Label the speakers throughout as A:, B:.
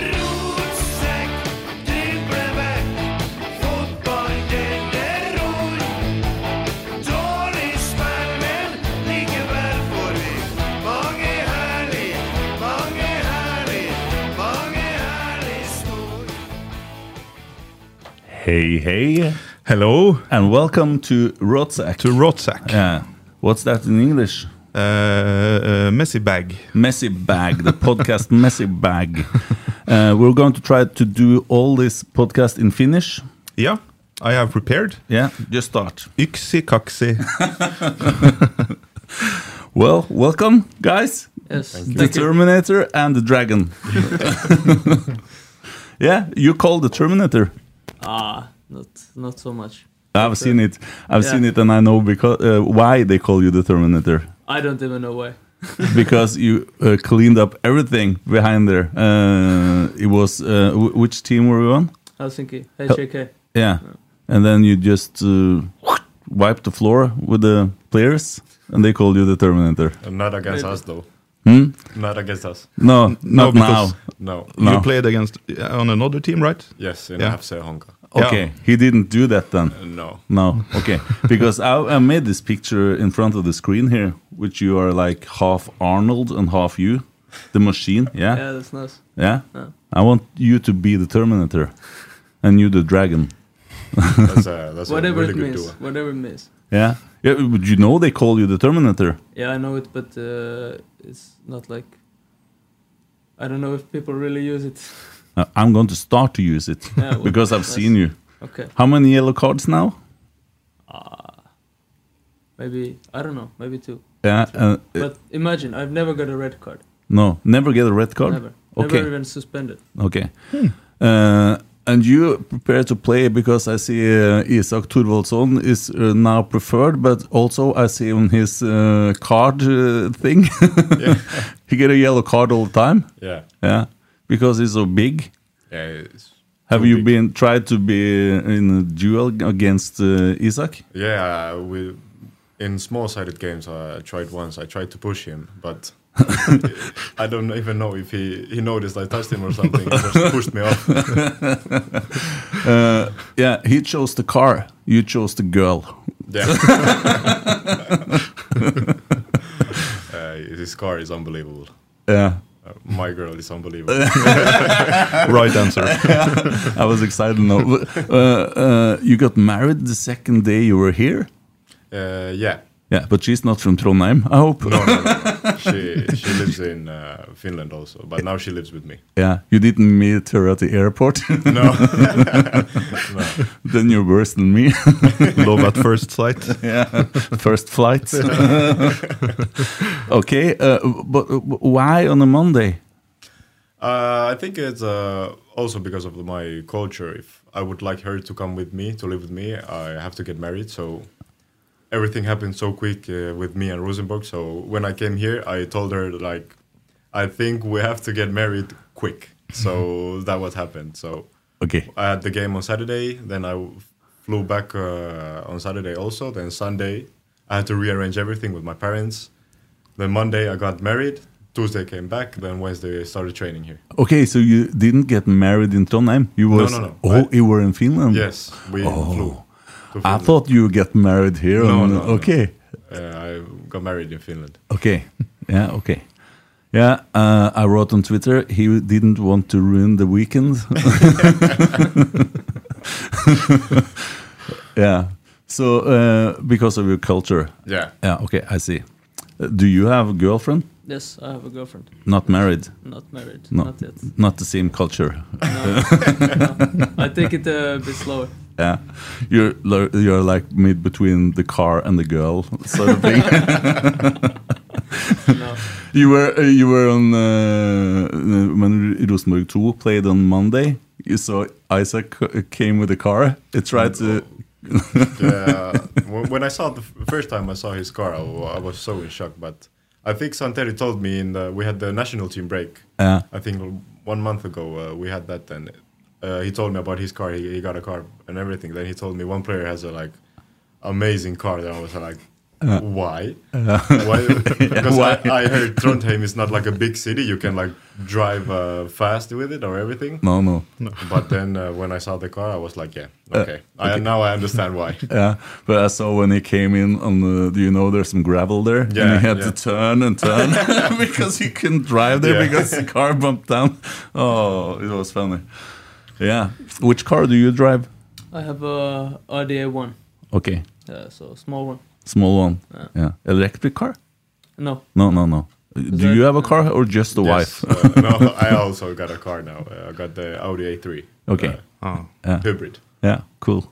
A: Rotsekk, driblevekk, fotball deler ord. Dårlig spill, men likevel får vi mange herlig, mange herlig, mange herlig stor.
B: Hey, hey,
C: Hello uh,
B: and welcome to Rotsack.
C: to Rotsack.
B: yeah. What's that in English?
C: Uh, uh, messy bag.
B: Messy Bag, the podcast Messy Bag. Uh, we're going to try to do all this podcast in Finnish.
C: Yeah, I have prepared.
B: Yeah, just start.
C: Yksi kaksi.
B: Well, welcome, guys. Yes, the Terminator and the Dragon. yeah, you call the Terminator.
D: Ah, not not so much.
B: I've seen it. I've
D: Yeah.
B: seen it, and I know because uh, why they call you the Terminator.
D: I don't even know why.
B: because you uh, cleaned up everything behind there. Uh, it was uh, w- which team were you on?
D: Helsinki, HJK.
B: Yeah, and then you just uh, wiped the floor with the players, and they called you the Terminator.
E: Not against us, though. Not against us.
B: No, not now.
C: because-
E: No.
B: No.
C: You played against uh, on another team, right?
E: Yes, in
C: Yeah.
E: FC Honka.
C: Yeah. Uh,
B: Okay, he didn't do that then.
E: No.
B: No, okay, because I, I made this picture in front of the screen here, which you are like half Arnold and half you, the machine. Yeah,
D: Yeah, that's nice.
B: yeah. I want you to be the Terminator, and you the dragon.
E: That's a, that's
D: Whatever
E: a really
D: it
E: good
D: means,
E: duo.
D: whatever it means.
B: Yeah. Yeah, but you know they call you the Terminator.
D: Yeah, I know it, but uh, it's not like. I don't know if people really use it.
B: Uh, I'm going to start to use it
D: Yeah, well,
B: because I've
D: that's-
B: seen you.
D: Okay,
B: How many yellow cards now?
D: maybe I don't know, maybe two.
B: Yeah. Uh, uh,
D: But imagine I've never got a red card.
B: no, never get a red
E: Oh,
B: card.
D: Never,
B: Okay.
D: never even suspended.
B: Okay. Uh, and you prepare to play because I see uh, Isak Thorvaldsson is uh, now preferred, but also I see on his uh, card uh, thing, he get a yellow card all the time.
E: Yeah.
B: Yeah, because he's so big.
E: yeah it's
B: Have
E: too
B: you
E: big.
B: been tried to be in a duel against uh, Isak?
E: Yeah, we, in small-sided games, I tried once. I tried to push him, but I don't even know if he, he noticed I touched him or something. He just pushed me off.
B: Yeah, he chose the car. You chose the girl.
E: Yeah. uh, his car is unbelievable.
B: Yeah,
E: Uh, my girl is unbelievable.
C: Right answer.
B: I was excited. Now. But, uh, uh, you got married the second day you were here.
E: Uh, yeah.
B: Yeah, but she's not from Trondheim. I hope.
E: No, no, no, no. She she lives in uh, Finland also, but now she lives with me.
B: Yeah, you didn't meet her at the airport.
E: No,
B: then you're worse than me.
C: Love at first sight.
B: yeah, first flight. okay, uh, but why on a Monday?
E: uh, I think it's uh, also because of my culture. If I would like her to come with me to live with me, I have to get married. So everything happened so quick uh, with me and Rosenborg. So when I came here, I told her like, I think we have to get married quick. So that what happened. So
B: Okay.
E: I had the game on Saturday. Then I w- flew back uh, on Saturday also. Then Sunday, I had to rearrange everything with my parents. Then Monday, I got married. Tuesday came back. Then Wednesday, I started training here.
B: Okay, so you didn't get married in Trondheim. You was
E: no, no.
B: oh,
E: I-
B: you were in Finland.
E: Yes, we
B: Oh.
E: flew. to
B: I
E: Finland.
B: thought you get married here.
E: No,
B: on-
E: no, no.
B: okay.
E: Uh, I got married in Finland.
B: Okay. Yeah, okay. Yeah, uh, I wrote on Twitter he didn't want to ruin the weekend. yeah. So uh, because of your culture.
E: Yeah.
B: Yeah, okay, I see. Uh, Do you have a girlfriend?
D: Yes, I have a girlfriend.
B: Not married.
D: Not married.
B: No.
D: Not yet.
B: Not the same culture.
D: No. no. I take it a bit slower.
B: Yeah. You're lo- you're like mid between the car and the girl sort of thing.
D: No.
B: You were uh, you were on uh, when Rosenborg 2 played on Monday. You saw Isaac c- came with a car. uh, It tried to.
E: Yeah. Wh- when I saw the f- first time I saw his car, I, wa- I was so in shock. But I think Santeri told me in the, we had the national team break.
B: Yeah.
E: I think one month ago uh, we had that, and uh, he told me about his car. He, he got a car and everything. Then he told me one player has a like amazing car. Then I was like. why? why? Because
B: Uh. why?
E: I, I heard Trondheim is not like a big city. You can like drive uh, fast with it or everything.
B: No, no. Uh.
E: But then uh, when I saw the car, I was like, yeah, okay. I, now I understand why.
B: Yeah, but I saw when he came in on the. Do you know there's some gravel there? and
E: Yeah,
B: he had
E: yeah.
B: to turn and turn because he couldn't drive there
E: Yeah.
B: because the car bumped down. Oh, it was funny. Yeah. Which car do you drive?
D: I have a RDA one.
B: Okay,
D: Yeah, so small one.
B: small one. Yeah, electric car?
D: No.
B: No, no, no. Do
D: that-
B: you have a car or just a wife?
E: Yes, uh, no, I also got a car now. Uh, I got the Audi A3.
B: Okay.
E: Uh, Hmm.
C: Oh.
E: Hybrid.
B: Yeah, cool.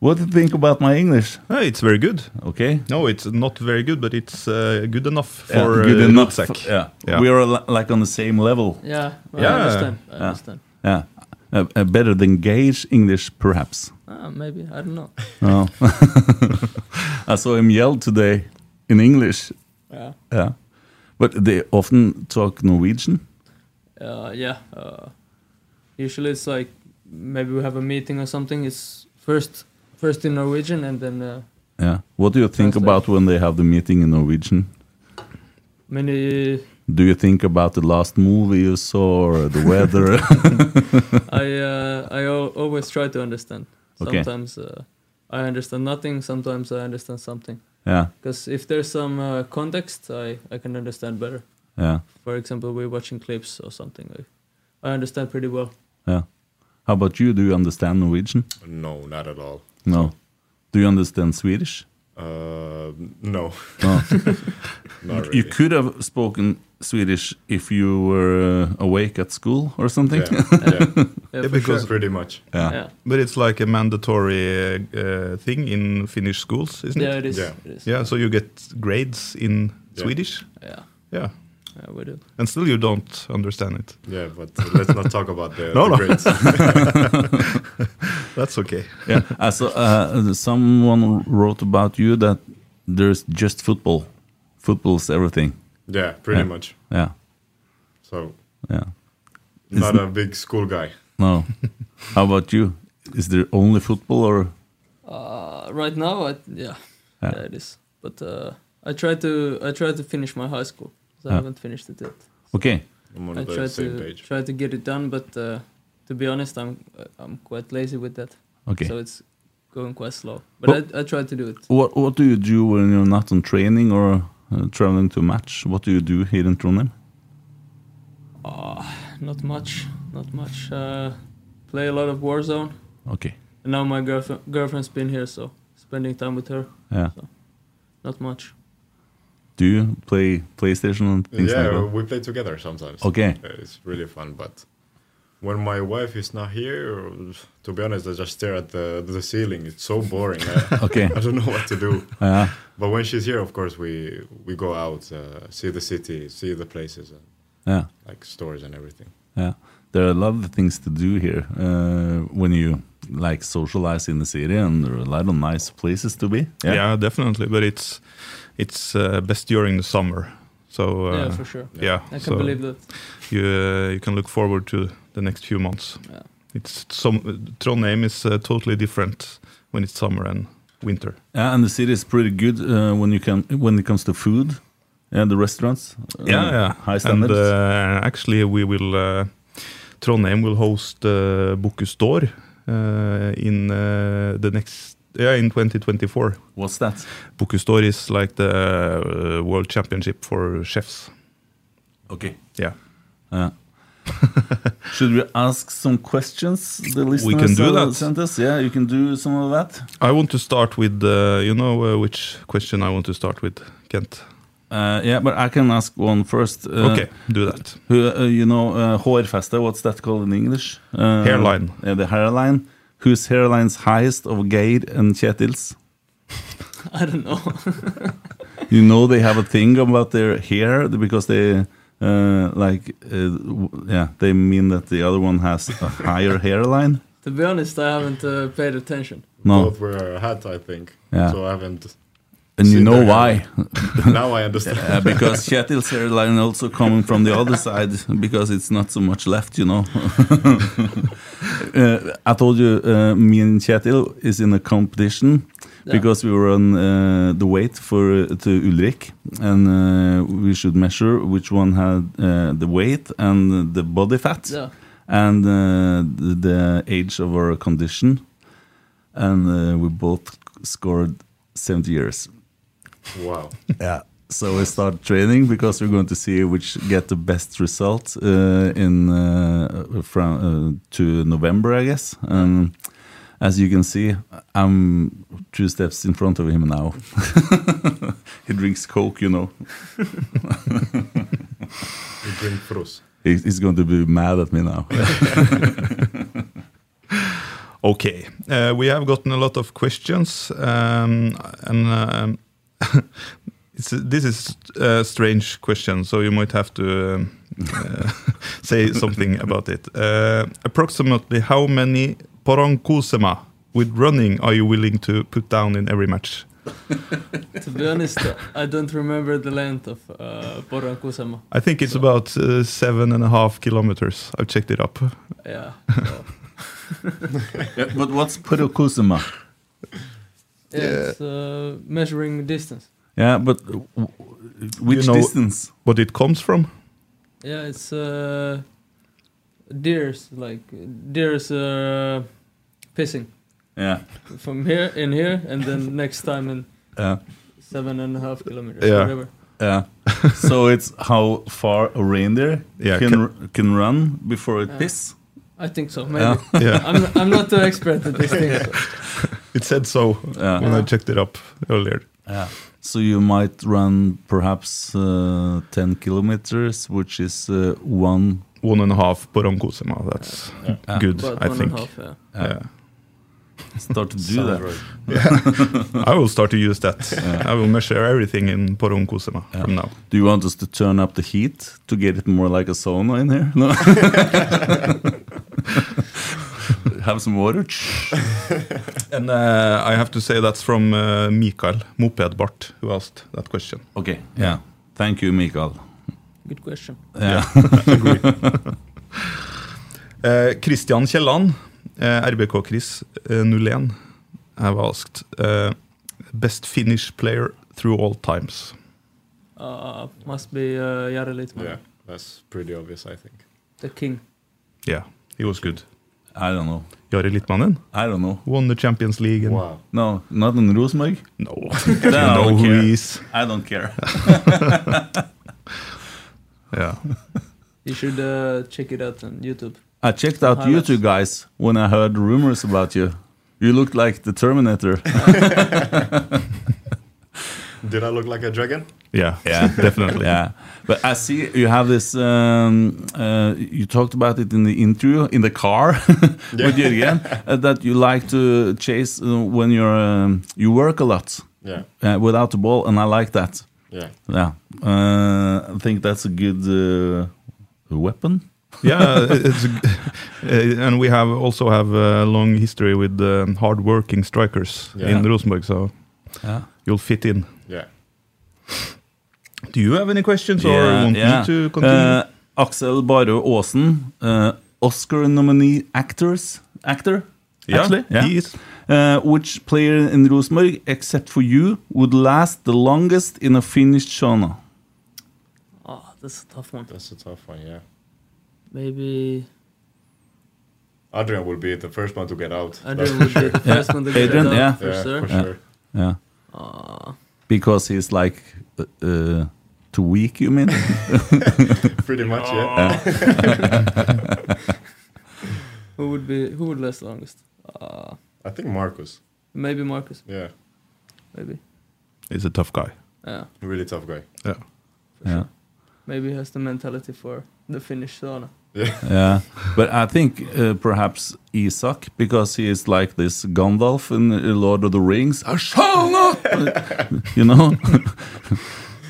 B: What do you think about my English?
C: Ah, it's very good.
B: Okay.
C: No, it's not very good, but it's uh, good enough
B: Yeah,
C: for
B: good
C: uh,
B: enough.
C: Rucksack.
B: Yeah.
C: Yeah.
B: we are al- like on the same level.
D: Yeah. well, I
C: Yeah.
D: understand. I understand.
B: Yeah, uh, uh, better than Gage English, perhaps.
D: Ah, maybe I don't know.
B: No. I saw him yell today in English.
D: Yeah.
B: Yeah, but they often talk Norwegian.
D: Uh, yeah. Uh, usually it's like maybe we have a meeting or something. It's first first in Norwegian and then uh,
B: Yeah. What do you think
D: Translate.
B: about when they have the meeting in Norwegian?
D: many.
B: Do you think about the last movie you saw or the weather?
D: I uh, I al- always try to understand.
B: Okay.
D: Sometimes uh, I understand nothing. Sometimes I understand something.
B: yeah,
D: Because if there's some uh, context, I I can understand better.
B: yeah,
D: For example, we're watching clips or something. Like, I understand pretty well.
B: yeah. How about you? Do you understand Norwegian?
E: No, not at all.
B: No. Do you understand Swedish?
E: Uh, no,
B: No.
E: not really.
B: you could have spoken Swedish if you were uh, awake at school or something.
E: Yeah, yeah.
C: Yeah,
D: for
C: because,
E: pretty much.
D: sure. yeah.
C: But it's like a mandatory uh, uh, thing in Finnish schools, isn't
D: Yeah,
C: it?
D: it is.
E: Yeah.
D: It is.
C: Yeah, so you get grades in
E: Yeah.
C: Swedish.
D: Yeah.
C: Yeah.
D: yeah, we do.
C: And still you don't understand it.
E: Yeah, but let's not talk about the,
C: No,
E: the
C: no.
E: grades.
C: That's okay.
B: yeah. I saw, uh, someone wrote about you that there's just football. Football's everything.
E: Yeah, pretty
B: Yeah.
E: much.
B: Yeah,
E: So
B: yeah.
E: not a big school guy.
B: No. How about you? Is there only football or?
D: Uh, right now, I, yeah, yeah, it is. But uh, I try to I try to finish my high school. 'cause I
B: Yeah.
D: haven't finished it yet.
B: Okay.
E: I'm on
D: I
E: the
D: try
E: same
D: to
E: page.
D: try to get it done, but uh, to be honest, I'm uh, I'm quite lazy with that.
B: Okay.
D: So it's going quite slow. But
B: Well-
D: I I try to do it.
B: What What do you do when you're not on training or uh, traveling to match? What do you do here in Trondheim?
D: Not much, not much. Uh, play a lot of Warzone.
B: Okay.
D: And now my girlfriend girlfriend's been here, so spending time with her,
B: Yeah.
D: not much.
B: Do you play PlayStation and things
E: yeah,
B: like that?
E: we play together sometimes.
B: Okay.
E: Uh, it's really fun, but when my wife is not here, to be honest, I just stare at the, the ceiling. It's so boring. I,
B: Okay.
E: I don't know what to do.
B: Yeah.
E: But when she's here, of course, we we go out, uh, see the city, see the places, and
B: Yeah.
E: like stores and everything.
B: Yeah, there are a lot of things to do here uh, when you like socialize in the city and there are a lot of nice places to be.
C: Yeah, definitely. But it's it's uh, best during the summer. So uh,
D: yeah, for sure.
C: Yeah,
D: I can
C: so
D: believe that.
C: You uh, you can look forward to the next few months.
D: Yeah.
C: It's some Trondheim is uh, totally different when it's summer and winter.
B: Yeah, and the city is pretty good uh, when you can when it comes to food and the restaurants. uh,
C: yeah, yeah.
B: high standards.
C: And uh, actually, we will uh, Trondheim will host uh, Bocuse d'Or uh, in uh, the next yeah in 2024.
B: What's that?
C: Bocuse d'Or is like the uh, world championship for chefs.
B: Okay.
C: Yeah,
B: Uh, should we ask some questions? The listeners
C: can do
B: uh,
C: that.
B: Sent us? Yeah, you can do some of that.
C: I want to start with uh, you know uh, which question I want to start with, Kent.
B: Uh, yeah, but I can ask one first. Uh,
C: okay, do that.
B: Who, uh, you know, uh, hårfeste, what's that called in English? Uh,
C: Hairline.
B: Yeah, the hairline. Whose hairline's highest of Geir and Kjetil's?
D: I don't know.
B: You know they have a thing about their hair because they uh, like uh, w- yeah they mean that the other one has a higher hairline.
D: to be honest, I haven't uh, paid attention.
B: No,
E: Both wear a hat, I think.
B: Yeah.
E: So I haven't.
B: and you
E: seen
B: know
E: their
B: why?
E: Now I understand.
B: Uh, because Kjetil's hairline also coming from the other side because it's not so much left, you know. uh, I told you uh, me and Kjetil is in a competition
D: Yeah.
B: because we were on uh, the weight for uh, to Ulrik and uh, we should measure which one had uh, the weight and the body fat
D: Yeah.
B: and uh, the, the age of our condition and uh, we both scored 70 years.
E: Wow.
B: Yeah. So we start training because we're going to see which get the best result uh, in uh, from uh, to November, I guess. And as you can see, I'm two steps in front of him now. he drinks coke, you know.
E: You drink frus.
B: He- He's going to be mad at me now.
C: Okay, uh, we have gotten a lot of questions, um, and um, it's, this is a strange question, so you might have to um, uh, say something about it. Uh, approximately how many porankosema with running are you willing to put down in every match?
D: To be honest, uh, I don't remember the length of uh, Boran Kusama.
C: I think it's about uh, seven and a half kilometers. I've checked it up.
D: Yeah. so-
B: but what's Purokusuma?
D: yeah. It's uh, measuring distance.
B: Yeah, but w- which
C: You know-
B: distance?
C: What it comes from?
D: Yeah, it's uh, deers like deers uh, pissing
B: Yeah.
D: from here in here, and then next time in
C: Uh,
B: Yeah.
D: seven and a half kilometers.
C: Yeah.
D: Whatever.
B: Yeah. so it's how far a reindeer
C: Yeah,
B: can
C: can-
B: r- can run before it piss.
D: I think so. Maybe.
B: Yeah.
C: Yeah,
D: I'm I'm not the expert at these things. so-
C: it said so
B: Yeah.
C: when I checked it up earlier.
B: Yeah. So you might run perhaps uh, 10 kilometers, which is uh, one.
C: one and a half Porankosema. That's good,
D: But
C: I
D: one
C: think.
D: and a half. Yeah.
C: Yeah.
B: Start to do that.
C: I will start to use that. I will measure everything in Porankosema from now.
B: Do you want us to turn up the heat to get it more like a sauna in here? No. Have some water.
C: And uh, I have to say that's from uh, Mikael Moped Bart who asked that question.
B: Okay. Yeah. Thank you, Mikael.
D: Good question.
B: Yeah.
C: Uh, Christian Kielland, uh, RBK Chris uh, 01, have asked uh, best Finnish player through all times.
D: Uh, must be uh, Jari Litman,
E: Yeah, that's pretty obvious, I think.
D: the king.
C: Yeah, he was good.
B: I don't know.
C: Jari Litmanen
B: I don't know.
C: won the Champions League. And
E: Wow.
B: No, not in Rosenborg.
C: No,
B: No,
C: you know who
B: care.
C: he is.
B: I don't care.
C: Yeah.
D: You should uh, check it out on YouTube.
B: I checked out you
D: Highlights.
B: two guys when I heard rumors about you. You looked like the Terminator.
E: Did I look like a dragon?
C: Yeah, definitely.
B: yeah but i see you have this um, uh, you talked about it in the interview in the car with you again uh, that you like to chase uh, when you're um, you work a lot
E: Yeah.
B: uh, without the ball and i like that
E: Yeah.
B: yeah uh, i think that's a good uh, weapon
C: yeah, it's, uh, and we have also have a long history with um, hard-working strikers
E: Yeah.
C: in Rosenborg, so
B: Yeah.
C: you'll fit in.
E: Yeah.
C: Do you have any questions
B: Yeah,
C: or want
B: yeah.
C: me to continue?
B: Uh, Axel Barø Aasen, uh, Oscar nominee actors, actor,
C: yeah,
B: actually, yeah.
C: he is.
B: Uh, which player in Rosenborg, except for you, would last the longest in a Finnish sauna?
D: Oh, that's a tough one.
E: That's a tough one, yeah.
D: Maybe
E: Adrian will be the first one to get out. that's for
D: Adrian would
E: sure.
D: be the first one to get
B: Adrian,
D: out
B: yeah.
D: for
E: yeah,
D: sure.
E: for sure.
B: Yeah. Because he's like uh, uh, too weak, you mean?
E: Pretty much, yeah.
B: Oh.
D: Who would be who would last longest? Uh,
E: I think Marcus.
D: maybe Marcus.
E: Yeah.
D: Maybe.
C: He's a tough guy.
D: Yeah.
E: Really tough guy.
C: Yeah.
B: yeah.
D: Maybe he has the mentality for the Finnish sauna.
B: Yeah, but I think uh, perhaps Isaac because he is like this Gandalf in uh, Lord of the Rings. I shall not, you know.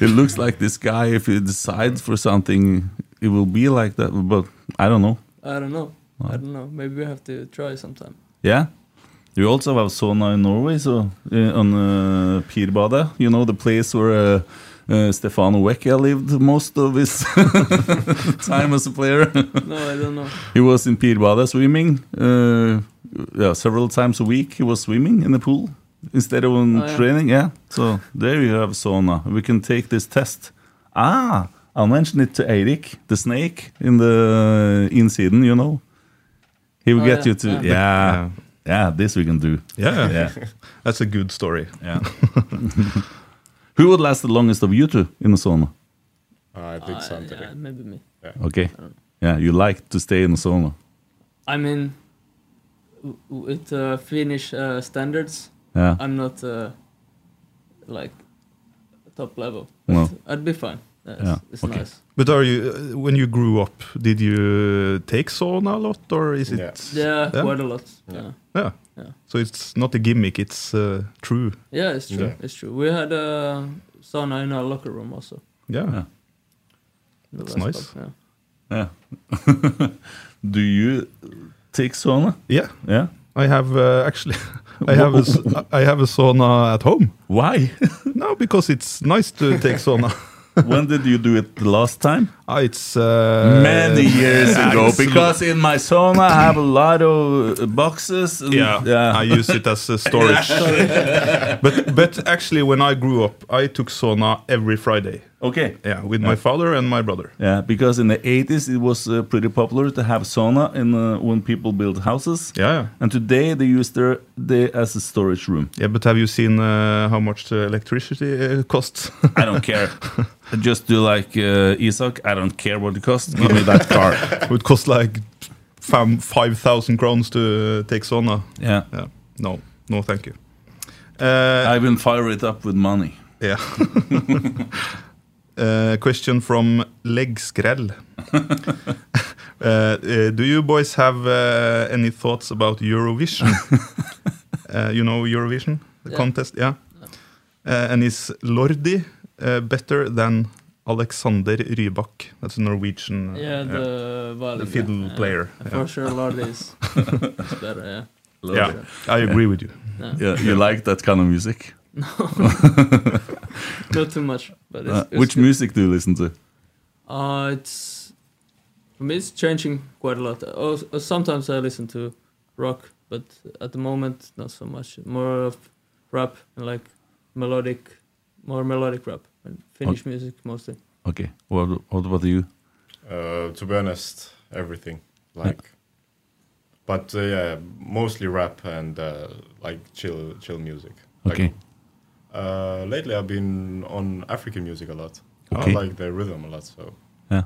B: it looks like this guy. If he decides for something, it will be like that. But I don't know.
D: I don't know. I don't know. Maybe we have to try sometime.
B: Yeah, you also have sauna in Norway, so uh, on uh, Pirbadet, you know, the place where. Uh, uh, Stefano Vecchia lived most of his time as a player.
D: No, I don't know.
B: He was in Pirbadet swimming. Uh, yeah, several times a week he was swimming in the pool instead of on
D: Oh, yeah.
B: training. Yeah. So there you have sauna. We can take this test. Ah, I'll mention it to Eirik, the snake in the Insiden, you know. He will
D: Oh,
B: get
D: yeah,
B: you to. Yeah.
D: yeah.
B: yeah. this we can do.
C: Yeah,
B: Yeah.
C: that's a good story.
B: Yeah. Who would last the longest of you two in the sauna?
E: Uh, I think
D: Uh,
E: Santa.
D: yeah, maybe me.
B: Okay. Yeah, you like to stay in the sauna.
D: I mean, w- with uh, Finnish uh, standards,
B: Yeah.
D: I'm not uh, like top level.
B: No.
D: I'd be fine. That's,
B: Yeah,
D: It's
B: okay.
D: nice.
C: But are you uh, when you grew up? Did you take sauna a lot, or is it?
E: Yeah.
D: Yeah,
C: Yeah?
D: quite a lot. Yeah.
C: Yeah.
D: Yeah.
C: So it's not a gimmick; it's uh, true.
D: Yeah, it's true.
E: Yeah.
D: It's true. We had a sauna in our locker room also.
C: Yeah.
B: Yeah.
D: The
C: That's
D: last
C: nice.
D: pub, yeah.
B: Yeah. do you take sauna?
C: Yeah.
B: Yeah.
C: I have uh, actually, I have a, s- I have a sauna at home.
B: Why?
C: No, because it's nice to take sauna.
B: when did you do it the last time?
C: Ah, it's uh,
B: Many years
C: yeah,
B: ago.
C: it's-
B: Because in my sauna I have a lot of uh, boxes. And,
C: yeah, I use it as a storage. but but actually, when I grew up, I took sauna every Friday.
B: okay.
C: Yeah, with my father and my brother.
B: Yeah, because in the 80s it was uh, pretty popular to have sauna in, uh, when people built houses.
C: Yeah, yeah.
B: And today they use their they as a storage room.
C: Yeah, but have you seen uh, how much the electricity uh, costs?
B: I don't care. I Just do like uh, Isak. I don't care what it costs. Give me that car.
C: it would cost like fam- 5,000 crowns to take sauna.
B: Yeah.
C: Yeah. No, no, thank you. Uh,
B: I will fire it up with money.
C: yeah. uh, question from Legskrell. uh, uh, do you boys have uh, any thoughts about Eurovision? uh, you know Eurovision the
D: Yeah.
C: contest, yeah. Uh, and is Lordi uh, better than Alexander Rybak? That's a Norwegian. uh,
D: Yeah, the violin.
C: the
D: yeah.
C: fiddle
D: Yeah.
C: player.
D: For sure, Lord is, is better, yeah.
C: Yeah, I agree with you.
B: Yeah, you like that kind of music.
D: Not too much, but it's,
B: Uh,
D: it's
B: which
D: good.
B: music do you listen to?
D: Uh, it's for me. It's changing quite a lot. Oh, s- uh, sometimes I listen to rock, but at the moment not so much. More of rap and like melodic, more melodic rap and Finnish
C: Oh.
D: music mostly.
B: Okay. What, what about you?
E: Uh, to be honest, everything. Like, but uh, yeah, mostly rap and uh, like chill, chill music. Like,
B: Okay.
E: uh, lately, I've been on African music a lot.
B: Okay.
E: I like the rhythm a lot, so
B: Yeah.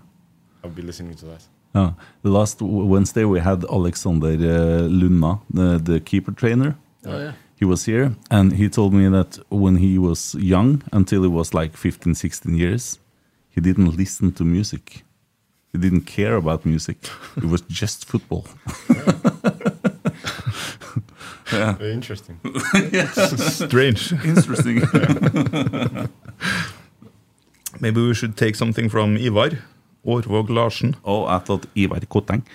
E: I'll be listening to that.
B: Uh, the last w- Wednesday we had Alexander uh, Luna, the, the keeper trainer.
D: Oh yeah,
B: He was here and he told me that when he was young, until he was like 15, 16 years, he didn't listen to music. He didn't care about music. it was just football.
E: Very Uh, interesting.
C: Strange.
B: Interesting.
C: Maybe we should take something from Ivar. Årvåg Larsen.
B: Oh, I thought Ivar Koteng.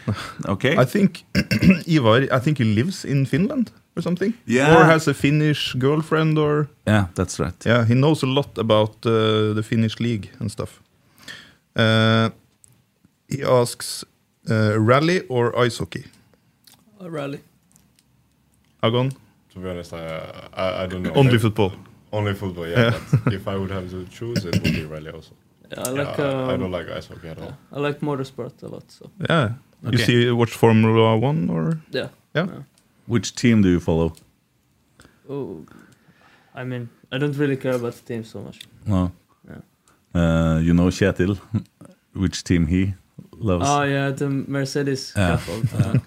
B: Okay.
C: I think Ivar, I think he lives in Finland or something.
B: Yeah.
C: Or has a Finnish girlfriend or
B: yeah, that's right.
C: Yeah, he knows a lot about uh, the Finnish league and stuff. Uh, he asks uh, rally or ice hockey?
D: A rally.
C: Agon?
E: To be honest, I, I, I don't know.
C: Only
E: Like,
C: football.
E: Only football, yeah. But if I would have to choose, it would be rally also.
D: Yeah,
E: Yeah,
D: I like
E: I- I
D: um,
E: don't like ice hockey at all.
D: I like motorsport a lot. So
C: Yeah. You
B: Okay.
C: see, watch Formula One or
D: yeah.
C: yeah.
B: Which team do you follow?
D: Oh, I mean, I don't really care about the team so much.
B: No. Uh, you know Kjetil, which team he loves.
F: Uh,
D: Oh yeah, the Mercedes
B: Yeah.
D: Cup all the time.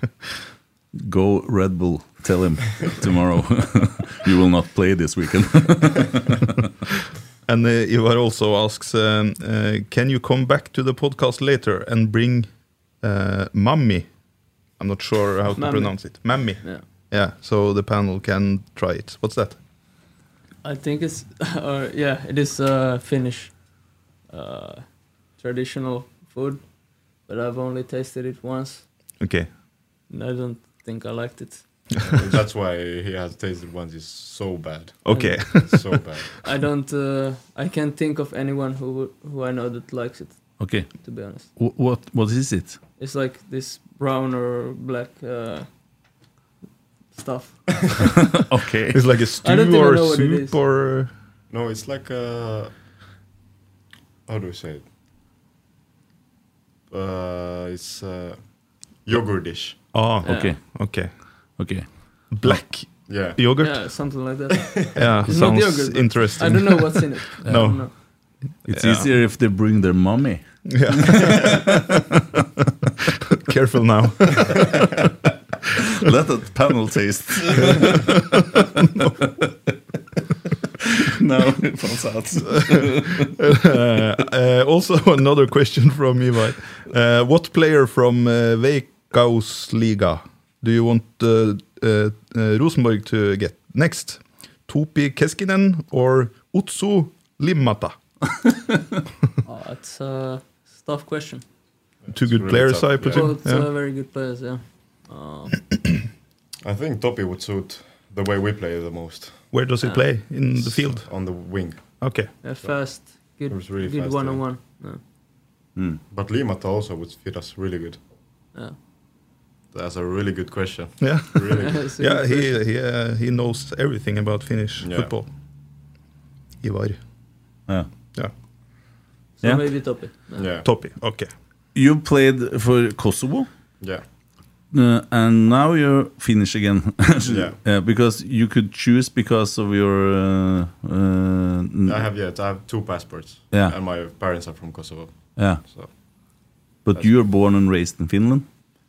B: Go Red Bull. Tell him tomorrow you will not play this weekend.
C: And uh, Ivar also asks, um, uh, can you come back to the podcast later and bring uh, Mammy? I'm not sure how to
D: Mammy.
C: pronounce it. Mammy.
D: Yeah.
C: Yeah, so the panel can try it. What's that?
D: I think it's or yeah, it is uh, Finnish uh, traditional food, but I've only tasted it once,
C: Okay.
D: and I don't think I liked it.
E: And that's why he has tasted ones is so bad.
C: Okay.
E: So bad.
D: I don't. Uh, I can't think of anyone who who I know that likes it.
B: okay.
D: To be honest,
B: Wh- what What is it?
D: it's like this brown or black uh, stuff.
B: Okay.
C: it's like a
D: I don't
C: stew
D: even
C: or
D: know what it is.
C: soup or
E: No, it's like a. How do I say it? Uh, it's a yogurt dish.
C: Oh,
D: Yeah.
B: Okay.
C: okay.
B: Okay.
C: Black
E: Yeah.
C: yogurt. Yeah,
D: Yeah, something like that. It's not
C: sounds
D: yogurt, but
C: interesting.
D: I don't know what's in it. I
C: No.
D: don't know.
B: It's
C: Yeah.
B: easier if they bring their mommy.
C: Careful now.
B: Let the panel taste. no, it falls out.
C: uh, uh, also, another question from Ivar. Uh, what player from uh, Veikkausliiga do you want uh, uh, uh, Rosenborg to get next? Tupi Keskinen or Utsu Limata?
D: Oh, it's a tough question.
C: Two good
E: really
C: players,
E: tough,
C: I
E: yeah.
C: presume.
D: Both
C: Yeah.
D: uh, very good players. Yeah. Uh,
E: I think Topi would suit the way we play the most uh,
C: Where does he play in the field?
E: on the wing.
C: Okay.
D: yeah, fast.
E: It
D: Good.
E: was really
D: good
E: fast,
D: one on
E: yeah.
D: one. Yeah.
E: But Limata also would fit us really good.
D: Yeah.
E: That's a really good question.
C: Yeah.
E: Really good.
D: It's a
C: Yeah,
D: good
C: he he, uh, he knows everything about Finnish
E: Yeah.
C: football. Ivar.
B: Yeah.
C: Yeah.
D: question. so
B: yeah.
D: maybe Topi. Yeah.
E: Yeah.
C: Topi. Okay.
B: You played for Kosovo,
E: Yeah.
B: uh, and now you're Finnish again.
E: Yeah.
B: Uh, because you could choose because of your. Uh, uh, n-
E: I have yet. I have two passports.
B: Yeah.
E: And my parents are from Kosovo.
B: yeah,
E: So
B: but you were born and raised in Finland.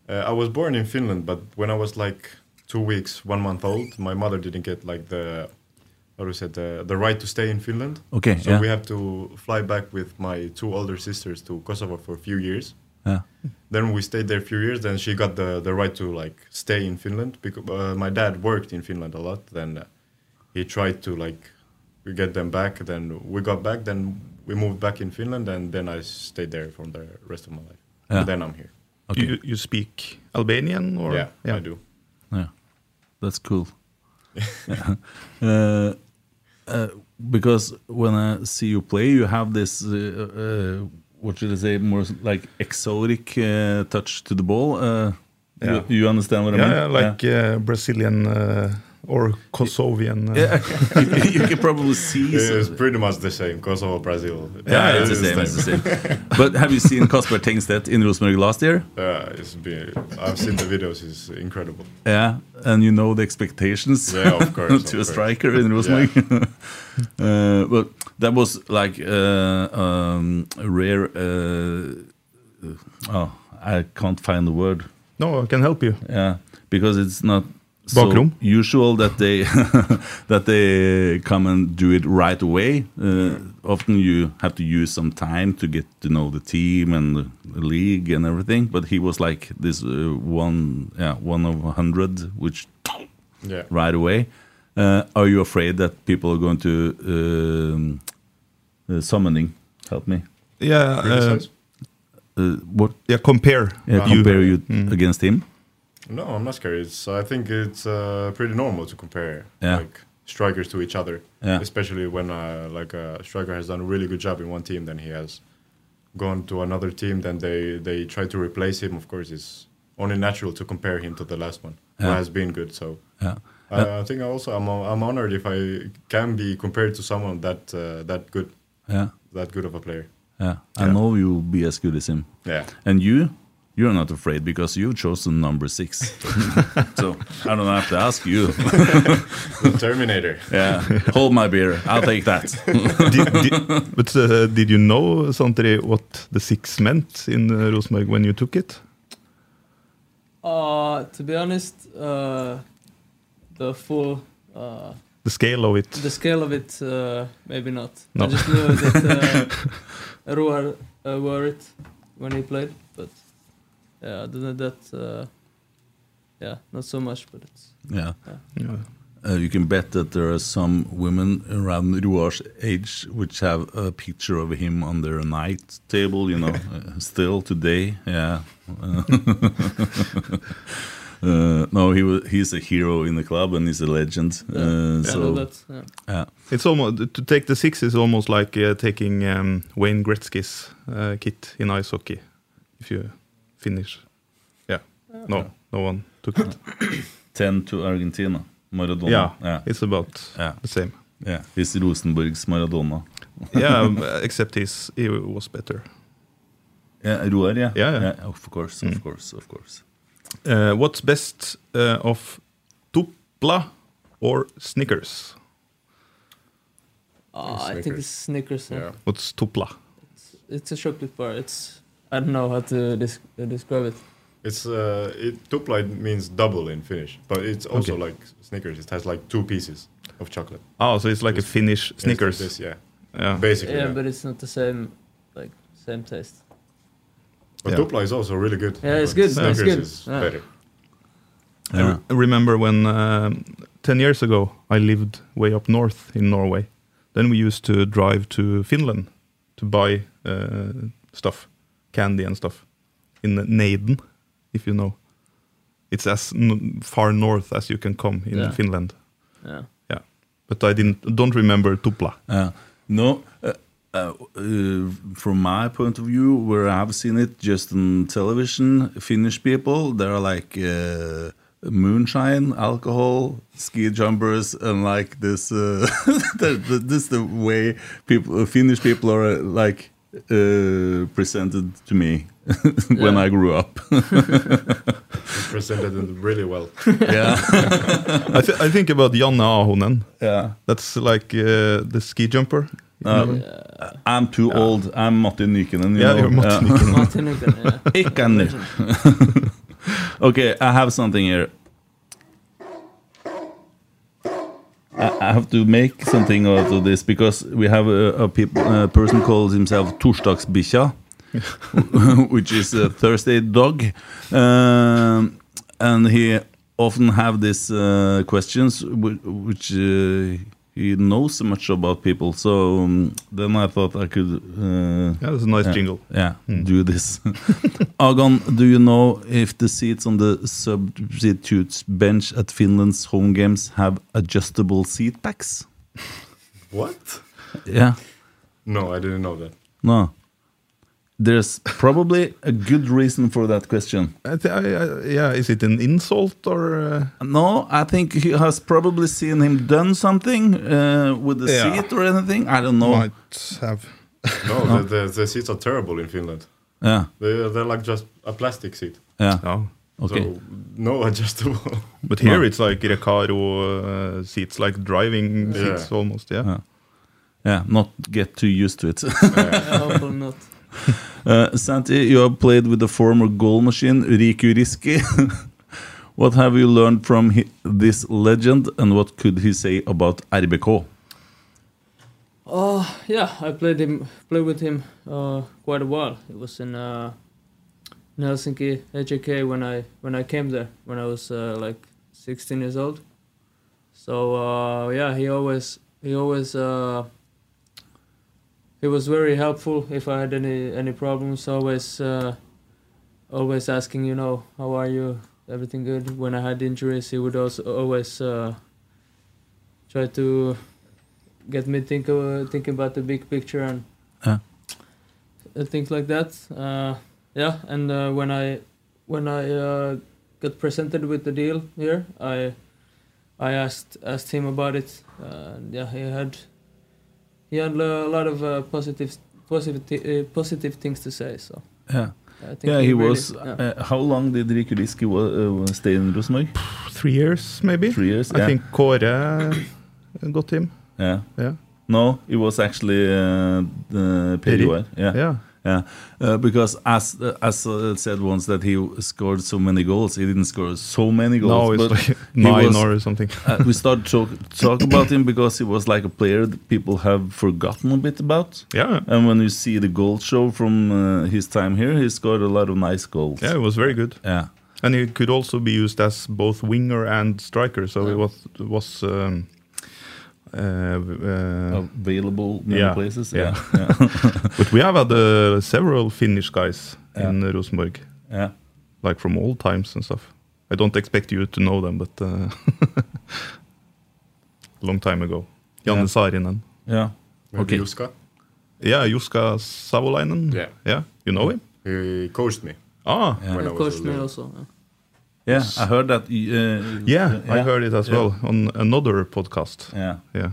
E: uh, I was born in Finland, but when I was like two weeks, one month old, my mother didn't get like the how do you say the the right to stay in Finland.
B: Okay,
E: So
B: yeah.
E: we have to fly back with my two older sisters to Kosovo for a few years.
B: Yeah.
E: Then we stayed there a few years. Then she got the, the right to like stay in Finland because uh, my dad worked in Finland a lot. Then uh, he tried to like get them back. Then we got back. Then we moved back in Finland, and then I stayed there for the rest of my life.
B: Yeah.
E: Then I'm here.
C: You you speak Albanian or
E: yeah, I do.
B: Yeah, that's cool. uh, uh, because when I see you play, you have this uh, uh, what should I say, more like exotic uh, touch to the ball. Uh,
C: Yeah.
B: you, you understand what I
C: Yeah,
B: mean?
C: yeah, like Uh, Brazilian uh, or Kosovian. Uh,
B: Yeah. you, you can probably see.
E: It's
B: so-
E: pretty much the same, Kosovo, Brazil.
B: yeah, it's the same. It's the same. but have you seen Kasper Tengstedt in Rosenborg last year?
E: Yeah, it's been, I've seen the videos. It's incredible.
B: Yeah, and you know the expectations
E: Yeah, of course,
B: to
E: of
B: a
E: course.
B: striker in Rosenborg. uh, but that was like uh, um, a rare. Uh, oh, I can't find the word.
C: No, I can help you.
B: Yeah, because it's not so
C: Bakrom?
B: usual that they that they come and do it right away. Uh, often you have to use some time to get to know the team and the league and everything. But he was like this uh, one, yeah, one of a hundred, which
E: Yeah.
B: right away. Uh, are you afraid that people are going to um, uh, summoning? Help me.
C: Yeah. Uh,
E: Criticize?
B: uh, what
C: Yeah, compare.
B: yeah,
C: you.
B: compare you against him?
E: No, I'm not scared. It's, I think it's uh, pretty normal to compare
B: Yeah.
E: like strikers to each other,
B: Yeah.
E: especially when uh, like a striker has done a really good job in one team, then he has gone to another team, then they they try to replace him. Of course, it's only natural to compare him to the last one who has been good. So
B: Yeah.
E: Uh, I, I think also I'm I'm honored if I can be compared to someone that uh, that good
B: Yeah,
E: that good of a player.
B: yeah. I
E: Yeah.
B: know you'll be as good as him.
E: Yeah.
B: And you, you're not afraid because you've chosen number six. so I don't have to ask you.
E: Terminator.
B: yeah, hold my beer. I'll take that.
C: did, did, but uh, did you know, Santeri, what the six meant in uh, Rosenborg when you took it?
D: Uh, to be honest, uh, the full uh,
C: The scale of it.
D: the scale of it, uh, maybe not.
C: No.
D: I just knew that uh, Ruar uh, wore it when he played, but yeah, other than that, uh, yeah, not so much. But it's
B: yeah.
C: Yeah.
B: Uh, you can bet that there are some women around Ruar's age which have a picture of him on their night table, you know, uh, still today. Yeah. Uh, uh, no, he was, he's a hero in the club and he's a legend. Uh,
D: I
F: er
D: know
B: so,
D: that. Yeah.
B: yeah.
C: It's almost to take the six is almost like uh, taking um, Wayne Gretzky's uh, kit in ice hockey. If you finish, Uh, yeah, no, no one took it.
B: 10 to Argentina. Maradona.
C: Yeah,
B: Yeah.
C: it's about
B: Yeah.
C: the same.
B: yeah. He's Rosenborgs Maradona.
C: Yeah, um, except his he was better.
B: Yeah, Ruar, yeah.
C: Yeah, yeah.
B: Of course, of course, of course.
C: Uh, what's best uh, of Tupla or Snickers?
D: Uh, I think
E: Snickers.
D: it's Snickers. Yeah.
E: Yeah.
C: What's Tupla?
D: It's a chocolate bar. It's I don't know how to dis- uh, describe it.
E: It's uh, it tupla it means double in Finnish, but it's also
C: Okay.
E: like Snickers. It has like two pieces of chocolate.
C: Oh, so it's like a
E: It's
C: Finnish
E: like
C: Snickers.
E: this, yeah.
C: Yeah.
E: Basically,
D: Yeah,
E: yeah.
D: but it's not the same, like same taste.
E: But
C: Yeah.
E: Dupla is also really good.
D: Yeah, it's
E: but
D: good, it's
E: Snickers
D: good,
E: is
D: yeah.
E: better.
C: I re- remember when um, 10 years ago I lived way up north in Norway. Then we used to drive to Finland to buy uh, stuff, candy and stuff, in Neiden, if you know. It's as n- far north as you can come in
D: Yeah.
C: Finland.
D: Yeah.
C: Yeah, but I didn't don't remember Tupla.
B: Uh, no, uh, uh, uh, from my point of view, where I've seen it just on television, Finnish people, they are like uh, moonshine, alcohol, ski jumpers, and like this. Uh, that- that- this the way people, Finnish people are uh, like uh, presented to me when
D: Yeah.
B: I grew up.
E: It presented it really well.
B: yeah,
C: I, th- I think about Janne Ahonen.
B: yeah.
C: That's like uh, the ski jumper.
B: I'm too old. I'm Martin Nykänen. You
C: Yeah,
B: know?
C: you're Martin Nykänen.
D: Martin again, yeah.
B: Nykänen. okay, I have something here. I I have to make something out of this because we have a, a, peop a person calls himself Torsdagsbikkja, which is a Thursday dog, Um, and he often have these uh, questions whi- which uh, he knows so much about people. So um, then I thought I could. Uh,
C: Yeah, that's a nice
B: yeah.
C: jingle.
B: Yeah,
C: Hmm.
B: do this. Agon, do you know if the seats on the substitutes bench at Finland's home games have adjustable seat backs?
E: what?
B: Yeah,
E: No, I didn't know that.
B: no. There's probably a good reason for that question.
C: I th- I, I, yeah, is it an insult or? Uh,
B: No, I think he has probably seen him done something uh, with the
C: Yeah.
B: seat or anything. I don't know.
C: might have.
E: No, The, the, the seats are terrible in Finland.
B: Yeah,
E: They, they're like just a plastic seat.
B: yeah.
C: No.
B: Okay.
E: So no adjustable.
C: But here
B: Oh. No.
C: it's like Recaro uh, seats, like driving
E: Yeah.
C: seats almost. Yeah.
B: Yeah. yeah, not get too used to it.
D: I hope not.
B: Uh, Santi, you have played with the former goal machine Riku Riski. what have you learned from hi- this legend, and what could he say about RBK?
D: Oh yeah, I played him, played with him uh, quite a while. It was in, uh, in Helsinki HJK when I when I came there when I was uh, like 16 years old. So uh, yeah, he always he always uh, he was very helpful if I had any any problems. Always, uh, always asking, you know, how are you? Everything good? When I had injuries, he would also always uh, try to get me think uh, thinking about the big picture and
B: Yeah.
D: uh, things like that. Uh, yeah, and uh, when I when I uh, got presented with the deal here, I I asked asked him about it. Uh, yeah, he had he had a lot of uh, positive positive thi- uh, positive things to say. So
B: Yeah.
D: I think
B: Yeah, he
D: really-
B: was.
D: yeah.
B: Uh, how long did Ricky Liski wa- uh, stay in Rosenborg?
C: Three years, maybe.
B: Three years,
C: I
B: yeah.
C: think Kåre got him.
B: Yeah.
C: Yeah.
B: No, it was actually uh, the Periwar. Yeah.
C: Yeah.
B: Yeah, uh, because as uh, as uh, said once that he scored so many goals, he didn't score so many goals.
C: Now it's
B: but
C: like
B: he
C: nine
B: was-
C: or something.
B: uh, we started to talk about him because he was like a player that people have forgotten a bit about.
C: Yeah.
B: And when you see the goal show from uh, his time here, he scored a lot of nice goals.
C: Yeah, it was very good.
B: yeah.
C: And it could also be used as both winger and striker. So it was was um, uh, uh,
B: available many
C: Yeah,
B: places.
C: yeah.
B: yeah,
C: but we have had uh, several Finnish guys in uh, Rosenborg,
B: yeah.
C: like from old times and stuff. I don't expect you to know them, but uh, long time ago, Janne
B: Yeah.
C: Saarinen.
B: yeah.
E: Maybe Juska.
C: Yeah, Juska Savolainen.
E: Yeah.
C: yeah, you know him.
E: He coached me
C: Ah, yeah,
E: when I
D: Of
E: was
D: course,
E: a
D: me
E: little-
D: also. yeah.
B: Yeah, I heard that. Uh,
C: I heard it as
B: Yeah.
C: well on another podcast.
B: Yeah,
C: yeah.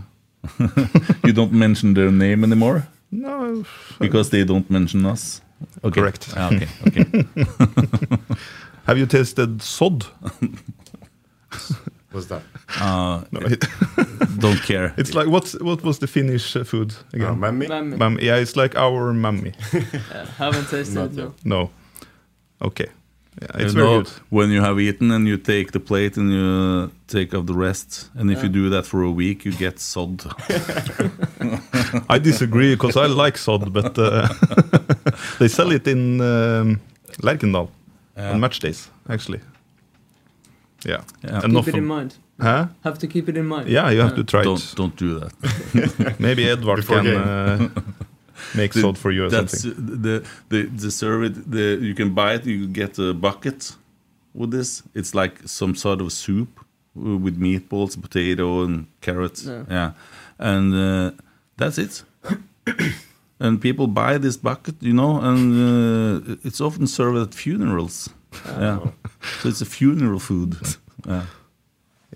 B: you don't mention their name anymore
C: No,
B: because they don't mention us. Okay.
C: Correct.
B: Ah, okay. Okay.
C: have you tasted sod?
E: What's that?
C: No, it-
B: Uh, don't care.
C: It's like what's what was the Finnish uh, food
E: Uh,
C: again?
E: Mammy?
D: Mammy.
C: Mam- yeah, it's like our mammy.
D: Haven't tasted
E: Not
D: it. No.
C: No, okay, yeah, it's
B: You
C: very
B: know,
C: good.
B: When you have eaten and you take the plate and you take off the rest, and if you do that for a week, you get sod.
C: I disagree because I like sod, but uh, they sell it in um, Lerkendal on match days actually. Yeah,
B: Yeah.
C: enough.
D: Keep it in
C: of-
D: mind.
C: huh?
D: Have to keep it in mind.
C: Yeah, you have to try
B: don't don't do that.
C: it. Maybe Edward
E: Before
C: can
E: game.
C: uh, make sod for you or
B: That's
C: something.
B: the the the service. The you can buy it. You get a bucket with this. It's like some sort of soup uh, with meatballs, potato, and carrots. Yeah, and uh, that's it. and people buy this bucket, you know, and uh, it's often served at funerals. Yeah, so it's a funeral food. Yeah.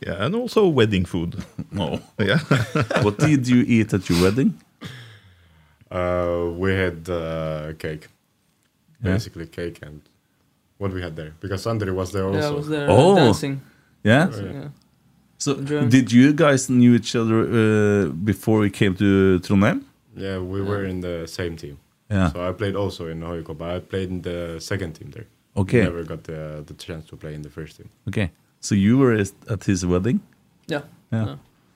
C: Yeah, and also wedding food.
B: No,
C: Yeah,
B: what did you eat at your wedding?
E: Uh, we had uh, cake. Basically cake and what we had there. Because Andre was there also.
D: Yeah, I was there uh,
B: Oh.
D: dancing.
B: Yeah.
D: Yeah.
B: So,
D: Enjoy.
B: did you guys knew each other uh, before you came to Trondheim?
E: Yeah, we were in the same team.
B: Yeah.
E: So I played also in Hoyoko, but I played in the second team there.
B: Okay.
E: Never got the, the chance to play in the first team.
B: Okay. So you were is- at his wedding.
D: Yeah.
B: Yeah.
D: Yeah.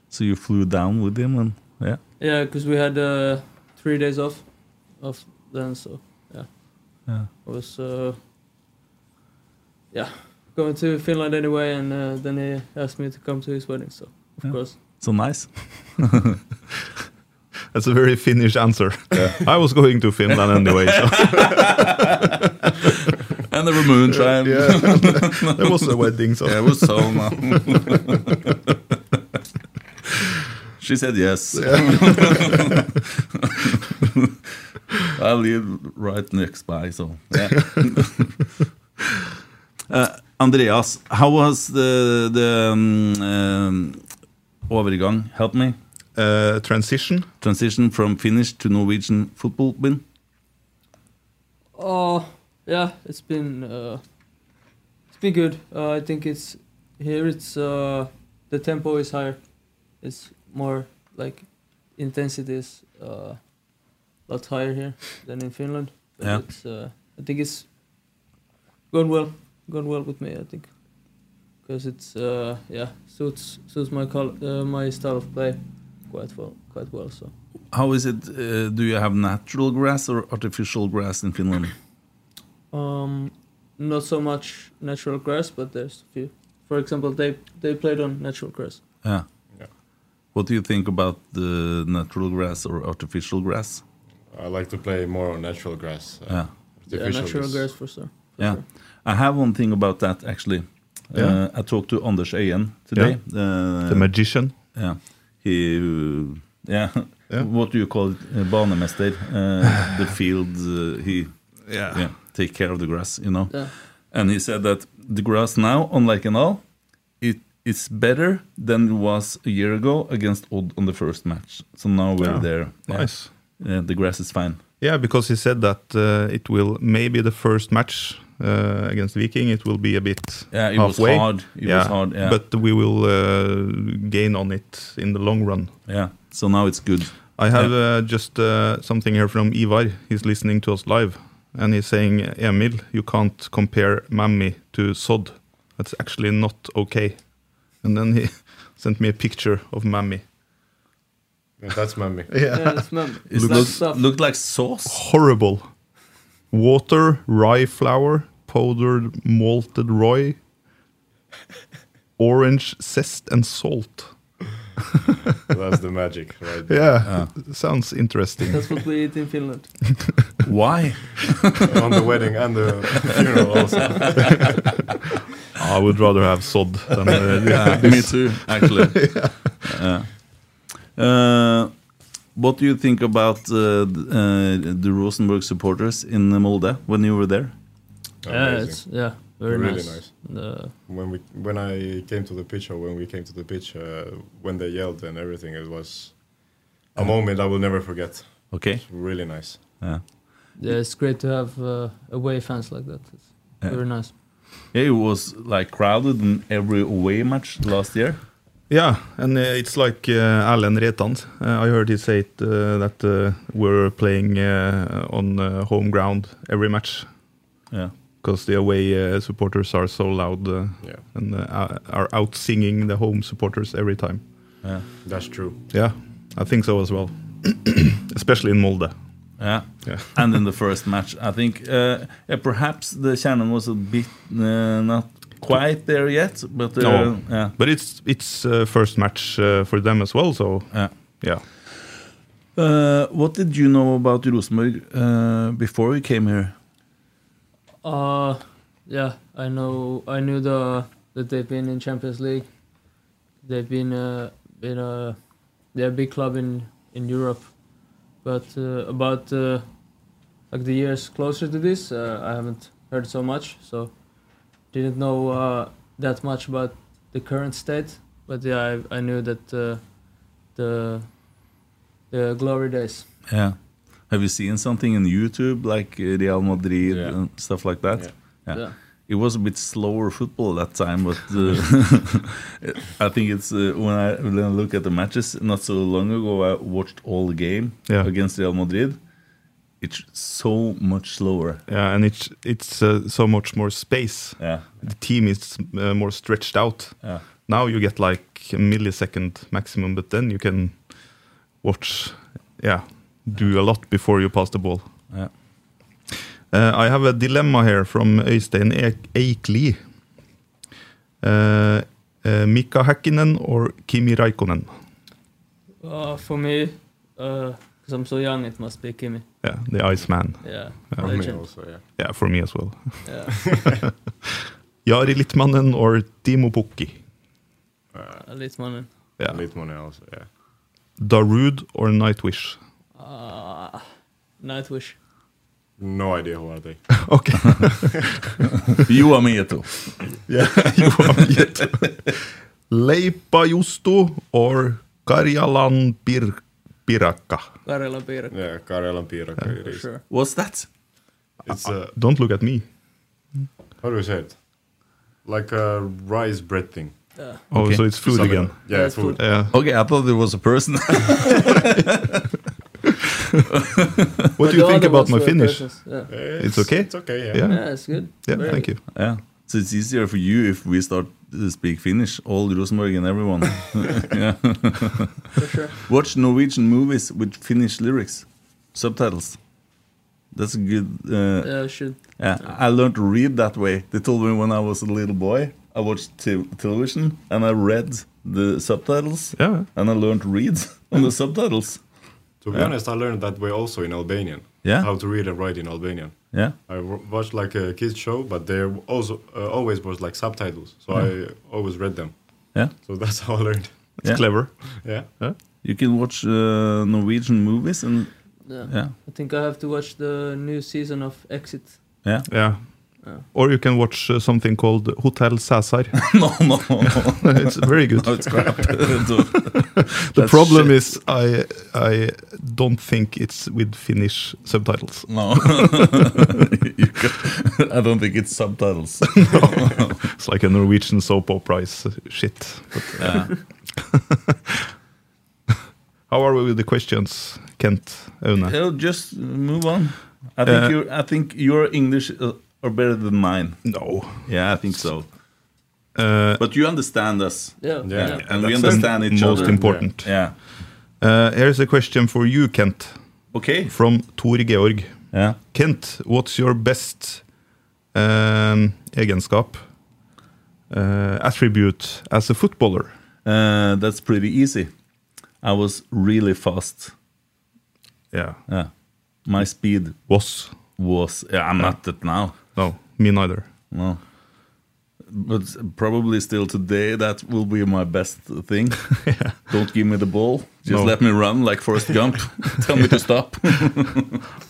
B: So you flew down with him and yeah.
D: Yeah, because we had uh, three days off, off then. So yeah,
B: Yeah.
D: I was uh, yeah going to Finland anyway, and uh, then he asked me to come to his wedding. So of
B: Yeah.
D: course,
B: So nice.
C: that's a very Finnish answer. I was going to Finland anyway. So.
B: And there were moonshine.
C: Yeah. there was a wedding, so
B: Yeah, it was sauna. she said yes. I live right next by, so yeah. uh, Andreas, how was the the um, um, overgang? Help me.
C: uh, transition.
B: transition from Finnish to Norwegian football bin?
D: oh yeah, it's been uh, it's been good. Uh, I think it's here. It's uh, the tempo is higher. It's more like intensity is a uh, lot higher here than in Finland. But
B: Yeah.
D: it's, uh, I think it's going well, going well with me. I think because it's uh, yeah suits suits my col- uh, my style of play quite well, quite well. So
B: How is it? Uh, do you have natural grass or artificial grass in Finland?
D: um, not so much natural grass, but there's a few. For example, they they played on natural grass.
B: Yeah. What do you think about the natural grass or artificial grass?
E: I like to play more on natural grass. uh,
B: Yeah.
D: Yeah,
E: artificial
D: natural
E: is-
D: grass for sure.
B: Yeah. I have one thing about that actually. Uh, I talked to Anders Eien today. Uh,
C: The magician.
B: yeah. He, uh, yeah.
C: Yeah.
B: What do you call it? Uh, banemester. Uh, the field. Uh, he,
C: Yeah.
B: yeah, take care of the grass. You know.
D: Yeah.
B: And he said that the grass now on Lake Canal, it is better than it was a year ago against Odd on the first match. So now we're
C: Yeah.
B: there. Yeah.
C: Nice.
B: Yeah, the grass is fine.
C: Yeah, because he said that uh, it will maybe the first match uh, against Viking it will be a bit
B: Yeah, it was
C: halfway.
B: hard. It was hard, yeah.
C: but we will uh, gain on it in the long run.
B: Yeah. So now it's good.
C: I have uh, just uh, something here from Ivar. He's listening to us live, and he's saying, "Emil, you can't compare Mammy to Sod. That's actually not okay." And then he sent me a picture of Mammy.
E: Yeah, that's mummy.
D: Yeah, it's mem-
B: It
D: it's nice
B: looks,
D: stuff.
B: looked like sauce.
C: horrible. Water, rye flour, powdered malted rye, orange zest, and salt.
E: that's the magic, right? there.
C: Yeah, sounds interesting.
D: That's what we eat in Finland.
B: Why?
E: on the wedding and the funeral also.
C: I would rather have sod than uh,
B: yeah, me too, actually. Yeah. Uh, what do you think about uh, th- uh, the Rosenborg supporters in Molde when you were there?
D: Yeah,
E: Amazing.
D: it's yeah, very
E: Really
D: nice. uh,
E: nice.
D: The-
E: when we when I came to the pitch or when we came to the pitch, uh, when they yelled and everything, it was a moment I will never forget.
B: Okay.
E: It's really nice.
B: Yeah.
D: yeah, it's great to have uh, away fans like that. It's
B: Yeah.
D: Very nice.
B: Yeah, it was like crowded in every away match last year.
C: Yeah, and uh, it's like uh, Alan Retan. Uh, I heard he say it, uh, that uh, we're playing uh, on uh, home ground every match
B: Yeah.
C: because the away uh, supporters are so loud uh,
E: Yeah,
C: and uh, are out singing the home supporters every time.
B: Yeah.
E: that's true.
C: Yeah, I think so as well. Especially in Molde.
B: Yeah.
C: Yeah.
B: and in the first match, I think uh, yeah, perhaps the Shannon was a bit uh, not quite there yet, but uh,
C: No.
B: yeah.
C: But it's it's uh, first match uh, for them as well, so
B: yeah.
C: yeah.
B: Uh, what did you know about Rosenborg uh, before you came here?
D: Uh, yeah, I know. I knew the that they've been in Champions League. They've been uh, been a they're a big club in in Europe, but uh, about uh, like the years closer to this, uh, I haven't heard so much. So didn't know uh, that much about the current state. But yeah, I, I knew that uh, the the glory days.
B: Yeah. Have you seen something in YouTube like uh, Real Madrid
E: Yeah.
B: and stuff like that?
E: Yeah.
B: Yeah.
D: Yeah.
B: It was a bit slower football that time, but uh, I think it's uh, when, I, when I look at the matches not so long ago, I watched all the game
C: Yeah.
B: against Real Madrid. It's so much slower.
C: Yeah, and it's it's uh, so much more space.
B: Yeah.
C: The team is uh, more stretched out.
B: Yeah.
C: Now you get like a millisecond maximum, but then you can watch, yeah, do a lot before you pass the ball.
B: Yeah.
C: Uh, I have a dilemma here from Øystein Ek- Eikli. Uh, uh, Mika Häkkinen or Kimi Raikkonen?
D: Uh, for me, because I'm so young, it must be Kimi.
C: Yeah, the Iceman.
D: Yeah,
E: For me
D: legend.
E: also, yeah.
C: Yeah, for me as well.
D: Yeah.
C: Jari Litmanen or Timo Pukki?
D: Uh, Litmanen.
C: Yeah.
E: Litmanen also, yeah.
C: Darude or Nightwish?
D: Uh, Nightwish.
E: No idea who are they.
C: Okay.
B: you are me too.
C: yeah, you are yet. Leipa Justo or Karjalan Bir- Pirakka?
D: Karela Piirakka,
E: Yeah, Karelan Piirakka it
D: for
E: is.
D: sure.
B: What's that?
E: It's uh,
C: Don't look at me.
E: how do you say it? Like a rice bread thing.
C: Oh,
B: Okay.
C: so it's food
E: Something-
C: again. Uh,
E: Yeah,
D: Yeah, it's
E: food.
D: food.
C: Yeah.
B: Okay, I thought it was a person.
C: What do you think about my Finnish?
D: Yeah. yeah,
C: It's okay?
E: It's okay, yeah.
C: Yeah.
D: it's good.
C: Yeah,
D: Very
C: thank
D: good.
C: you.
B: yeah. So it's easier for you if we start to speak Finnish, all Rosenborg and everyone. yeah.
D: For sure.
B: Watch Norwegian movies with Finnish lyrics, subtitles. That's a good. Uh,
D: Yeah, I should.
B: yeah, I learned to read that way. They told me when I was a little boy, I watched te- television and I read the subtitles,
C: Yeah.
B: and I learned to read on the subtitles.
E: To be
B: Yeah.
E: honest, I learned that way also in Albanian.
B: Yeah?
E: How to read and write in Albanian.
B: Oh. Yeah.
E: I w- watched like a kids show, but there also uh, always was like subtitles, so I always read them.
B: Yeah.
E: So that's how I learned.
C: It's
B: Yeah.
C: clever.
E: Yeah.
B: You can watch uh, Norwegian movies and
D: Yeah.
B: yeah,
D: I think I have to watch the new season of Exit.
B: yeah.
C: Yeah. Or you can watch uh, something called Hotel Cæsar.
B: no, no, no, no.
C: it's very good.
B: Oh, it's crap. Dude,
C: the
B: that's
C: problem
B: shit.
C: is I I don't think it's with Finnish subtitles.
B: no, You ca- I don't think it's subtitles.
C: It's like a Norwegian soap opera is shit. But, uh,
B: Yeah.
C: how are we with the questions, Kent, Aune?
B: Yeah, just move on. I think
C: Uh,
B: you. I think your English uh, are better than mine.
C: No.
B: Yeah, I think so.
C: Uh,
B: But you understand us,
D: Yeah.
E: Yeah.
D: yeah.
B: and we
E: That's
B: understand each
C: most
B: other.
C: important.
B: yeah.
C: Uh, here's a question for you, Kent,
B: Okay.
C: from Tor Georg.
B: Yeah.
C: Kent, what's your best um, egenskap, uh, attribute as a footballer?
B: Uh, that's pretty easy. I was really fast.
C: Yeah.
B: Yeah. My speed
C: Was.
B: was. Yeah, I'm not that now.
C: No, me neither.
B: No. But probably still today, that will be my best thing. Don't give me the ball. Just
C: No.
B: let me run like Forrest Gump. Tell me to stop.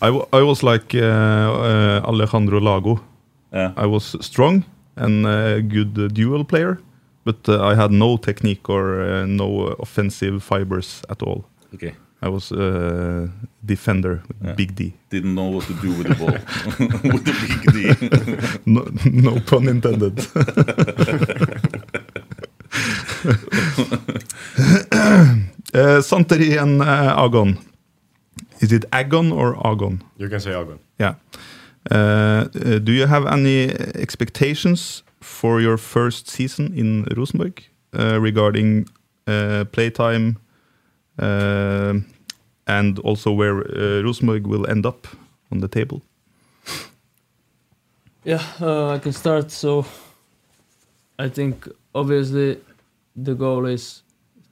C: I, w- I was like uh, uh, Alejandro Lago.
B: Yeah.
C: I was strong and a good uh, duel player, but uh, I had no technique or uh, no offensive fibers at all.
B: Okay.
C: I was uh, defender, with
B: Yeah.
C: big D.
B: Didn't know what to do with the ball. with the big D.
C: No, no pun intended. uh, Santeri and uh, Agon. Is it Agon or Agon?
E: You can say Agon.
C: Yeah. Uh, uh, do you have any expectations for your first season in Rosenborg uh, regarding uh, playtime uh, and also where uh, Rosenborg will end up on the table?
D: Yeah, uh, I can start. So, I think obviously the goal is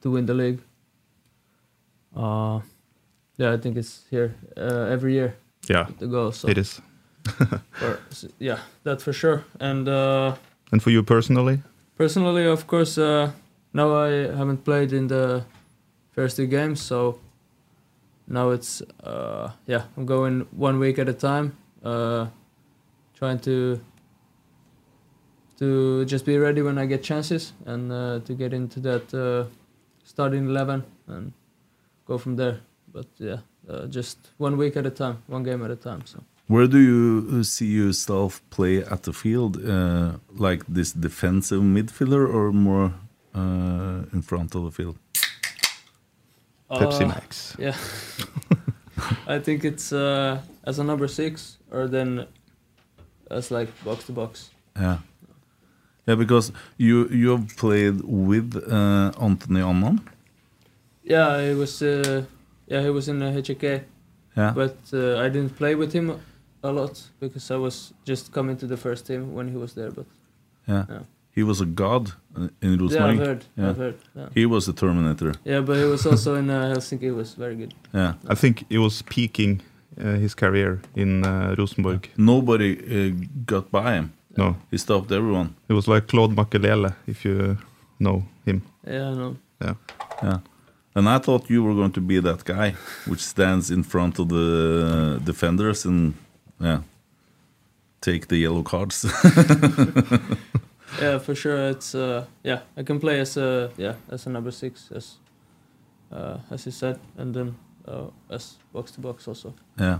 D: to win the league. Uh, yeah, I think it's here uh, every year
C: Yeah,
D: the goal. So
C: it is.
D: for- s- yeah, that for sure. And uh,
C: And for you personally?
D: personally, of course, uh, now I haven't played in the first two games, so now it's uh, yeah, I'm going one week at a time, uh, trying to to just be ready when I get chances and uh, to get into that uh, starting eleven and go from there. But yeah, uh, just one week at a time, one game at a time. So.
B: Where do you uh, see yourself play at the field? Uh, like this defensive midfielder or more uh, in front of the field?
C: Pepsi
D: Uh,
C: Max.
D: Yeah. I think it's uh, as a number six, or then as like box to box.
B: Yeah. Yeah, because you you have played with uh, Anthony Annan.
D: Yeah, it was. Uh, yeah, he was in the HK,
B: Yeah.
D: but uh, I didn't play with him a lot because I was just coming to the first team when he was there. But
B: yeah.
D: yeah.
B: He was a god uh, in
D: yeah,
B: Rosenborg.
D: I've heard.
B: Yeah.
D: I've heard. Yeah.
B: He was the Terminator.
D: yeah, but he was also in uh, Helsinki. He was very good.
B: Yeah.
C: I think it was peaking uh, his career in uh, Rosenborg.
B: Nobody uh, got by him.
C: No,
B: He stopped everyone.
C: it was like Claude Makelele, if you know him.
D: Yeah, I know.
C: Yeah.
B: Yeah. And I thought you were going to be that guy which stands in front of the defenders and yeah, take the yellow cards.
D: Yeah, for sure. It's uh, yeah, I can play as a yeah as a number six as uh, as you said, and then uh, as box to box also.
B: yeah.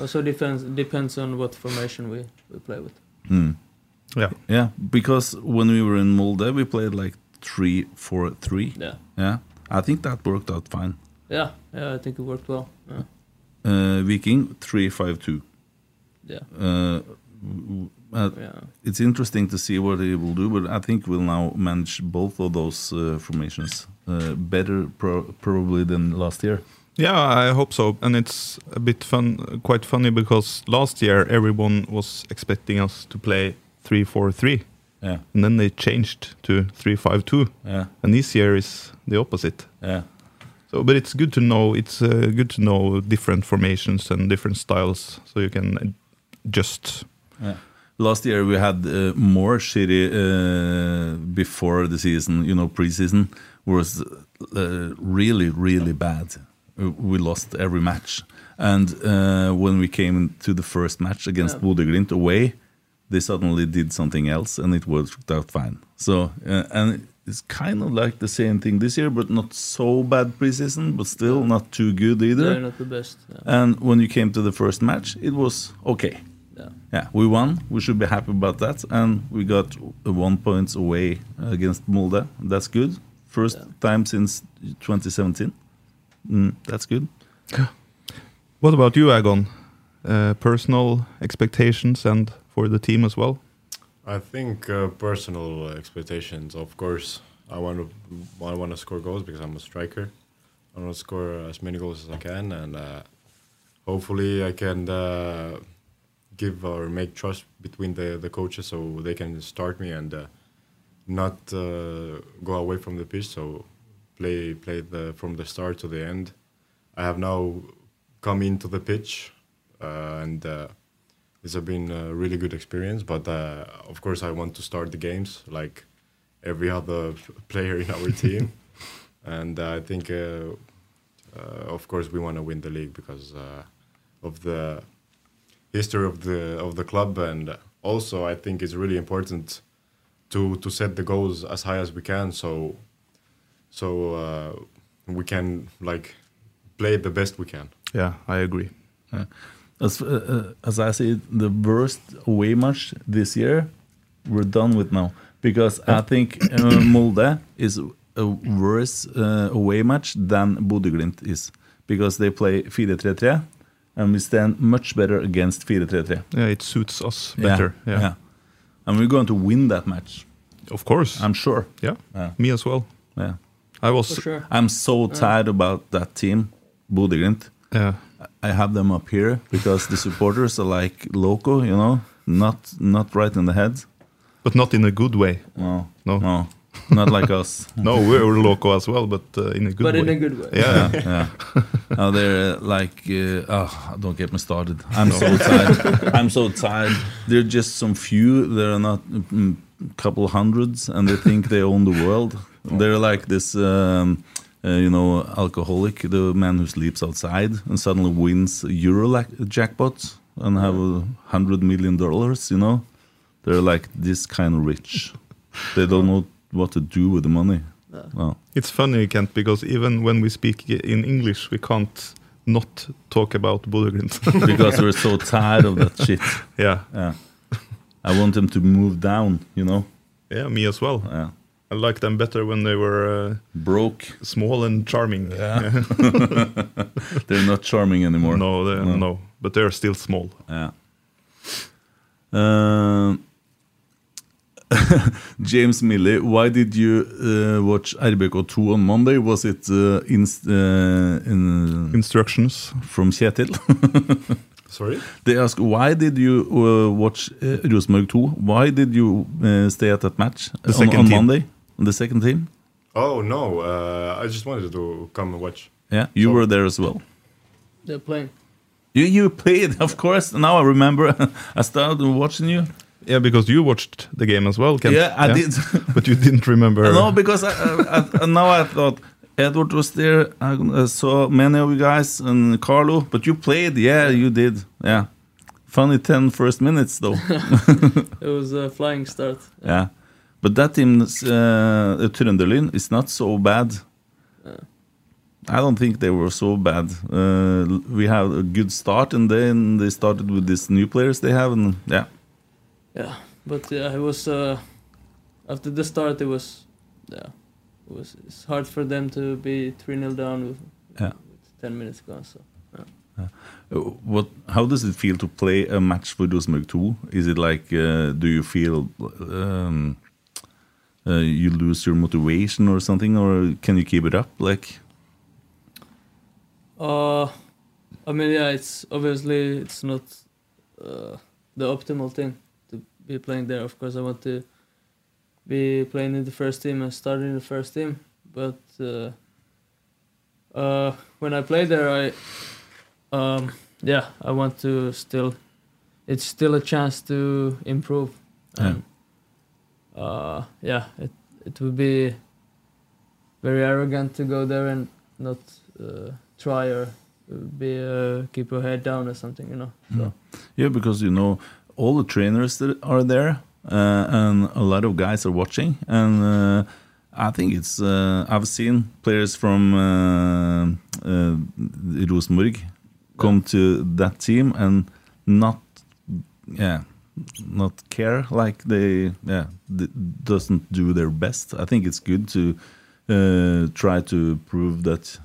D: Also depends depends on what formation we, we play with.
B: Mm.
C: Yeah.
B: Yeah, because when we were in Molde, we played like three, four, three.
D: Yeah,
B: Yeah, I think that worked out fine.
D: yeah, yeah. I think it worked well. Yeah,
B: Uh, Viking three five two.
D: yeah.
B: Uh, w- w- uh,
D: yeah.
B: it's interesting to see what he will do, but I think we'll now manage both of those uh, formations uh, better, pro- probably than last year.
C: Yeah, I hope so. And it's a bit fun, quite funny because last year everyone was expecting us to play 3 4 3,
B: Yeah,
C: and then they changed to 3 5 2.
B: yeah,
C: And this year is the opposite.
B: yeah.
C: So, but it's good to know. It's uh, good to know different formations and different styles, so you can just
B: Last year we had uh, more shitty uh, before the season. You know, preseason was uh, really, really bad. Uh, We lost every match, and uh, when we came to the first match against
D: Yeah.
B: Bodø Glimt away, they suddenly did something else, and it worked out fine. So, uh, and it's kind of like the same thing this year, but not so bad preseason, but still not too good either.
D: They're not the best. Yeah.
B: And when you came to the first match, it was okay.
D: Yeah.
B: Yeah, we won. We should be happy about that. And we got one point away against Molde. That's good. First
D: Yeah.
B: time since 2017. Mm, that's good.
C: What about you, Agon? Uh, personal expectations and for the team as well.
E: I think uh, personal expectations. Of course, I want to I want to score goals because I'm a striker. I want to score as many goals as I can, and uh, hopefully, I can uh, give or make trust between the the coaches so they can start me and uh, not uh, go away from the pitch. So play play the from the start to the end. I have now come into the pitch, uh, and. Uh, it's been a really good experience but uh, of course i want to start the games like every other player in our team and i think uh, uh, of course we want to win the league because uh, of the history of the of the club and also i think it's really important to to set the goals as high as we can so so uh, we can like play the best we can
C: Yeah, I agree.
B: As, uh, uh, as I see it, the worst away match this year, we're done with now. Because I think uh, Molde is a worse uh, away match than Bodø Glimt is. Because they play 4-3-3, and we stand much better against 4-3-3.
C: Yeah, it suits us better. Yeah,
B: And we're going to win that match.
C: of course.
B: I'm sure.
C: yeah.
B: Yeah.
C: me as well.
B: Yeah.
C: I was.
D: For sure.
B: I'm so tired about that team, Bodø Glimt.
C: Yeah,
B: I have them up here because the supporters are like loco, you know, not not right in the head.
C: but not in a good way.
B: No,
C: No.
B: no, not like us.
C: No, we're loco as well, but uh, in a good
D: But
C: way.
D: in a good way.
C: Yeah,
B: Yeah. Now they're uh, like, uh, oh, don't get me started. I'm so tired. I'm so tired. They're just some few. They're not mm, couple hundreds, and they think they own the world. They're like this, um, uh, you know, alcoholic, the man who sleeps outside and suddenly wins a Euro lac- jackpot and have a hundred million dollars. You know, they're like this kind of rich. They don't know what to do with the money. No.
C: it's funny, Kent, because even when we speak i- in English, we can't not talk about Bodø-Glimt.
B: because we're so tired of that shit.
C: yeah.
B: Yeah. I want them to move down, you know.
C: yeah, me as well.
B: Yeah.
C: I liked them better when they were uh,
B: Broke.
C: small and charming.
B: Yeah. They're not charming anymore.
C: No, they, no, but they're still small.
B: Yeah. Um, James Milley, why did you uh, watch RBK2 on Monday? Was it uh, in, uh, in,
C: Instructions.
B: from Kjetil?
E: sorry
B: they ask, why did you uh, watch uh, Rosenborg 2? Why did you uh, stay at that match on,
C: second
B: on
C: team.
B: Monday? On the second team?
E: oh no uh, i just wanted to come and watch
B: Yeah, you were there as well.
D: They're playing.
B: You you played, of course. Now I remember. I started watching you.
C: Yeah, because you watched the game as well, Kent.
B: Yeah, I did.
C: but you didn't remember.
B: No, because I, I, I, now I thought Edward was there. I uh, saw many of you guys and Carlo, but you played. Yeah, you did. Yeah, funny 10 first minutes though.
D: It was a flying start.
B: yeah, but that team, uh, Trønderlyn, is not so bad. Uh. I don't think they were so bad. Uh, l- we had a good start, and then they started with these new players they have, and yeah.
D: Yeah, but yeah, it was uh, after the start. It was yeah, it was it's hard for them to be three 0 down with,
B: Yeah.
D: with ten minutes gone. So
B: Uh, What? How does it feel to play a match for Rosenborg 2? Is it like, uh, do you feel um, uh, you lose your motivation or something, or can you keep it up? Like,
D: uh, I mean yeah, it's obviously it's not uh, the optimal thing to be playing there. Of course, I want to be playing in the first team and starting in the first team, but uh, uh, when I play there, I um, yeah, I want to still. It's still a chance to improve.
B: Yeah.
D: uh, yeah, it it would be very arrogant to go there and not uh, try or be uh, keep your head down or something, you know. So
B: Yeah, because you know all the trainers that are there, uh, and a lot of guys are watching. And uh, I think it's uh, I've seen players from uh, uh, Rosenborg come to that team and not yeah not care like they yeah d- doesn't do their best. I think it's good to uh, try to prove that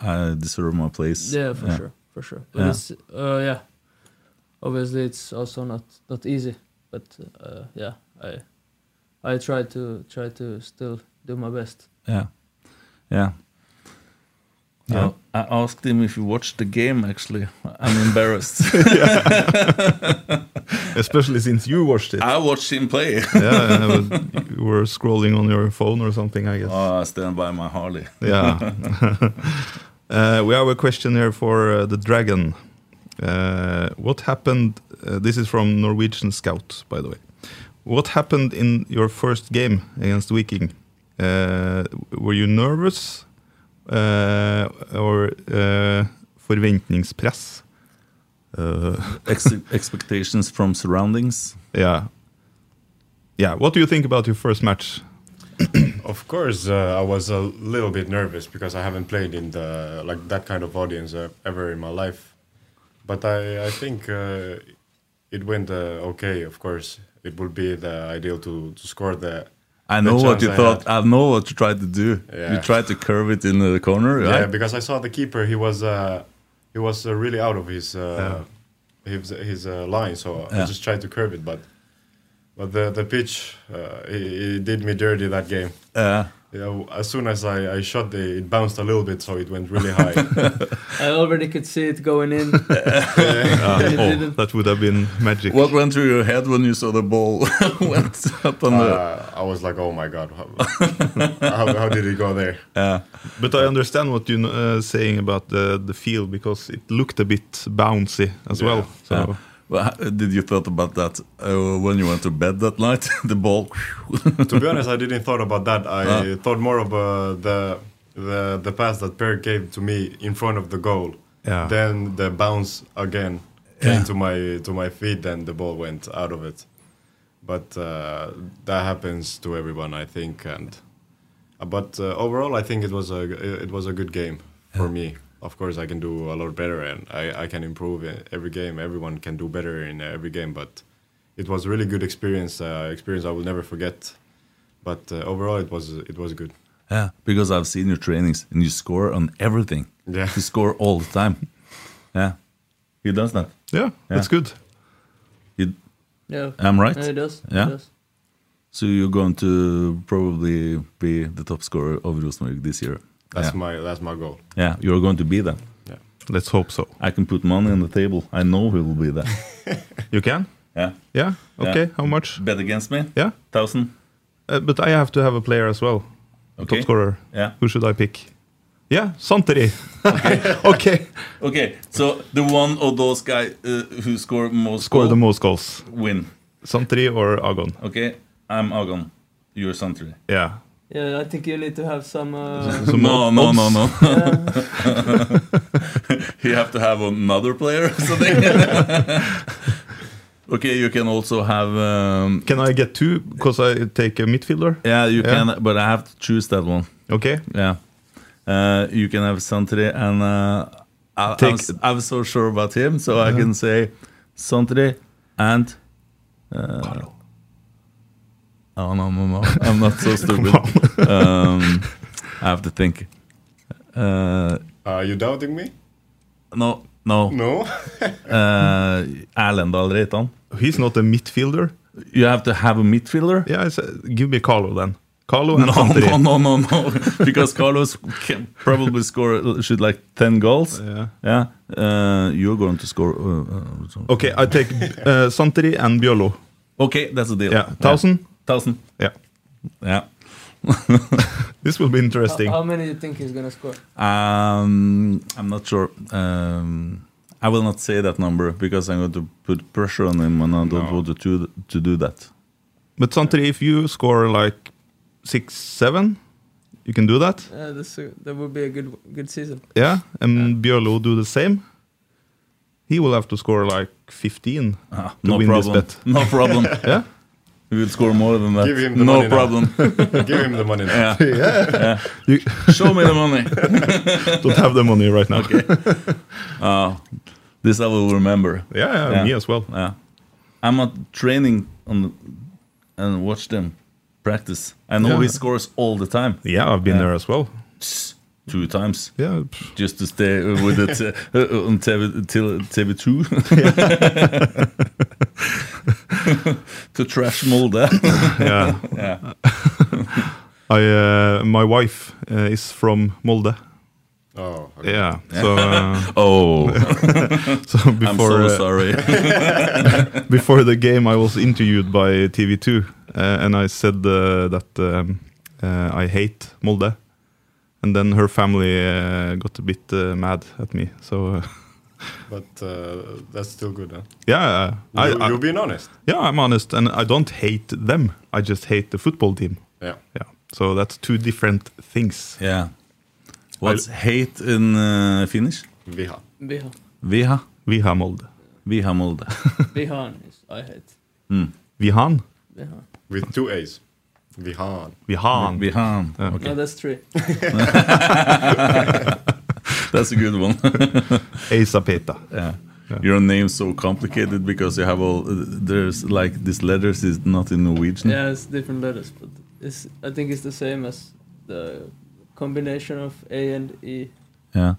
B: I deserve my place.
D: yeah, for sure, for sure. But
B: Yeah.
D: it's uh, yeah, obviously it's also not not easy, but uh, yeah, I I try to try to still do my best.
B: Yeah. Yeah.
C: Yeah.
B: I, I asked him if he watched the game, actually. I'm embarrassed.
C: Especially since you watched it.
B: I watched him play.
C: yeah, I was, you were scrolling on your phone or something, I guess.
B: oh, I stand by my Harley.
C: Yeah. uh, we have a question here for uh, the dragon. Uh, what happened? Uh, this is from Norwegian Scout, by the way. What happened in your first game against Viking? Uh, were you nervous uh, or uh, forventningspress? Uh,
B: Ex- expectations from surroundings.
C: yeah. Yeah. What do you think about your first match?
E: Of course, uh, I was a little bit nervous because I haven't played in the like that kind of audience uh, ever in my life. But I, I think uh, it went uh, okay. Of course, it would be the ideal to, to score the.
B: I
E: the
B: know what
E: chance
B: you
E: I
B: thought.
E: had.
B: I know what you tried to do. You
E: Yeah.
B: tried to curve it in the corner,
E: Yeah,
B: right?
E: because I saw the keeper. He was uh, he was uh, really out of his uh, his his uh, line. So
B: Yeah.
E: I just tried to curve it, but but the the pitch uh, he, he did me dirty that game.
B: Uh,
E: You know, as soon as I, I shot, the, it bounced a little bit, so it went really high.
D: I already could see it going in. Then it
E: Uh,
C: Oh,
D: didn't.
C: that would have been magic.
B: what went through your head when you saw the ball went up on the.
E: uh, I was like, oh my god, how, how, how did it go there?
C: But I understand what you're uh, saying about the the feel because it looked a bit bouncy as well. So
B: Uh, Well, how- did you thought about that uh, when you went to bed that night? the ball.
E: to be honest, I didn't thought about that. I thought more of uh, the the the pass that Per gave to me in front of the goal.
C: Yeah.
E: Then the bounce again came to my to my feet, and the ball went out of it. But uh, that happens to everyone, I think. And but uh, overall, I think it was a it was a good game for me. Of course, I can do a lot better, and I, I can improve in every game. Everyone can do better in every game, but it was a really good experience. Uh, experience I will never forget. But uh, overall, it was it was good.
B: Yeah, because I've seen your trainings and you score on everything.
E: Yeah.
B: You score all the time. Yeah. He does that.
C: yeah, that's good.
B: He,
D: Yeah,
B: I'm right?
D: Yeah, it does.
B: Yeah.
D: It does.
B: so you're going to probably be the top scorer of Rosenborg this year.
E: That's
B: yeah.
E: my that's my goal.
B: yeah, you're going to be that.
C: Let's hope so.
B: I can put money on the table. I know he will be that.
C: You can?
B: yeah.
C: Yeah.
B: Yeah.
C: Okay. How much?
B: Bet against me?
C: Yeah.
B: Thousand?
C: Uh, but I have to have a player as well. A
B: Okay.
C: Top scorer.
B: Yeah.
C: Who should I pick? Yeah, Santeri. okay.
B: Okay, so the one of those guys uh, who score most
C: Score
B: goal
C: the most goals.
B: win.
C: Santeri or Agon.
B: Okay, I'm Agon. You're Santri.
C: Yeah.
D: Yeah, I think you need to have some. Uh,
B: No, no, no, no. you have to have another player or something. okay, you can also have. Um,
C: Can I get two? Because I take a midfielder.
B: yeah, you
C: Yeah.
B: can, but I have to choose that one.
C: Okay.
B: Yeah. Uh, you can have Santri, and uh, I, I'm,
C: Take-
B: s- I'm so sure about him, so I can say Santri and. Uh, oh, no, no, no. I'm not so stupid. um, I have to think. Uh,
E: Are you doubting me?
B: no, no.
E: No.
B: uh, Erlendal Reitan.
C: He's not a midfielder.
B: You have to have a midfielder.
C: Yeah, I said, give me Carlo then. Carlo and
B: No,
C: Santeri.
B: no, no, no, no. Because Carlos can probably score should like ten goals.
C: Yeah.
B: yeah. Uh, you're going to score. Uh, uh, so-
C: Okay, I take uh, Santeri and Biolo.
B: okay, that's a deal.
C: Yeah, thousand.
B: thousand.
C: Yeah.
B: Yeah,
C: This will be
E: Uh,
C: interesting.
D: How, how many do you think he's gonna score?
B: Um, I'm not sure. Um, I will not say that number because I'm going to put pressure on him, and I don't
C: No.
B: want to to, to do that.
C: But Santeri, if you score like six, seven, you can do that.
D: Uh, this, uh, that would be a good good season.
C: Yeah, and Björlo will do the same. He will have to score like 15
B: Ah,
C: to
B: no
C: win
B: problem.
C: this bet.
B: No problem.
C: Yeah,
B: We will score more than that.
E: Give him the money
B: no
E: now.
B: problem.
E: Give him the money now.
B: yeah.
C: you
B: Show me the money.
C: don't have the money right now.
B: Uh, this I will remember.
C: Yeah, yeah,
B: Yeah.
C: me as well.
B: Yeah. I'm not training on the, and watch them practice. I know
C: Yeah.
B: he scores all the time,
C: Yeah, I've been
B: Yeah.
C: there as well.
B: two times,
C: Yeah, pff,
B: just to stay with it uh, uh, on TV till TV two to trash Molde.
C: yeah.
B: yeah.
C: I, uh, my wife uh, is from Molde.
E: Oh, okay.
C: Yeah, so uh,
B: Oh,
C: so
B: I'm
C: before
B: so
C: uh,
B: sorry.
C: before the game, I was interviewed by TV2, uh, and I said uh, that um, uh, I hate Molde. And then her family uh, got a bit uh, mad at me. So uh,
E: But uh, that's still good, huh?
C: yeah, I,
E: you,
C: I-
E: you're being honest.
C: yeah, I'm honest, and I don't hate them. I just hate the football team.
E: Yeah.
C: Yeah, so that's two different things.
B: yeah. What's hate in uh, Finnish?
E: Viha.
D: Bihan.
B: Viha.
C: Viha Molde,
B: Viha Molde.
D: Bihan is I hate.
C: Vihan,
D: Bihan.
E: With two A's. Vihan.
C: Vihan.
B: Vihan.
D: No, that's three.
B: That's a good one.
C: Esa Peta.
B: Yeah. Your name's so complicated because you have all there's like these letters is not in Norwegian.
D: yeah, it's different letters, but it's I think it's the same as the combination of A and E
B: Yeah.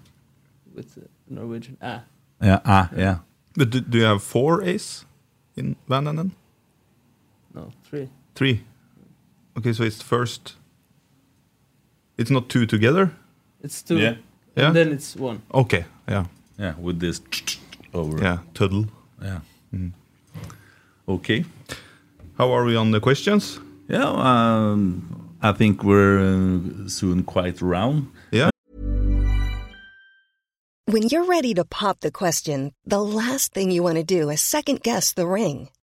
D: with the Norwegian ah.
B: Yeah. Ah, yeah.
C: But do, do you have four A's in Vananen?
D: No, three.
C: Three. Okay, so it's first. It's not two together.
D: It's two.
B: Yeah.
C: Yeah.
D: And then it's one.
C: Okay. Yeah.
B: Yeah, with this over.
C: Yeah. Tuddle.
B: Yeah. Okay.
C: How are we on the questions?
B: Yeah, um, I think we're uh, soon quite round.
C: Yeah.
G: When you're ready to pop the question, the last thing you want to do is second guess the ring.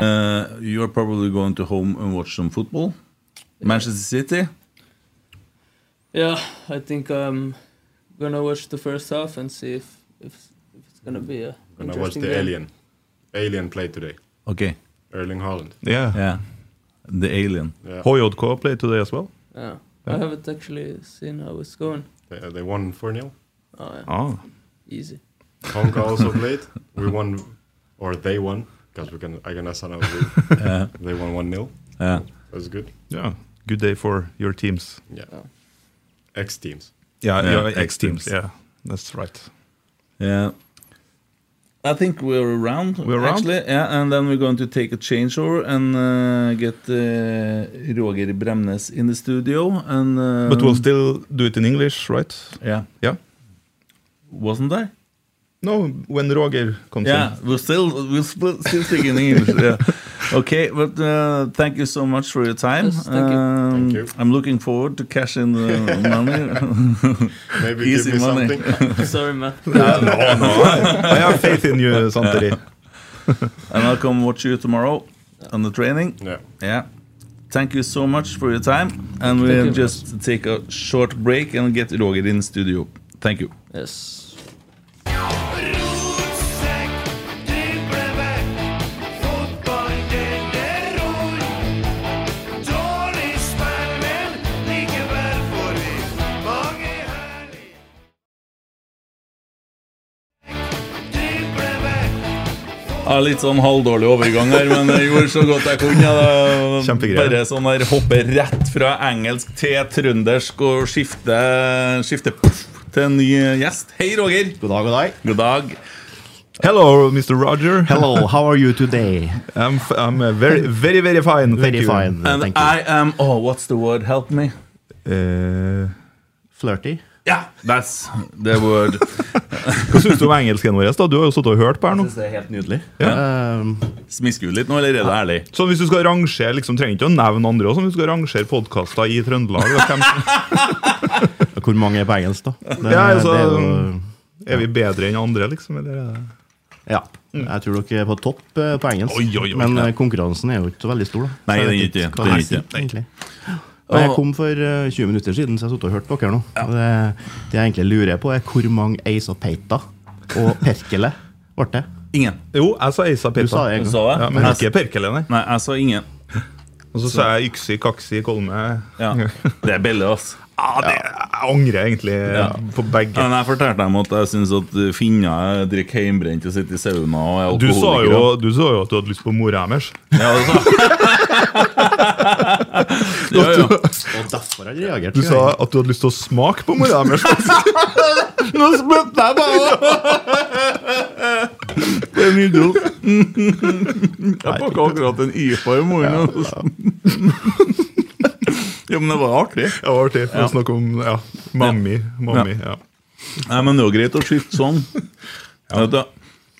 B: Uh, you are probably going to home and watch some football. Manchester City.
D: Yeah, I think I'm gonna watch the first half and see if if, if it's gonna be a.
E: And I watched
D: interesting
E: the
D: game.
E: Alien. Alien played today.
B: Okay.
E: Erling Haaland.
C: Yeah.
B: Yeah. The alien.
E: Yeah.
C: Hoyodko played today as well.
D: Yeah. I haven't actually seen how it's going.
E: They, they won 4 0.
C: Oh.
D: Easy.
E: Tonka also played. We won, or they won, because we can. I can assign we, They won 1 0.
B: Yeah.
E: That's good.
C: Yeah. Good day for your teams.
E: Yeah. X teams.
C: Yeah.
B: Yeah,
C: your
B: ex
C: ex teams.
B: teams.
C: Yeah. That's right.
B: Yeah. I think we're around.
C: We're around?
B: actually, yeah, and then we're going to take a changeover and uh, get uh, Roger Bremnes in the studio. And uh,
C: But we'll still do it in English, right?
B: yeah,
C: Yeah.
B: wasn't there?
C: No, when Roger comes
B: Yeah,
C: in.
B: we're still we're sp- still speaking English. Yeah. Okay, but uh, thank you so much for your time.
D: Yes, thank you.
B: Um,
E: Thank you.
B: I'm looking forward to cash in the money.
E: Maybe
B: Easy
E: give me
B: money.
E: something.
D: Sorry, man.
C: I have faith in you, Santeri.
B: and I'll come watch you tomorrow on the training.
E: yeah.
B: Yeah. Thank you so much for your time. And we'll
D: you.
B: just take a short break and get Roger in studio. Thank you.
D: Yes.
A: Rotsekk, driblevekk, fotball den er rund. Dårlig spill, men likevel får vi mange herlige. Driblevekk,
B: Ja, litt sånn halvdårlig overgang her, men jeg gjorde så godt jeg kunne. Da.
C: Kjempegreier.
B: Bare sånn der hoppe rett fra engelsk til trøndersk og skifte, skifte puff, til en ny gjest. Hei, Roger.
F: Good dag, good dag.
B: God dag.
C: Hello, Mr. Roger.
F: Hello, how are you today?
C: I'm, f- I'm uh, very, very, very fine. Thank
F: Very
C: you.
F: fine, uh,
B: And
F: thank you.
B: I am Oh, what's the word? Help me.
C: Eh,
F: Flirty?
B: Yeah, that's the word.
C: hva syns du om engelsken vår? da? Du har jo sittet og hørt på her nå.
F: Det er helt nydelig. Um,
B: Smisker du litt nå, eller er det ærlig?
C: Sånn Hvis du skal rangere liksom, trenger ikke å nevne andre også, men hvis du skal rangere podkaster i Trøndelag da, hvem,
F: hvor mange er på engelsk, da? Det,
C: Ja, altså,
F: det er jo-
C: Er vi bedre enn andre, liksom? Eller? er det-
F: ja.
E: Mm.
F: Jeg tror dere er på topp eh, på engelsk.
C: Oi, oi, oi.
F: men eh, konkurransen er jo ikke så veldig stor, da.
B: Nei,
F: Så jeg vet
B: den er ikke-
F: hva
B: den er
F: hesten,
B: ikke.
F: egentlig. Men jeg kom for eh, 20 minutter siden, så jeg har sittet og hørt på dere nå. Og Det, det jeg egentlig lurer på, er hvor mange Ace of Peita og Perkele ble det?
B: Ingen.
C: Jo, jeg sa Eisa
F: Du sa
C: Peta.
F: det en gang.
B: Sa jeg?
C: Ja, men ikke Perkele, nei.
B: Nei, jeg sa ingen.
C: Og så sa jeg Yksi, Kaksi, Kolme.
B: Ja. Det er billig, altså.
C: Ah, det, jeg angrer egentlig på begge.
B: Men jeg fortalte dem at jeg syns at finner drikker hjemmebrent og sitter i sauna og er
C: Du sa,
B: alkoholikere.
C: jo, du sa jo at du hadde lyst på mora deres.
B: Ja, det sa ja, ja.
F: Og derfor har jeg reagert.
C: Du sa at du hadde lyst til å smake på mora deres.
F: Nå spytter jeg bare!
B: Det er en idiot. Jeg pakka akkurat en IPA i morgen. altså. Ja, men det var artig.
C: Det var artig. for å snakke om ja, mammi. mammi ja.
B: Nei, men det er jo greit å skifte sånn. Vet du,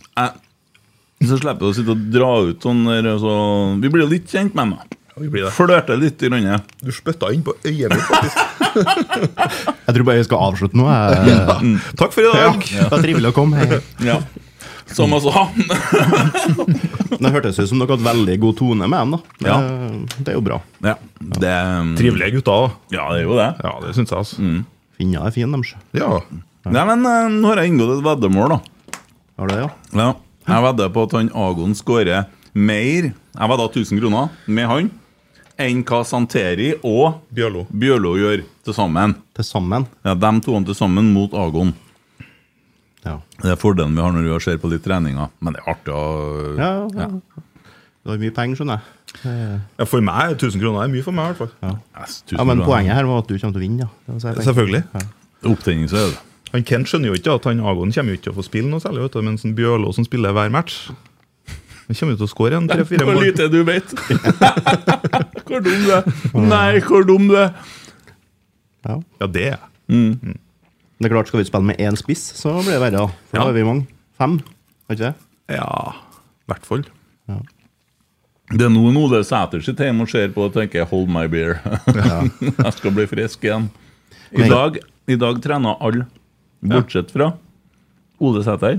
B: jeg, så slipper jeg å sitte og dra ut sånn der så, Vi blir jo litt kjent med meg.
C: Vi blir det.
B: Flørter litt i runde.
C: Du spytta inn på øyet mitt, faktisk.
F: Jeg tror bare vi skal avslutte nå. Jeg,
C: Takk for i dag.
F: det var trivelig å komme. Hei.
B: Ja. Som jeg sa.
F: Det hørtes ut som dere hadde veldig god tone med dem. da
B: Ja.
F: Eh, Det er jo bra.
B: Ja, det
C: Trivelige gutter. da.
B: Ja, det er jo det.
C: Ja, det syns jeg, altså.
F: Finner er fin, dem. sjø.
C: Ja.
B: Nei, men eh, nå har jeg inngått et veddemål, da.
F: Har det, ja?
B: Ja, jeg vedder på at han Agon skårer mer Jeg vedder 1000 kroner med han enn hva Santeri og
C: Bjørlo.
B: Bjørlo gjør til sammen.
F: Til sammen.
B: Ja, De to til sammen mot Agon.
F: Ja.
B: Det er fordelen vi har når vi ser på litt treninger. Men det er artig å
F: Ja, ja. Det var mye penger, skjønner jeg.
C: Ja, for meg er 1000 kroner er mye for meg, i hvert fall.
B: yes, 1000
F: Ja, Men
B: kroner.
F: poenget her var at du kommer til å vinne. Ja. Det var så jeg tenkte.
C: Selvfølgelig.
B: Opptenning, så er det.
C: Han Kent skjønner jo ikke at han Agon kommer jo ikke til å få spille noe særlig, vet du, mens en Bjørlo som spiller hver match Han kommer jo til å skåre en tre-fire
B: Hvor
C: mål.
B: lite du vet! hvor dum du er! Nei, hvor dum du er!
F: Ja.
C: Ja, det er jeg.
F: Det er klart, Skal vi spille med én spiss, så blir det verre. da. For
C: Ja.
F: da er vi mange. Fem, har ikke det?
C: Ja, i hvert fall.
B: Det er nå en Ole Sæter sitter hjemme og ser på og tenker 'hold my beer'. jeg skal bli frisk igjen. I
F: Men-
B: dag, i dag trener alle, bortsett fra Ole Sæter.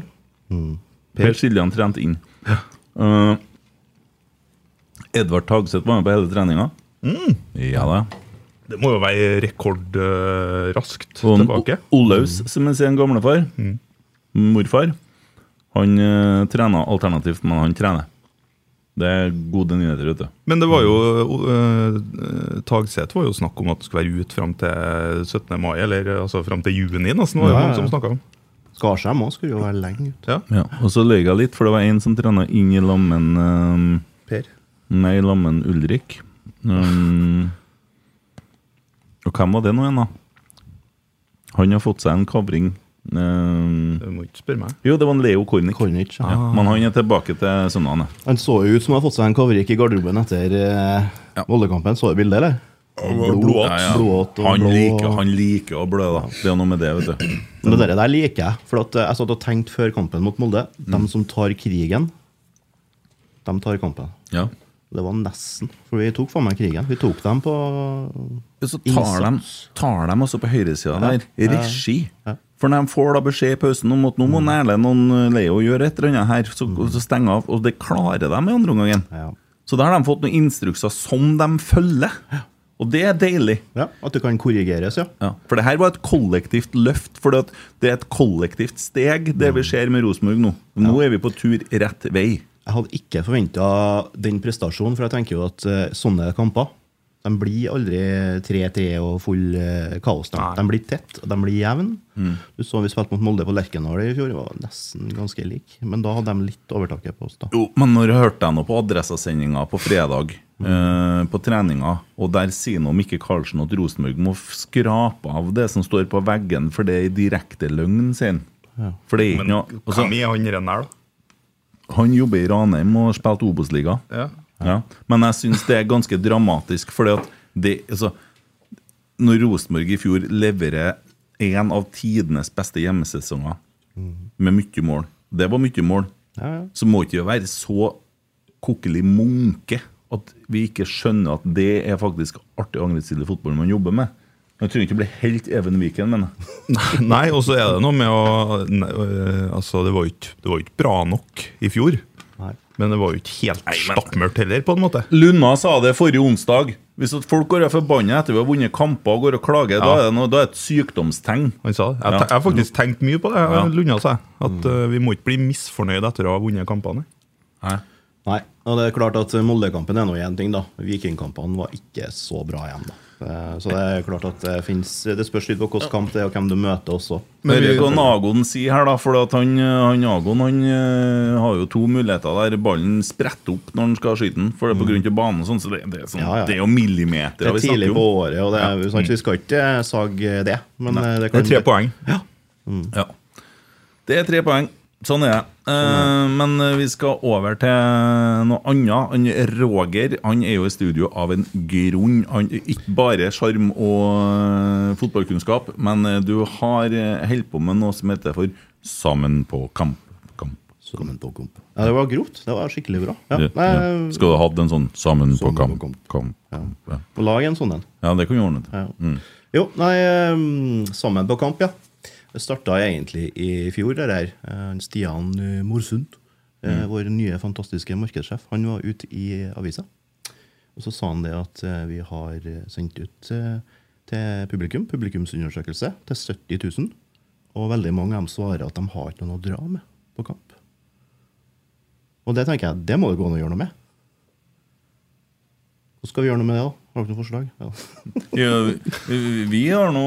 B: Per Siljan trente inn. Eh, Edvard Tagseth var med på hele treninga. Ja da.
C: Det må jo være rekordraskt
B: Og en
C: tilbake.
B: O- Olaus, som jeg sier en gamlefar, morfar, han uh, trener alternativt, men han trener. Det er gode nyheter, vet du.
C: Men det var jo uh, Tagseth var jo snakk om at det skulle være ut fram til 17. mai, eller altså fram til juni, nesten. var det
F: Ja, ja,
C: noen som
F: ja.
C: snakket om.
F: Skarsheim òg skulle jo være lenge ute.
C: Ja,
B: Ja, og så løy jeg litt, for det var en som trena inn i lammen ehm,
C: Per.
B: Nei, lammen Ulrik. Ehm, og hvem var det nå igjen, da? Han har fått seg en kavring. Ehm,
C: Du må ikke spørre meg.
B: jo, det var en Leo Kornic.
F: Kornic. Ja.
B: Ja, men han er tilbake til søndagen. ja.
F: Han så jo ut som han hadde fått seg en coverik i garderoben etter eh, voldekampen. Så du bildet, eller? Blod-
B: Blodåt.
F: Ja, ja. Blodåt og
B: Han
F: blå-
B: liker, han liker å blø, da. Det er noe med det, vet du.
F: Men det der, der liker jeg. For at eh, jeg satt og tenkte før kampen mot Molde De
B: Mm.
F: som tar krigen, de tar kampen.
B: Ja.
F: Det var nesten. For vi tok faen meg krigen. Vi tok dem på
B: Så tar de, tar de også på høyresida der. Regi. For når de får da beskjed i pausen om at nå må
F: Mm.
B: Erlend og eh, Leo gjøre et eller annet her, så, så stenge av. Og det klarer de i andre omgangen.
F: Ja.
B: Så da har de fått noen instrukser som de følger. Og det er deilig.
F: ja, At det kan korrigeres, ja.
B: Ja, for det her var et kollektivt løft. For det er et kollektivt steg,
F: Mm.
B: det vi ser med Rosenborg nå. Nå er vi på tur rett vei.
F: Jeg hadde ikke forventa den prestasjonen, for jeg tenker jo at eh, sånne kamper de blir aldri 3-3 og full eh, kaos. De, de blir tett, og de blir jevne. Du så vi spilte mot Molde på Lerkendal i fjor, det var nesten ganske lik. Men da hadde de litt overtaket på oss, da.
B: Jo, men når jeg hørte henne på adressesendinga på fredag, eh, på treninga, og der sier noe om ikke Karlsen at Rosenborg må f- skrape av det som står på veggen, for det er direkte løgn, sier han. For det er ikke noe altså,
C: er han renner, da?
B: Han jobber i Ranheim og har spilt Obos-liga.
C: Ja.
B: Ja. Men jeg syns det er ganske dramatisk, fordi at det altså, Når Rosenborg i fjor leverer en av tidenes beste hjemmesesonger med mye mål Det var mye mål. Så må ikke vi være så kokkelig munke at vi ikke skjønner at det er faktisk artig angrepsstilig fotball man jobber med. Man trenger ikke bli helt Even Viken, men
C: Nei, og så er det noe med å ne, øh, Altså, det var jo ikke, det var jo ikke bra nok i fjor. Men det var jo ikke helt stappmørkt heller, på en måte.
B: Lunna sa det forrige onsdag. Hvis at folk går og er forbanna etter vi har vunnet kamper og går og klager, da, er det noe, da er det et sykdomstegn.
C: Han sa det. Jeg,
B: Ja.
C: te- jeg har faktisk tenkt mye på det. Jeg,
B: Ja. Mm.
C: Lunda sa at øh, vi må ikke bli misfornøyd etter å ha vunnet kampene.
F: Nei, og det er klart at Molde-kampen er nå én ting, da. Vikingkampene var ikke så bra igjen, da. Eh, Så det er klart at det finnes Det spørs litt på hvilken kamp det er, og hvem du møter også.
B: Men Hører hva Nagon sier her, da. For at han, han Nagon han, eh, har jo to muligheter der. Ballen spretter opp når han skal skyte den, for det er på grunn til banen. og Sånn, så det, det, er
F: Mm.
B: sånn,
F: Ja, ja.
B: det er jo
F: Det
B: millimeter
F: er
B: vi snakker
F: tidlig på
B: om.
F: året, og det er, sant, vi skal ikke eh, sage det. Men eh, det
C: Det
F: kan
C: er tre poeng.
B: Ja. Mm. Det er tre poeng. Sånn er det. Eh, men eh, vi skal over til noe annet. Han Roger han er jo i studio av en grunn. Han, ikke bare sjarm og eh, fotballkunnskap, men eh, du har eh, holdt på med noe som heter for Sammen på kamp. kamp.
F: Sammen på kamp. Ja, det var grovt. Det var skikkelig bra. Ja.
B: Ja,
F: Nei,
B: ja. Skal du ha hatt en sånn Sammen på
F: Sammen på
B: kamp?
F: kamp.
B: kamp. Ja.
F: Lag en sånn en.
B: ja, det kan vi ordne til. Mm.
F: Ja. Jo, nei, eh, sammen på kamp, ja. Det starta egentlig i fjor, det der. Eh, han Stian eh, Morsund, eh, vår nye fantastiske markedssjef, han var ute i avisa. Og så sa han det at eh, vi har eh, sendt ut eh, til publikum, publikumsundersøkelse, til 70 000. Og veldig mange av dem svarer at de har ikke noen å dra med på kamp. Og det tenker jeg, det må det gå an å gjøre noe med. Hvordan skal vi gjøre noe med det, da? Har dere noe forslag? Ja.
B: Ja, vi har nå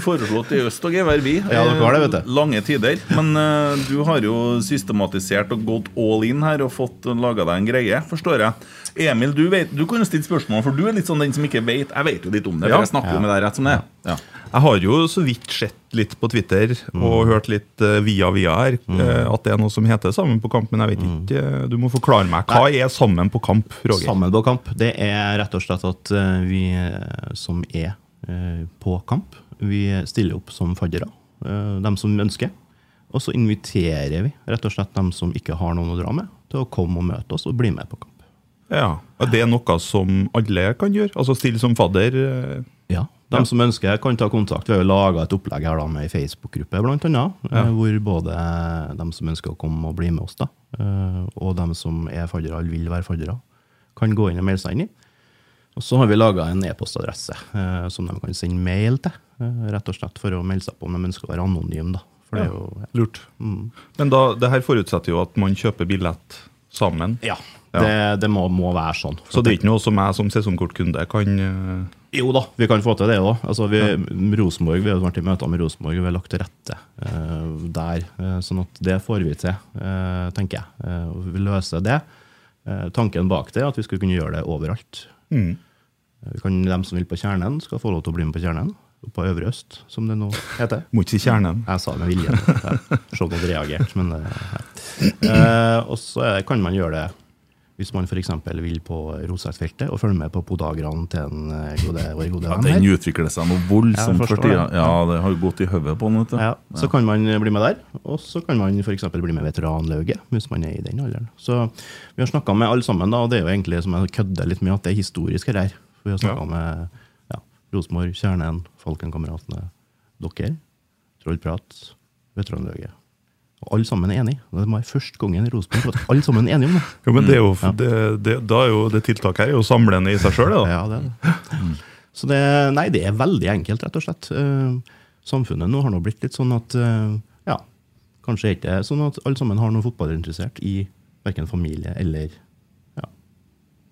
B: foreslått i øst og gevær, vi. eh,
F: Ja, dere har det, vet du.
B: Lange tider. Men eh, du har jo systematisert og gått all in her og fått laga deg en greie, forstår jeg. Emil, du, vet, du kan jo stille spørsmål, for du er litt sånn den som ikke vet. Jeg vet jo litt om det, for
C: Ja.
B: jeg snakker jo med deg rett som det er. Ja.
C: Jeg har jo så vidt sett litt på Twitter
B: Mm.
C: og hørt litt eh, via via her eh, at det er noe som heter 'Sammen på kamp', men jeg vet
B: Mm.
C: ikke eh, Du må forklare meg. Hva er 'Sammen på kamp', Roger?
F: Sammen på kamp, det er rett og slett at eh, vi eh, som er eh, på kamp, vi stiller opp som faddere. eh, Dem som ønsker. Og så inviterer vi rett og slett dem som ikke har noen å dra med, til å komme og møte oss og bli med på kamp.
C: Ja. Og det er noe som alle kan gjøre? Altså stille som fadder? eh,
F: Ja, De som ønsker, kan ta kontakt. Vi har jo laga et opplegg her da med ei Facebook-gruppe, blant annet, eh, hvor både de som ønsker å komme og bli med oss, da, eh, og de som er faddere eller vil være faddere, kan gå inn og melde seg inn i. Og så har vi laga en e-postadresse eh, som de kan sende mail til, eh, rett og slett for å melde seg på om de ønsker å være anonyme. da. For det er jo, ja.
C: Lurt.
B: Mm.
C: Men da, det her forutsetter jo at man kjøper billett sammen.
F: Ja, det, Eh, det må, må være sånn.
C: Så det er ikke noe som jeg som sesongkortkunde kan eh,
F: Jo da, vi kan få til det òg. Altså, vi, Rosenborg, vi har jo vært i møter med Rosenborg, og vi har lagt til rette eh, der. eh, sånn at det får vi til, eh, tenker jeg. Eh, og vi løser det. Eh, tanken bak det er at vi skulle kunne gjøre det overalt. Eh, Vi kan, dem som vil på Kjernen, skal få lov til å bli med på Kjernen. På Øvre Øst, som det nå heter.
C: Må ikke si kjernen.
F: Jeg sa det med vilje. Ja. Se om hun hadde reagert, men eh, ja. eh, Og så er det- kan man gjøre det Hvis man f.eks. vil på Rosasfeltet og følge med på podagraen til en eh, gode, vår gode
B: Ja,
F: venn
B: den
F: her.
B: utvikler seg noe
F: Jeg
B: voldsomt for
F: forstår
B: tida.
F: det.
B: Ja, det har jo gått i hodet på den. vet du.
F: Ja, så
B: Ja.
F: kan man eh, bli med der, og så kan man f.eks. bli med veteranlauget hvis man er i den alderen. Så vi har snakka med alle sammen, da, og det er jo egentlig som jeg kødder litt med, at det er historisk her. her. For Vi har snakka
C: Ja.
F: med eh, ja, Rosenborg, Kjernen, Falkenkameratene, dere, Trollprat, veteranlauget. Og alle sammen er enige. Det var første gangen i Rosenborg for at alle sammen er enige om det.
C: Jo, men det er jo,
B: Mm,
F: Ja.
C: det, det, da er jo det tiltaket her er jo samlende i seg sjøl.
F: Ja, det er det. Så det, nei, det er veldig enkelt, rett og slett. Eh, Samfunnet nå har nå blitt litt sånn at eh, ja, kanskje er ikke det sånn at alle sammen har noen fotballinteressert i verken familie eller ja,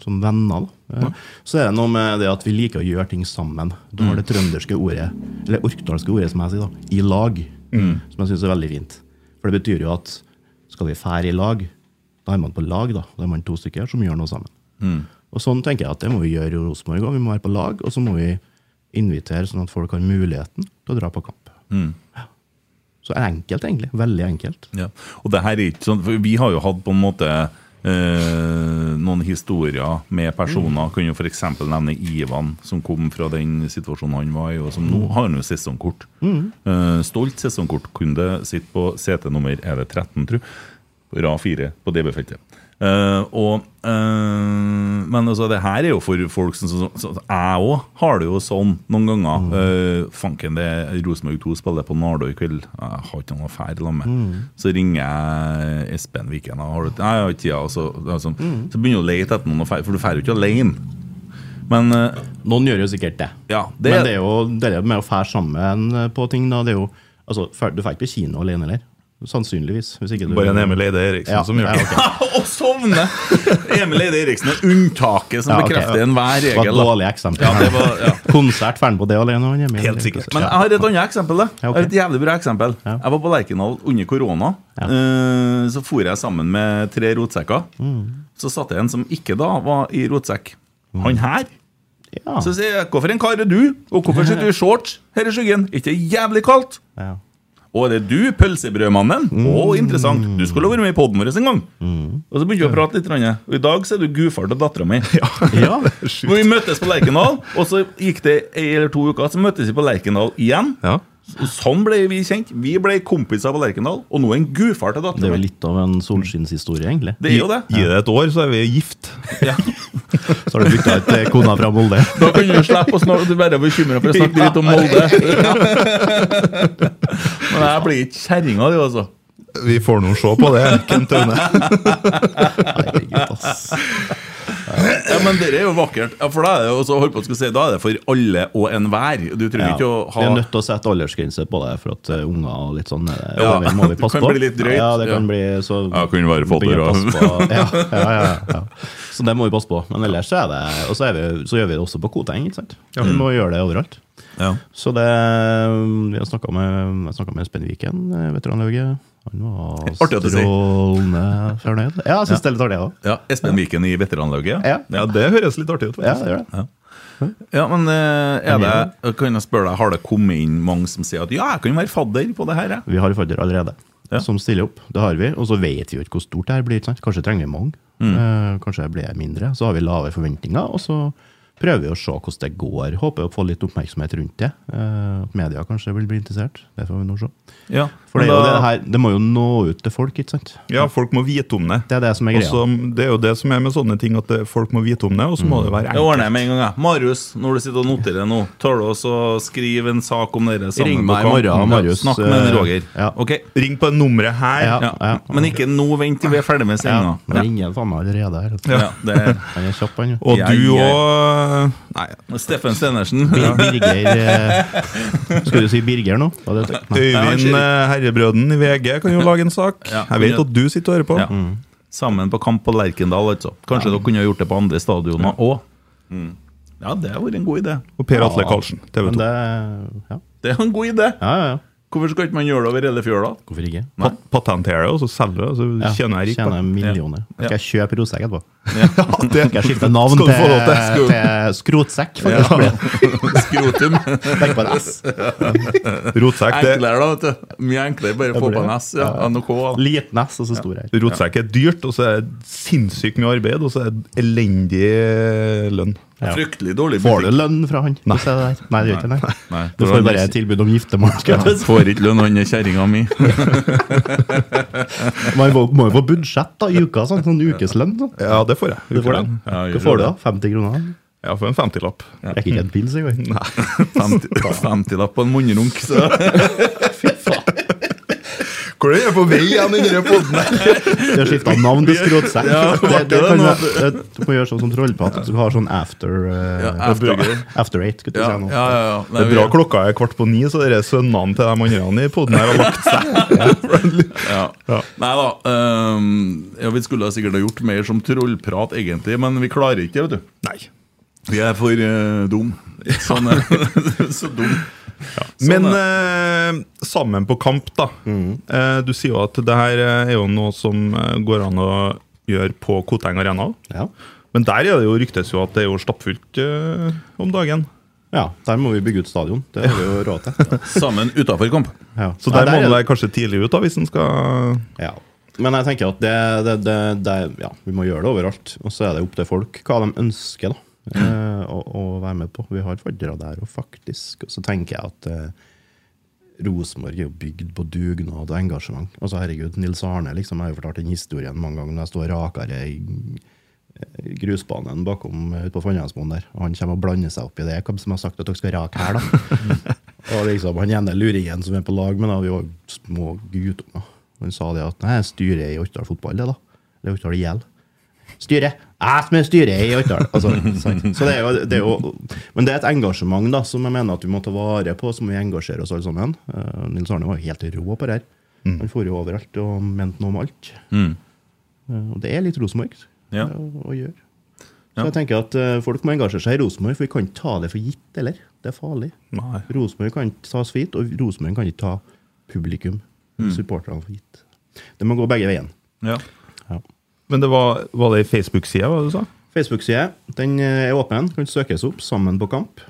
F: som venner. Da. Eh, Så er det noe med det at vi liker å gjøre ting sammen. Du har det trønderske ordet, eller orkdalske ordet, som jeg sier, da, i lag, som jeg syns er veldig fint. For det betyr jo at skal vi fære i lag, da er man på lag, da. Da er man to stykker som gjør noe sammen. Og sånn tenker jeg at det må vi gjøre i Rosenborg òg. Vi må være på lag, og så må vi invitere sånn at folk har muligheten til å dra på kamp. Så er det enkelt, egentlig. Veldig enkelt.
B: Ja. Og det her er ikke sånn, for vi har jo hatt på en måte eh, noen historier med
C: Mm.
B: personer. Kan jo f.eks. nevne Ivan, som kom fra den situasjonen han var i, og som nå har han jo sesongkort. Eh, stolt sesongkortkunde sitter på CT nummer er det 13, tru. Rad 4 på DB-feltet. Eh, og, eh, men altså, det her er jo for folk som, som, som som- Jeg òg har det jo sånn noen ganger. Eh, fanken, det er Rosenborg 2 spiller på Nardo i kveld. Jeg har ikke noe affære sammen med. Så ringer jeg Espen Viken og har du, Nei, jeg har ikke tida. og Så, og så, så begynner du å lete etter noen affære, for du drar jo ikke alene. Men eh,
F: Noen gjør jo sikkert det.
B: ja, det,
F: Men det er jo det er med å fære sammen eh, på ting. da, det er jo, altså, fær- Du får ikke på kino alene heller. Sannsynligvis. Hvis ikke du,
C: Bare en Emil Eide Eriksen
F: Ja,
C: som gjør
F: ja,
C: det.
F: ok.
B: Å sovne! Emil Eide Eriksen er unntaket som
F: Ja, ok.
B: bekrefter enhver
F: Det var
B: regel.
F: et
B: da.
F: dårlig eksempel.
B: Ja, det var, ja.
F: Konsert får han på det alene. han, Emil.
C: Helt sikkert.
B: Men jeg har et annet eksempel. da.
F: Ja, ok.
B: Jeg har Et jævlig bra eksempel Jeg var på Lerkendal under korona. Eh, Så for jeg sammen med tre rotsekker.
F: Mm.
B: Så satt det en som ikke da var i rotsekk. Han her.
F: Ja.
B: Så sier jeg 'Hvorfor en kar er du? Og hvorfor sitter du i shorts her i skyggen? Ikke jævlig kaldt?'
F: Ja.
B: Og er det du, pølsebrødmannen?
F: Mm.
B: Å, interessant. Du skulle vært med i poden vår en gang. Og så begynte vi å prate litt. grann. Og i dag så er du gudfar til dattera mi.
F: Ja.
B: Men Vi møttes på Lerkendal, og så gikk det ei eller to uker, så møttes vi på Lerkendal igjen.
C: Ja.
B: Så- Sånn ble vi kjent. Vi ble kompiser på Lerkendal, og nå er han gudfar til
F: Det er
B: dattera
F: jo
B: mi.
F: litt av en solskinnshistorie, egentlig.
B: Det er jo det.
C: Gi det et år, så er vi gift.
F: Så har du bytta ut eh, kona fra Molde.
B: Da kan du slippe å snakke, du bare er bekymra for å snakke litt om Molde. Men jeg blir ikke kjerring av det, altså.
C: Vi får nå se på det. Kent Aune.
F: Herregud, ass.
B: Ja, men det er jo vakkert. Ja, for da er det, jo også, holdt på å skulle si, da er det for alle og enhver. Du trenger ikke å
F: Vi er
B: ha
F: nødt til å sette aldersgrense på det, for at eh, unger og litt sånn eh,
B: Ja,
F: det må vi
B: det
F: passe
B: kan
F: på.
B: bli litt drøyt.
F: Ja, det kan
B: Ja.
F: bli så
B: Ja, det kan være
F: vi begynner å
B: fatter,
F: passe på- ja, ja, ja, ja. Så det må vi passe på. Men ellers så er det Og så, er vi, så gjør vi det også på Koteng, ikke sant. Vi må gjøre det overalt.
B: ja.
F: Så det Vi har snakka med, jeg snakket med Espen Viken, eh, veteranlauget. Han var
B: Artig at du sier.
F: strålende fornøyd. Ja, jeg syns det er litt artig, jeg òg.
B: ja, Espen Viken i veteranlaget.
F: Ja.
C: Ja, det høres litt artig ut.
F: Ja,
C: faktisk.
F: det gjør det.
B: Ja, men eh, er det, kan jeg spørre deg, har det kommet inn mange som sier at ja, jeg kan være fadder på det her? Jeg.
F: Vi har fadder allerede
B: Ja.
F: som stiller opp. Det har vi. Og så vet vi jo ikke hvor stort det her blir. ikke Sant? Kanskje trenger vi mange.
C: Mm.
F: Eh, kanskje det blir mindre. Så har vi lave forventninger, og så prøver vi å se hvordan det går. Håper å få litt oppmerksomhet rundt det. Eh, at media kanskje vil bli interessert. Det får vi nå se.
B: Ja,
F: For det, er
B: men
F: jo
B: da-
F: det, her, det må jo nå ut til folk, ikke sant?
C: Ja, folk må vite om det.
F: Det er det som er
C: Og
F: greia.
C: så- det er jo det som er med sånne ting, at det, folk må vite om det, og så
F: Mm.
C: må det være
B: Mm. Det ordner
C: enkelt.
B: jeg med en gang. jeg. Marius, når du sitter og noterer nå, tør du også å skrive en sak om dere sammen?
F: Ring
B: på
F: meg i
B: kamp?
F: morgen, Marius.
B: Snakk med Roger.
F: Ja.
B: Ok.
C: Ring på nummeret her.
F: Ja.
B: Ja. Men ikke nå, vent til vi er ferdig med
F: Ja,
B: sendinga.
F: nå ringer han faen meg allerede her.
B: Ja. Ja, det er
F: Han er kjapp, han. jo.
C: Og
B: Jeg-
C: du
B: jeg-
C: òg Nei,
B: Steffen Stenersen.
F: Bir- Birger eh, Skulle du si Birger nå? Var det- Nei.
C: Øyvind eh, Herrebrøden i VG kan jo lage en sak.
B: Ja.
C: Jeg vet at du sitter og hører på.
B: Ja. Mm. Sammen på kamp på Lerkendal, altså. Kanskje dere kunne ha gjort det på andre stadioner òg. Ja, det har vært en god idé.
C: Og Per Atle Karlsen, TV
F: Men
C: 2.
F: det, ja.
B: Det er en god idé.
F: Ja, ja, ja.
B: Hvorfor skal ikke man gjøre det over hele fjøla?
F: Hvorfor ikke?
C: Pat patentere og så selge, og så
F: Ja,
C: tjener jeg rik på
F: tjener
C: det.
F: millioner.
B: Ja.
F: Skal jeg kjøpe rotsekk etterpå?
C: det-
F: Skal jeg skifte navn
C: skal du
F: til,
C: få lov til. Skal du-
F: til skrotsekk? faktisk?
B: Skrotum.
F: Legg på en S.
C: Rotsekk det,
B: Enklere, da. vet du. Mye enklere. Bare få på en S. Ja. NRK.
F: Liten S og så stor her.
C: rotsekk er dyrt, og så er det sinnssykt mye arbeid, og så er det elendig lønn.
F: Ja.
B: Fryktelig dårlig
F: Får du
B: butikk.
F: lønn fra han? Nei, nei det gjør ikke det.
B: Nei.
F: Du får bare et tilbud om giftermål. skal jeg si.
B: Får ikke lønn, han er kjerringa mi.
F: Man må må jo få budsjett da, i uka, sånn, sånn ukeslønn. Sånn.
C: Ja, det får jeg. Vi
F: Det
C: får
F: får
C: den.
F: du. Hva får du da? 50 kroner?
C: Ja, for en 50-lapp.
F: Rekker ikke en pils engang.
B: Femti- Femtilapp på en munnrunk, så
C: Hvor er jeg på vei igjen i denne podden?
F: De har skifta navn til skråtsekk.
B: Ja,
F: det, det,
B: det
F: kan
B: nå.
F: være- det, du må gjøre sånn som trollpatt, at du har sånn after eh,
B: Ja, after-
F: after- After eight. skulle du
B: Ja,
F: si nå.
B: ja, ja. ja.
C: Det er bra klokka er kvart på ni, så dere sønnene til de andre i podden her har lagt seg.
B: Ja. Nei da. ehm, ja, vi skulle sikkert ha gjort mer som trollprat, egentlig, men vi klarer ikke det, vet du.
C: Nei.
B: Vi er for eh, dum. Sånn, eh, så dum.
C: Men
B: Sånn
C: eh, sammen på kamp, da. Eh, du sier jo at det her eh, er jo noe som eh, går an å gjøre på Koteng Arena.
F: Ja.
C: Men der er det jo ryktes jo at det er jo stappfullt eh, om dagen.
F: ja, der må vi bygge ut stadion. Det har vi jo råd
C: eh,
F: til.
B: Sammen utafor kamp.
F: Ja.
C: Så der,
F: Nei,
C: må
F: er
C: man
F: det-
C: være kanskje tidlig ut, da, hvis en skal
F: Ja. Men jeg tenker at det, det, det, det Ja, vi må gjøre det overalt. Og så er det opp til folk hva de ønsker da
C: Mm.
F: eh, å, å være med på. Vi har faddere der og faktisk. Og så tenker jeg at eh, Rosenborg er jo bygd på dugnad og engasjement. Altså herregud, Nils Arne liksom, jeg har jo fortalt den historien mange ganger når jeg står rakere i eh, grusbanen bakom eh, ute på Fandrehandsmoen der. Og han kommer og blander seg opp i det. Hvem som har sagt at dere skal rake her, da? Og liksom, han ene luringen som er på lag med da, vi var jo små guttunger. Han sa det at nei, styret er i Orkdal fotball, det da. Eller Orkdal IL. Styret! Jeg som er styret i Orkdal! Altså, sant. så det er, jo, det er jo Men det er et engasjement da, som jeg mener at vi må ta vare på, som vi engasjerer oss alle sammen. Eh, Nils Arne var jo helt rå på det her. Han for jo overalt og mente noe om alt. Eh, og det er litt Rosenborg
B: Ja.
F: eh, å gjøre. Så jeg tenker at eh, folk må engasjere seg i Rosenborg, for vi kan ikke ta det for gitt, eller? Det er farlig.
C: Nei.
F: Rosenborg kan ikke tas for gitt, og Rosenborg kan ikke ta publikum,
C: Mm.
F: supporterne, for gitt. Det må gå begge veien.
B: Ja.
C: Men det var, var det ei Facebook-side, hva du sa?
F: Facebook-side den eh, er åpen, kan søkes opp sammen på kamp.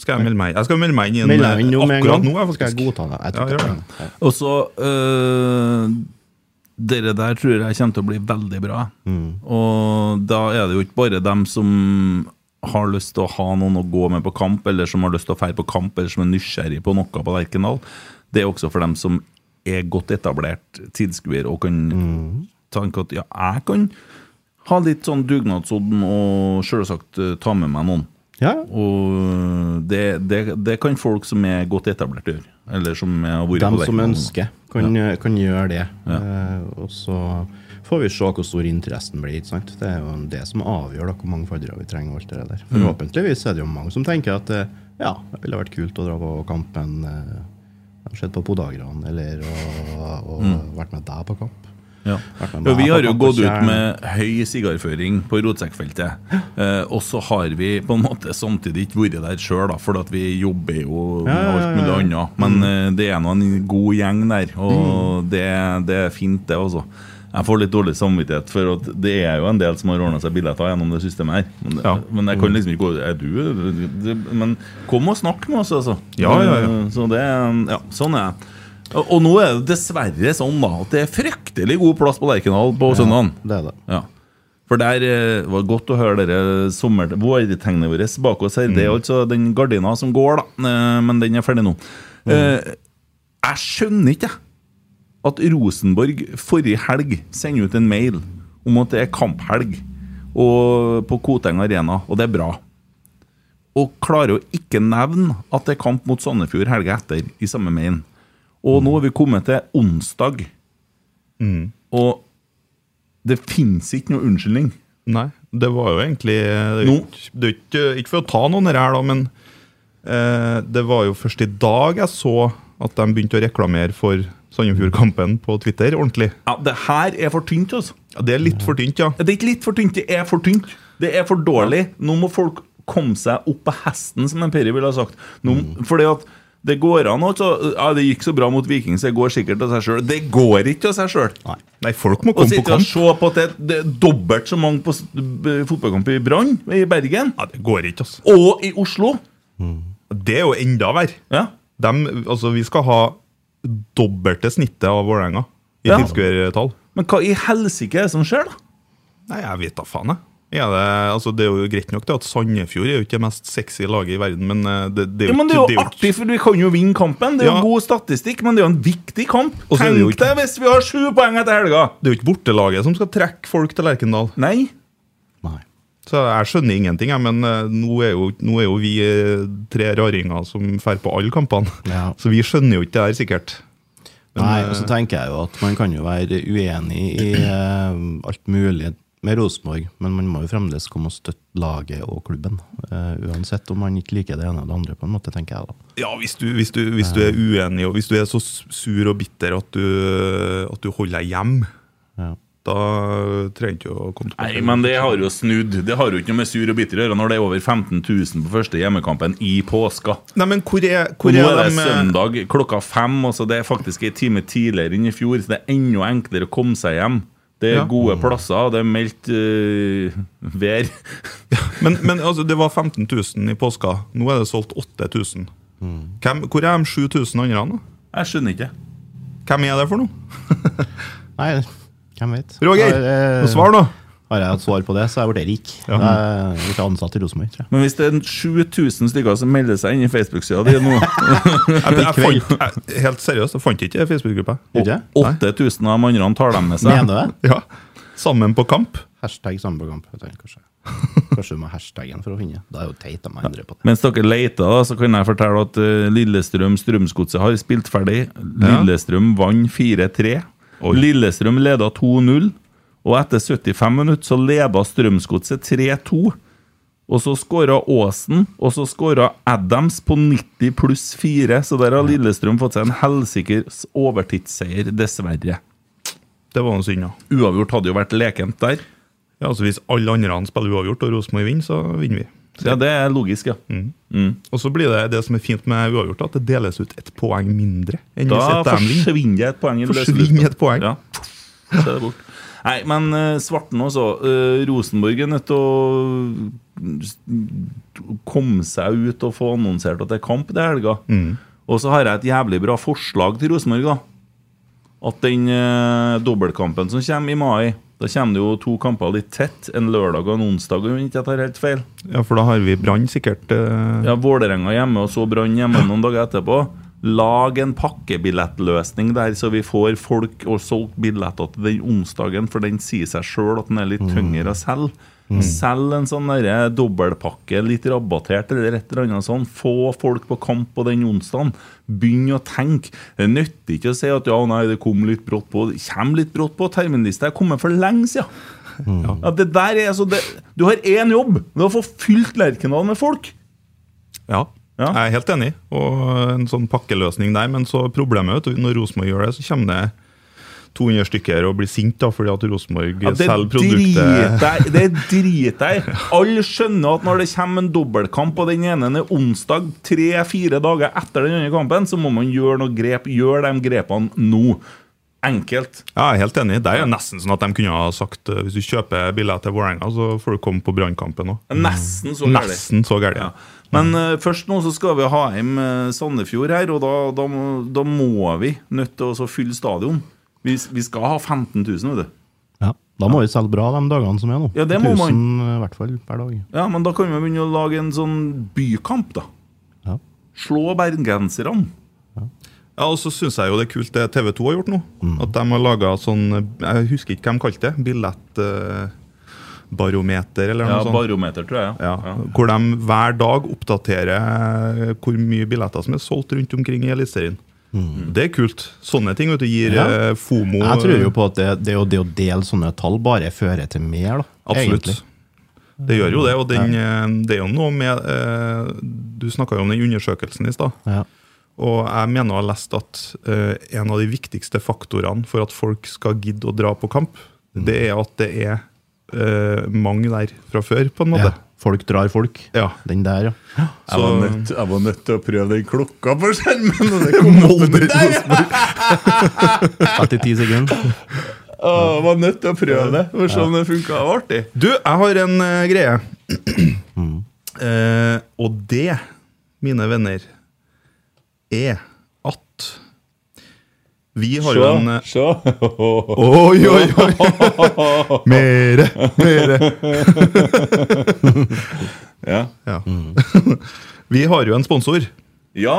C: Skal jeg melde meg Jeg skal melde meg inn
F: Meld deg inn nå med en
C: akkurat
F: gang.
C: nå. jeg,
F: skal jeg
C: faktisk.
F: godta det. Jeg tror
C: Ja,
F: ikke
C: gjør
F: jeg kan.
B: Og så øh, Dere der tror jeg kommer til å bli veldig bra. Og da er det jo ikke bare dem som har lyst til å ha noen å gå med på kamp, eller som har lyst til å feire på kamp, eller som er nysgjerrig på noe på Lerkendal. Det er også for dem som er godt etablert tilskuer og kan tenke at ja, jeg kan ha litt sånn dugnadsodden og selvsagt eh, ta med meg noen.
F: Ja, ja.
B: Og det, det, det kan folk som er godt etablert gjøre. Eller som har vært
F: Dem
B: på
F: som
B: Lerkendal.
F: ønsker, kan, kan gjøre det. Eh, og så får vi se hvor stor interessen blir. ikke Sant? Det er jo det som avgjør da, hvor mange faddere vi trenger. og alt det der. Forhåpentligvis er det jo mange som tenker at eh, ja, det ville vært kult å dra på kampen. eh, jeg har sett på Podagran, eller og, og vært med deg på kamp.
B: Ja.
F: Vært med
B: Ja,
F: meg
B: vi
F: på
B: har jo
F: kamp på
B: gått ut
F: Tjern.
B: med høy sigarføring på rotsekkfeltet. Eh, og så har vi på en måte samtidig ikke vært der sjøl, for at vi jobber jo med alt mulig annet. Men
C: Mm.
B: eh, det er nå en god gjeng der, og det, det er fint, det, altså. Jeg får litt dårlig samvittighet, for at det er jo en del som har ordna seg billetter gjennom det systemet her. Men, det-
C: Ja.
B: men jeg kan liksom ikke gå Er du det, Men kom og snakk med oss, altså.
C: Ja, ja, ja.
B: Så det, ja, sånn er jeg. Og og nå er det dessverre sånn da at det er fryktelig god plass på Lerkendal på søndagen.
F: Det er det.
B: Ja. For der eh, var godt å høre dere sommer- vårtegnet vårt bak oss her. Det
F: Mm.
B: er altså den gardina som går, da. eh, Men den er ferdig nå.
F: Mm.
B: Eh, Jeg skjønner ikke jeg, at Rosenborg forrige helg sender ut en mail om at det er kamphelg og på Koteng Arena, og det er bra. Og klarer å ikke nevne at det er kamp mot Sandefjord helga etter i samme mailen. Og nå har vi kommet til onsdag. Og det fins ikke noe unnskyldning.
C: Nei, det var jo egentlig det er jo
B: Nå.
C: ikke, det er jo ikke, ikke for å ta noen her, da, men eh, det var jo først i dag jeg så at de begynte å reklamere for Sandefjordkampen på Twitter ordentlig.
B: Ja, Det her er for tynt, altså.
C: Ja, det er litt for tynt, ja.
B: Det er ikke litt for tynt, det er for tynt. Det er for dårlig. Nå må folk komme seg opp på hesten, som en Peri ville ha sagt. Nå, fordi at Det går an, altså. Ja, det gikk så bra mot Viking, så det går sikkert av seg sjøl. Det går ikke av seg sjøl.
C: Nei, folk
B: Å
C: må komme på
B: sitte og
C: kamp.
B: se på at det, det er dobbelt så mange på s- b- fotballkamp i Brann, i Bergen,
C: Ja, det går ikke, altså.
B: og i Oslo
C: Det er jo enda verre.
B: Ja.
C: Dem, altså, vi skal ha dobbelte snittet av Vålerenga i
B: Ja.
C: tilskuertall.
B: Men hva i helsike er det som skjer, da?
C: Nei, jeg vet da faen, jeg. Ja, det, altså, det er jo greit nok det at Sandefjord er jo ikke det mest sexy laget i verden, men eh, det, det
B: Ja,
C: er jo
B: men Det
C: ikke
B: er jo artig, for vi kan jo vinne kampen. Det er jo
C: Ja.
B: god statistikk, men det er jo en viktig kamp.
C: Og så er det jo
B: Tenk
C: ikke-
B: deg hvis vi har sju poeng etter helga!
C: det er jo ikke bortelaget som skal trekke folk til Lerkendal.
B: Nei.
F: Nei.
C: Så jeg skjønner ingenting, jeg, men eh, nå er, jo, nå er jo vi eh, tre raringer som drar på alle kampene,
F: Ja.
C: så vi skjønner jo ikke det her, sikkert.
F: Nei, og så
B: eh,
F: tenker jeg jo at man kan jo være uenig i eh, alt mulig med Rosenborg, men man må jo fremdeles komme og støtte laget og klubben. eh, uansett om man ikke liker det ene eller det andre, på en måte, tenker jeg da.
C: Ja, hvis du, hvis, du, hvis du er uenig, og hvis du er så sur og bitter at du, at du holder deg hjem,
F: Ja.
C: da trenger du ikke å komme tilbake.
B: Nei, men det har jo snudd. Det har jo ikke noe med sur og bitter å gjøre når det er over 15 000 på første hjemmekampen i påska.
C: Nei, men hvor er, hvor
B: Og nå
C: er,
B: er det
C: de, eh,
B: søndag klokka fem, og så det er faktisk en time tidligere enn i fjor, så det er enda enklere å komme seg hjem. Det er
C: Ja.
B: gode plasser, og det er meldt eh, vær.
C: Men, men altså, det var 15 000 i påska. Nå er det solgt 8000. Hvem, hvor er de 7000 andre? da?
B: Jeg skjønner ikke.
C: Hvem er det for noe?
F: Nei, hvem vet?
C: Roger,
F: Har, eh,
C: svar, da!
F: Har jeg hatt svar på det, så er jeg blitt rik. Jeg er blitt ansatt i Rosenborg, tror jeg.
B: Men hvis det er 7000 stykker som melder seg inn i Facebook-sida di nå
C: Jeg, jeg fant, jeg, helt seriøst, jeg fant ikke Facebook-gruppa.
F: Gjorde jeg?
B: og 8000 av de andre tar dem med seg
F: Mener du det?
C: Ja. Sammen på kamp.
F: Hashtag samboerkamp. jeg tenker Kanskje. kanskje du må hashtaggen for å finne det. Da er det jo teit om jeg endrer på det.
B: Mens dere leter, da, så kan jeg fortelle at eh, Lillestrøm Strømsgodset har spilt ferdig. Lillestrøm vant 4-3. Lillestrøm leda 2-0. Og etter 75 minutter så leda Strømsgodset 3-2. Og så skåra Aasen, og så skåra Adams på 90 pluss 4. Så der har Lillestrøm fått seg en helsikers overtidsseier, dessverre.
C: Det var noe synd, ja.
B: Uavgjort hadde jo vært lekent der.
C: ja altså, hvis alle andre spiller uavgjort og Rosenborg vinner, så vinner vi.
B: Ja, det er logisk, ja.
C: Og så blir det det som er fint med uavgjort, at det deles ut ett poeng mindre. enn hvis
B: Da
C: et dem vinner.
B: forsvinner et poeng. i løslufta.
C: Forsvinner et poeng.
B: Ja. Så er det bort. Nei, men eh, Svarten også. eh, Rosenborg er nødt til å komme seg ut og få annonsert at det er kamp det er helga. Og så har jeg et jævlig bra forslag til Rosenborg. da At den eh, dobbeltkampen som kommer i mai Da kommer det jo to kamper litt tett. En lørdag og en onsdag, om jeg ikke tar helt feil.
C: Ja, for da har vi Brann sikkert. eh,
B: Ja, Vålerenga hjemme og så Brann hjemme noen dager etterpå. Lag en pakkebillettløsning der, så vi får folk og solgt billetter til den onsdagen, for den sier seg sjøl at den er litt tyngre å selge. Selg en sånn derre dobbeltpakke, litt rabattert eller et eller annet sånn. Få folk på kamp på den onsdagen. Begynn å tenke. Det nytter ikke å si at ja, nei, det kom litt brått på. Det kommer litt brått på. Terminlista er kommet for lenge siden. Ja, det der er altså det, Du har én jobb. Det er å få fylt Lerkendal med folk.
C: Ja.
B: Ja.
C: Jeg er helt enig. Og en sånn pakkeløsning der. Men så problemet vet du, når Rosenborg gjør det, så kommer det 200 stykker og blir sint da, fordi at Rosenborg
B: Ja, det
C: selger
B: driter
C: produktet.
B: jeg- Det driter jeg i. Alle skjønner at når det kommer en dobbeltkamp, og den ene er onsdag tre-fire dager etter den andre kampen, så må man gjøre noe grep. Gjør de grepene nå. Enkelt.
C: Ja, jeg er helt enig. Det er jo nesten sånn at de kunne ha sagt eh, hvis du kjøper billett til Vålerenga, så får du komme på Brannkampen òg.
B: Nesten så gærent.
C: Nesten så gærent.
B: Ja. Men eh, først nå så skal vi ha hjem eh, Sandefjord her, og da, da, må- da må vi nødt til å så fylle stadion. Vi, vi skal ha 15 000, vet du.
F: Ja, da må vi selge bra de dagene som er nå.
B: Ja, det må man.
F: 1000 i hvert fall per dag.
B: Ja, men da kan vi begynne å lage en sånn bykamp, da.
F: Ja.
B: Slå bergenserne.
C: Ja, og så syns jeg jo det er kult det TV 2 har gjort nå.
F: Mm.
C: At de har laga sånn Jeg husker ikke hva de kalte det. Billettbarometer, eller
B: Ja,
C: noe sånt.
B: barometer, tror jeg.
C: Ja, Hvor de hver dag oppdaterer eh, hvor mye billetter som er solgt rundt omkring i Eliteserien. Det er kult. Sånne ting vet du, gir
F: Mm. Ja.
C: eh, FOMO.
F: Jeg tror jo på at det, det, å, det å dele sånne tall bare fører til mer, da.
C: eh, Absolutt.
F: egentlig.
C: Det gjør jo det. Og den, eh, det er jo noe med eh, Du snakka jo om den undersøkelsen i stad.
F: Ja.
C: Og jeg mener å ha lest at eh, en av de viktigste faktorene for at folk skal gidde Mm. å dra på kamp, det er at det er eh, mange der fra før, på en måte.
F: Ja. Folk drar folk. Den der, ja.
B: Jeg var, nødt, jeg var nødt til å prøve den klokka på skjermen, og det kom opp der!
F: Etter ti sekunder.
B: Åh, jeg var nødt til å prøve det for å se om det funka. Det var artig.
C: Du, jeg har en eh, greie. Eh, og det, mine venner, er at Vi har jo en eh,
B: Se, se.
C: Oi, oi, oi! mere, mere.
B: Ja.
C: Ja. vi har jo en sponsor
B: ja!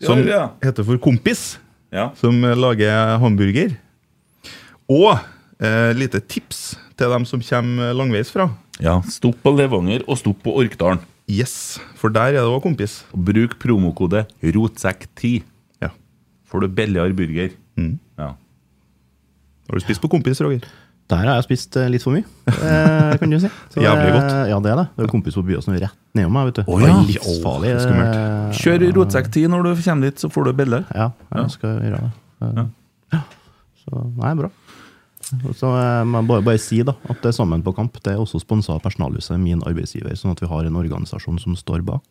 B: Det
C: som
B: var det, ja.
C: heter for Kompis,
B: Ja.
C: som eh, lager hamburger. Og eh, lite tips til dem som kommer langveisfra.
B: ja. Stopp på Levanger, og stopp på Orkdalen.
C: Yes, for der er det òg kompis.
B: Og Bruk promokode ROTSEKK10.
C: Ja.
B: Får du billigere burger. Ja.
C: Har du spist på kompis, Roger?
F: Der har jeg spist eh, litt for mye, eh, kan du si. Så,
C: Jævlig
F: eh,
C: godt.
F: Ja, det er det. Det er jo kompis på Byåsen rett nedom meg. vet du.
B: Å,
F: Det
B: ja.
F: er livsfarlig.
C: Å, skummelt.
F: eh,
B: Kjør ROTSEKK10 når du kommer dit, så får du billigere.
F: Ja, jeg skal gjøre det. Eh, ja. Så nei, bra. Og Så eh, må jeg bare, bare si da, at det er Sammen på kamp det er også sponsa av Personalhuset, min arbeidsgiver. Sånn at vi har en organisasjon som står bak.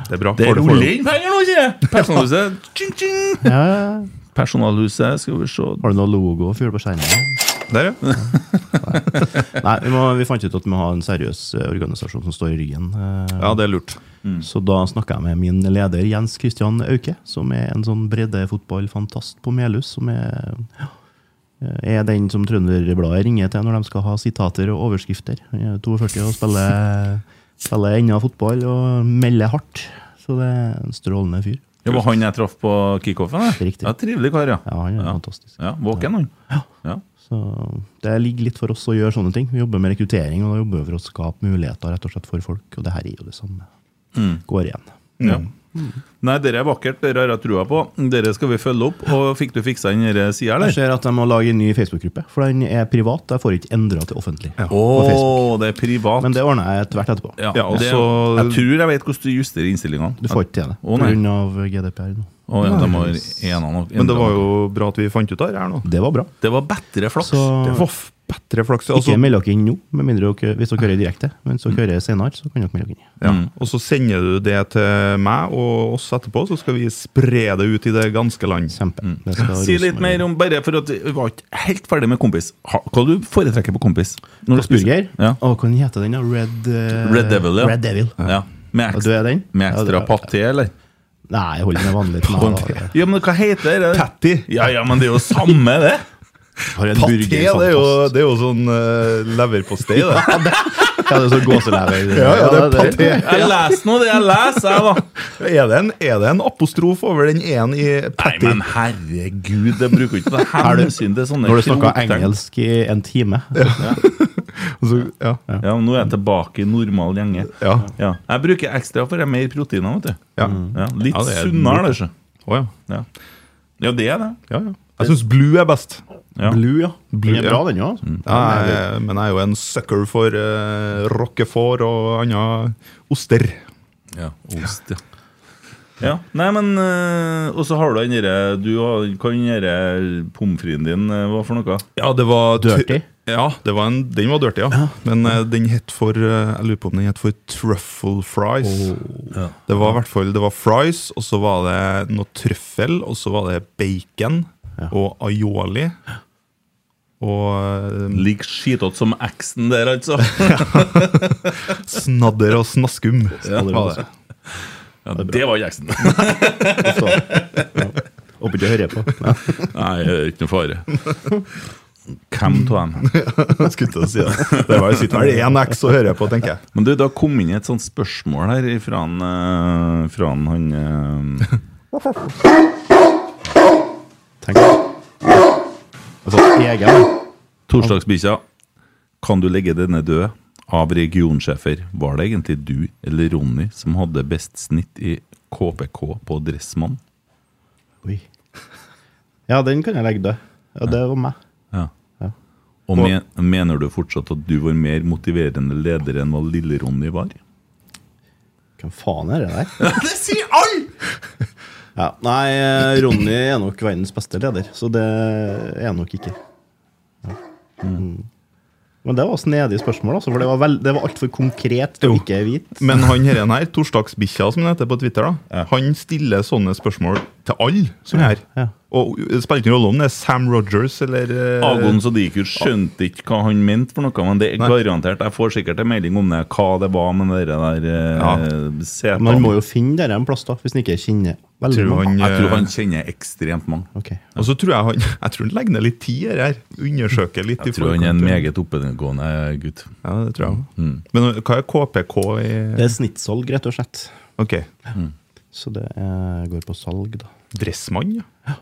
C: Det er bra.
B: Det
C: Får du- får du-
B: ruller inn penger nå, sier jeg! Personalhuset. Tjing, tjing.
F: Ja, ja, ja.
B: Personalhuset, skal vi se
F: Har du noe logo å fylle på skjermen?
C: Der, ja.
F: Nei, vi, må, vi fant ut at vi må ha en seriøs eh, organisasjon som står i ryggen. eh,
C: ja, det er lurt.
F: Så da snakka jeg med min leder Jens Christian Auke, som er en sånn breddefotballfantast på Melhus. Som er, ja, eh, er den som Trønderbladet ringer til når de skal ha sitater og overskrifter. Han er 42 og spiller, spiller ennå fotball og melder hardt. Så det er en strålende fyr.
B: Det var han jeg traff på kickoffen? det.
F: Riktig.
B: Ja, trivelig kar, ja.
F: Ja, han er fantastisk.
B: Ja, Våken, han. Ja.
F: Så det ligger litt for oss å gjøre sånne ting. Vi jobber med rekruttering, og da jobber vi for å skape muligheter rett og slett for folk. Og det her er jo det samme. Går igjen.
B: Ja. Nei, dere er vakkert. Dere har jeg trua på. Dere skal vi følge opp. Og Fikk du fiksa den der sida,
F: Jeg
B: eller?
F: ser at jeg må lage en ny Facebook-gruppe, for den er privat. Jeg får ikke endra til offentlig.
B: Å,
F: på Facebook.
B: det er privat.
F: Men det ordner jeg etter hvert etterpå.
B: ja,
C: Ja, og
B: det,
C: så-
B: jeg tror jeg vet hvordan du justerer innstillingene.
F: Du får ikke til det
B: Å, nei.
F: pga. GDPR nå.
B: Å, ja, de har ena nok.
C: Men det var jo bra at vi fant ut av det her nå.
F: Det var bra.
B: Det var bedre flaks.
F: Så-
C: Det var f- bedre flaks.
F: ikke
C: Altså,
F: meld dere inn nå, med mindre dere, hvis dere hører direkte. Men
B: Mm.
F: hvis dere hører senere, så kan dere melde dere inn.
C: ja. Og så sender du det til meg og oss etterpå, så skal vi spre det ut i det ganske land.
F: Kjempe. Det skal
B: Si
F: Rosenborg
B: litt mer
F: gjøre.
B: om bare for at Vi var ikke helt ferdig med kompis. Ha, hva du foretrekker på kompis? Når du
F: Burger?
B: Ja.
F: Å, hva den heter den, da? Red, eh,
B: Red Devil, ja.
F: Red Devil.
B: ja. Med,
F: Og du
B: ekstra,
F: er den?
B: med
F: Ja,
B: ekstra
F: det-
B: paté, eller?
F: Nei, jeg holder meg vanlig. til meg, da.
B: Ja, men hva heter det? Patty. Ja, ja, men det er jo samme, det.
F: Har en
C: Paté,
F: burger,
C: det er jo,
F: fantast.
C: det er jo sånn uh, leverpostei, det.
F: Ja, det er sånn gåselever.
C: ja, det er paté.
B: Jeg leser nå det jeg leser, jeg, da.
C: Er det en, er det en apostrof over den ene i
B: Nei,
C: patty?
B: men herregud, jeg bruker ikke det
F: Er du-
B: hensyn til sånne
F: Når du snakker
B: kroktegn.
F: engelsk i en time.
C: Altså, ja. Ja.
B: Ja, men Nå er jeg tilbake i normal gjenge.
C: Ja.
B: Ja. Jeg bruker ekstra for det er mer proteiner, vet du.
C: Ja.
F: Mm.
B: Ja, litt
C: Ja, det er
B: sunnere, det. så.
C: Å, ja.
B: Ja. ja, det er det.
C: Ja, ja. Jeg syns blue er best.
B: Ja.
F: Blue, ja.
C: Blue,
F: den er
C: ja.
F: bra, den òg.
B: Mm.
C: Ja, jeg, men jeg er jo en sucker for uh, roquefort og andre oster.
B: Ja, ost, ja. Ja, Nei, men øh, Og så har du den derre Du har- kan den derre pommes fritesen din øh, Hva for noe?
C: Ja, det var tu-
F: Dirty?
C: Ja, det var en, den var dirty, ja. Men eh, den het for eh, Jeg lurer på om den het for truffle fries. Det var i hvert fall Det var fries, og så var det noe trøffel, og så var det bacon og aioli. Og eh,
B: Ligger skitete som eksen der, altså.
C: snadder og snaskum. var det.
B: Ja, det var ikke eksen.
F: Håper ikke du hører på. Ja.
B: Nei, det er ikke noe fare. Hvem av dem?
C: Jeg skulle til å si det. Det var jo sitter vel én X å høre på, tenker jeg.
B: Men du, det har kommet inn et sånt spørsmål her fra han, eh, fra han, han eh,
F: Tenk Altså, egen
B: Torsdagsbikkja. Kan du legge denne død? Av regionsjefer, var det egentlig du eller Ronny som hadde best snitt i KPK på Dressmann?
F: Oi. Ja, den kan jeg legge død. Ja, det var meg.
B: Ja. Og men, mener du fortsatt at du var mer motiverende leder enn hva Lille-Ronny var?
F: Hvem faen er det der?
B: Det sier alle!
F: Ja. Nei, eh, Ronny er nok verdens beste leder, så det er jeg nok ikke. Ja. Mm. Men det var snedige spørsmål, altså, for det var, vel- det var altfor konkret til å ikke vite.
C: Men han her, her Torsdagsbikkja, som det heter på Twitter, da, han stiller sånne spørsmål til alle som er her. Og uh, det spiller ikke noen rolle om det er Sam Rogers eller eh,
B: Agon Sadikur skjønte ikke hva han mente, for noe, men det er
C: Nei.
B: garantert. Jeg får sikkert en melding om det, hva det var med det der eh,
C: Ja.
B: setene.
F: Man må jo finne dette en plass, da, hvis en ikke kjenner veldig
C: Tror
F: mange.
C: han,
B: Jeg tror
C: eh,
B: han kjenner ekstremt mange.
F: Ok.
C: Og så tror jeg han Jeg tror han legger ned litt tid her. her. Undersøker litt. i
B: Jeg tror han er en
C: forkant.
B: meget Mm. oppegående gutt.
C: Ja, det tror jeg også. Men uh, hva er KPK i
F: Det er snittsalg, rett og slett.
C: Ok.
F: Så det eh, går på salg, da.
C: Dressmann? ja.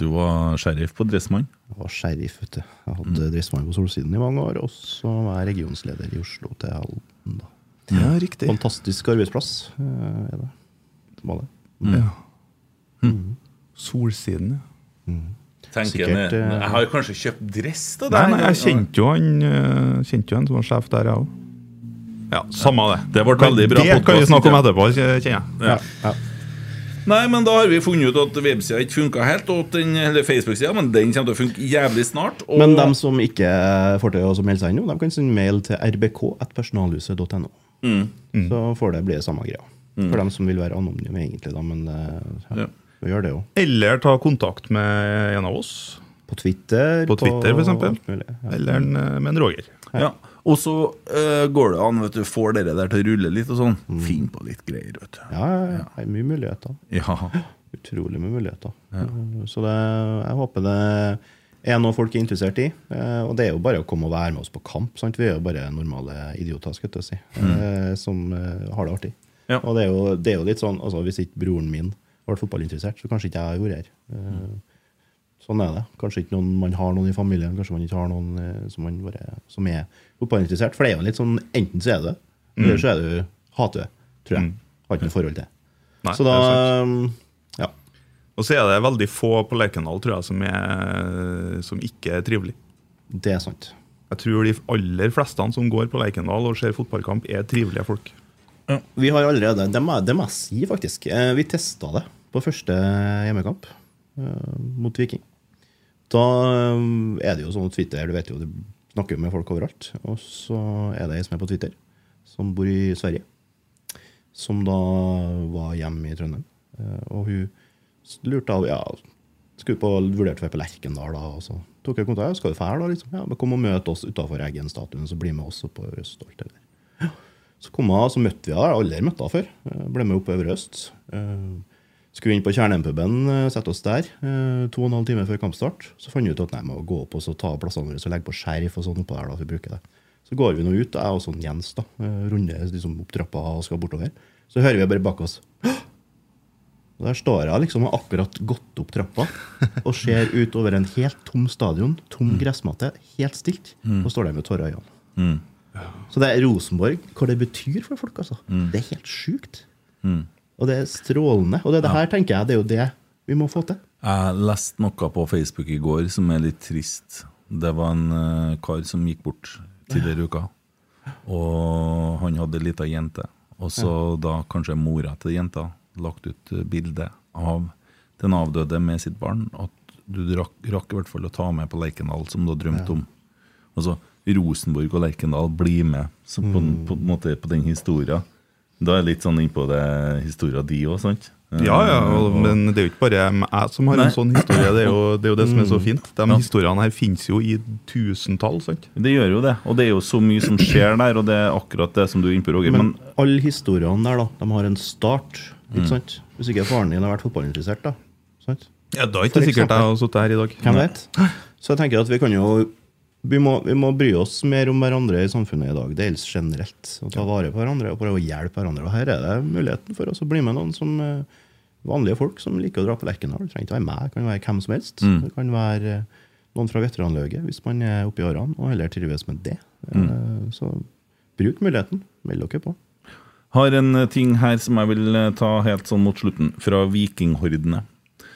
B: Du var sheriff på Dressmann.
F: Jeg var sheriff, vet du. Jeg hadde
B: Mm.
F: dressmann på Solsiden i mange år, og så var jeg regionsleder i Oslo til Halden, da.
B: Mm.
C: Ja, riktig.
F: Fantastisk arbeidsplass, eh, er det. Det var det.
C: Ja. Solsiden, ja.
F: Sikkert, eh,
B: jeg har kanskje kjøpt dress til
C: Nei, nei, jeg kjente jo han eh, Kjente jo han som var sjef der, jeg òg. Ja, samme det.
B: Det ble
C: Men
B: veldig bra
C: Det kan vi
B: podcast.
C: snakke om etterpå, kjenner jeg.
B: Nei, men da har vi funnet ut at websida ikke funka helt, og at den, eller Facebook-sida, men den kommer til å funke jævlig snart. Og
F: Men dem som ikke får til å som melde seg inn nå, de kan sende mail til rbk.personalhuset.no.
B: Mm.
C: Mm.
F: Så får det bli det samme greia. For dem som vil være anonyme, egentlig. Da, men eh,
B: Ja.
F: ja, vi gjør det jo.
C: Eller ta kontakt med en av oss.
F: På Twitter.
C: På Twitter, for eksempel.
F: alt mulig, ja.
C: Eller en, eh, med en Roger.
B: Ja. Og så eh, går det an, vet du, får dere der til å rulle litt og sånn. Finn på litt greier, vet du.
F: Mm. Ja, ja, ja. Det er mye muligheter.
B: Ja.
F: Utrolig med muligheter. Eh, Så det, jeg håper det er noe folk er interessert i. Eh, Og det er jo bare å komme og være med oss på kamp. Sant? Vi er jo bare normale idioter skal jeg til å si, eh, som eh, har det artig.
B: Ja.
F: Og det er, jo, det er jo litt sånn, altså Hvis ikke broren min var fotballinteressert, så kanskje ikke jeg hadde vært her. Eh, Sånn er det. Kanskje ikke noen man har noen i familien, kanskje man ikke har noen eh, som, man bare, som er fotballinteressert. For det er jo litt sånn, enten så er det, eller så er du hater det, tror jeg. Har ikke noe forhold til.
C: Nei,
F: Så da
C: det er sant.
F: eh, ja.
C: Og så er det veldig få på Lerkendal tror jeg, som, er, som ikke er trivelig.
F: Det er sant.
C: Jeg tror de aller fleste som går på Lerkendal og ser fotballkamp, er trivelige folk.
F: Vi har allerede Det må, det må jeg si, faktisk. Eh, Vi testa det på første hjemmekamp eh, mot Viking. Da eh, er det jo sånn Twitter Du vet jo, du snakker jo med folk overalt. Og så er det ei som er på Twitter, som bor i Sverige. Som da var hjemme i Trondheim. Eh, Og hun s- lurte av Ja, skulle på, vurderte å være på Lerkendal, da. Og så tok jeg kontakt. Ja, skal du fære, da? Liksom. Ja, men kom og møt oss utafor Eggen-statuen, så bli med oss opp på Røst. og alt det der. Så kom jeg, så møtte vi henne. Jeg har aldri møtt henne før. Jeg Ble med opp på Øvre Øst. Eh, Skulle inn på Kjernen-puben, eh, sette oss der. eh, To og en halv time før kampstart. Så fant vi ut at nei, må gå opp og så ta av plassene våre og legge på skjerf og sånn oppå der. da, for vi bruker det. Så går vi nå ut, og jeg og sånn Jens da, eh, runder liksom opp trappa og skal bortover. Så hører vi bare bak oss og Der står jeg liksom og har akkurat gått opp trappa og ser ut over en helt tom stadion, tom gressmatte, helt stilt, og står der med tårer i øynene. Så det er Rosenborg, hva det betyr for folk, altså. Det er helt sjukt. Og det er strålende. Og det, det her tenker jeg, det er jo det vi må få til.
B: Jeg leste noe på Facebook i går som er litt trist. Det var en eh, kar som gikk bort tidligere i uka. Og han hadde ei lita jente. Og så da kanskje mora til jenta lagt ut eh, bilde av den avdøde med sitt barn. At du rakk, rakk i hvert fall å ta med på Lerkendal, som du har drømt om. Altså Rosenborg og Lerkendal blir med så på,
C: Mm.
B: en- på, en måte på den historia. Da er jeg litt sånn innpå det historia di òg, sant?
C: Ja, ja, og, Mm. Men det er jo ikke bare jeg som har
B: Nei. Mm.
C: en sånn historie. Det er jo det, er jo det som er så fint. De historiene her finnes jo i tusentall. sant?
B: Det gjør jo det, og det er jo så mye som skjer der, og det er akkurat det som du er inne på, Roger. Men,
F: Men alle historiene der, da, de har en start. Ikke sant? Hvis ikke faren din har vært fotballinteressert, da. Sant?
C: Ja, Da er ikke
F: For
C: sikkert
F: eksempel.
C: jeg har sittet her i dag.
F: Hvem vet? Så jeg tenker at vi kan jo vi må, vi må bry oss mer om hverandre i samfunnet i dag. Det gjelder generelt. Å ta vare på hverandre og prøve å hjelpe hverandre. Og her er det muligheten for oss å bli med noen som eh, vanlige folk som liker å dra på Lerkendal. Det trenger ikke være meg, det kan være hvem som helst. Det kan være eh, noen fra veteranlauget hvis man er oppe i årene og heller trives med det. Eh, Så bruk muligheten. Meld dere på.
B: har en eh, ting her som jeg vil eh, ta helt sånn mot slutten, fra vikinghordene.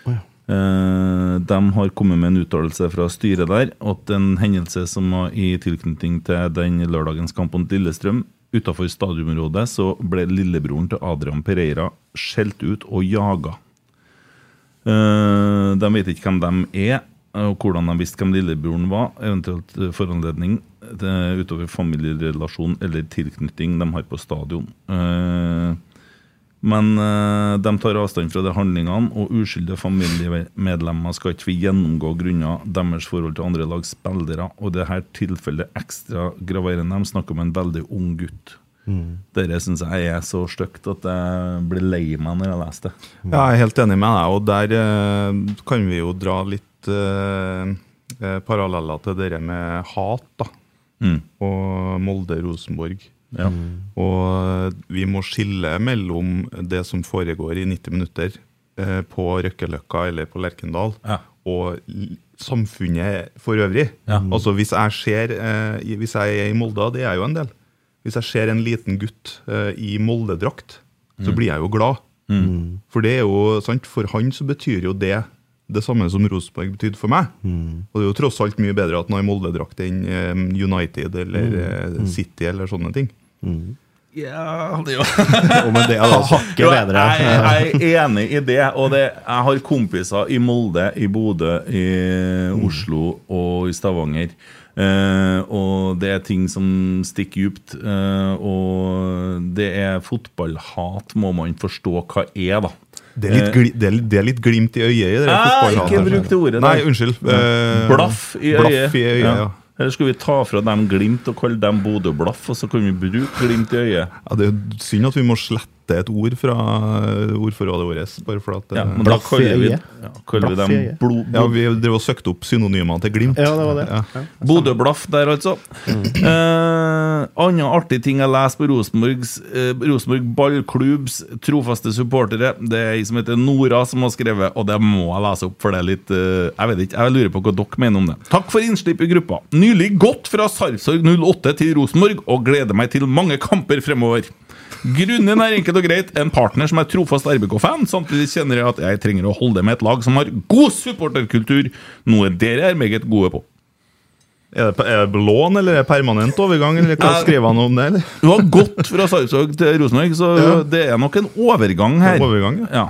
F: Å ja.
B: Eh, de har kommet med en uttalelse fra styret der at en hendelse som var i tilknytning til den lørdagens kamp mot Lillestrøm Utafor stadionområdet så ble lillebroren til Adrian Pereira skjelt ut og jaga. Eh, de vet ikke hvem de er, og hvordan de visste hvem lillebroren var, eventuelt eh, foranledning eh, utover familierelasjon eller tilknytning de har på stadion. Eh, Men eh, de tar avstand fra de handlingene, og uskyldige familiemedlemmer skal ikke få gjennomgå grunner deres forhold til andre lags spillere, og det her tilfellet ekstra graverende. De snakker om en veldig ung gutt.
C: Mm.
B: Dette syns jeg er så stygt at jeg blir lei meg når jeg leser det.
C: Ja, jeg er helt enig med deg, og der eh, kan vi jo dra litt eh, eh, paralleller til det der med hat, da.
B: Mm.
C: Og Molde-Rosenborg.
B: Ja.
C: Mm. Og vi må skille mellom det som foregår i 90 minutter eh, på Røkkeløkka eller på Lerkendal, og l- samfunnet for øvrig.
B: Ja. Mm.
C: Altså Hvis jeg ser eh, i- Hvis jeg er i Molde, det er jeg jo en del Hvis jeg ser en liten gutt eh, i Molde-drakt, så
B: Mm.
C: blir jeg jo glad.
B: Mm.
C: For det er jo sant, for han så betyr jo det det samme som Rosenborg betydde for meg.
F: Mm.
C: Og det er jo tross alt mye bedre at han har Molde-drakt enn eh, United eller
F: Mm.
C: eh,
F: Mm.
C: City eller sånne ting.
B: Ja, det er jo
F: Jo, men det er da hakket
B: Jo,
F: bedre.
B: Jeg, jeg er enig i det. Og det, jeg har kompiser i Molde, i Bodø, i
C: Mm.
B: Oslo og i Stavanger. Eh, og det er ting som stikker djupt. eh, og det er fotballhat må man forstå hva er, da.
C: Det er litt,
B: Eh,
C: gli, det er, litt- det er litt glimt i øyet i det
B: Ah,
C: fotballhatet
B: ikke
C: her.
B: bruk det ordet.
C: Nei,
B: der.
C: unnskyld.
B: Ja.
C: Eh,
B: blaff i øyet.
C: Blaff i øyet, ja. ja.
B: Eller skulle vi ta fra dem Glimt og kalle dem Bodø-blaff, og så kunne vi bruke Glimt i øyet?
C: Det er jo synd at vi må slette et ord fra eh, ordforrådet vårt. Bare for at, eh,
B: Ja, men da Blaff i kaller vi- øyet. ja, kaller vi
C: Blaff
B: dem
C: i øyet.
B: blod-
C: Ja, vi drev og søkte opp synonymer til Glimt.
F: Ja, det var det.
C: Ja.
B: Bodø-blaff der, altså. Eh, Andre artige ting jeg leser på Rosenborgs eh, Rosenborg ballklubbs trofaste supportere, det er ei som heter Nora, som har skrevet, og det må jeg lese opp, for det er litt eh, Jeg vet ikke, jeg lurer på hva dere mener om det. Takk for innslipp i gruppa. Nylig gått fra Sarpsborg 08 til Rosenborg, og gleder meg til mange kamper fremover. Grunnen er enkelt og greit. En partner som er trofast RBK-fan. Samtidig kjenner jeg at jeg trenger å holde med et lag som har god supporterkultur, noe dere er meget gode på.
C: Er det, er det lån, eller er det permanent overgang? Eller hva
B: Nei.
C: skrev han om det? eller?
B: Du har gått fra Sarpsborg til Rosenborg, så det er nok en overgang her.
C: En overgang, ja.
B: ja.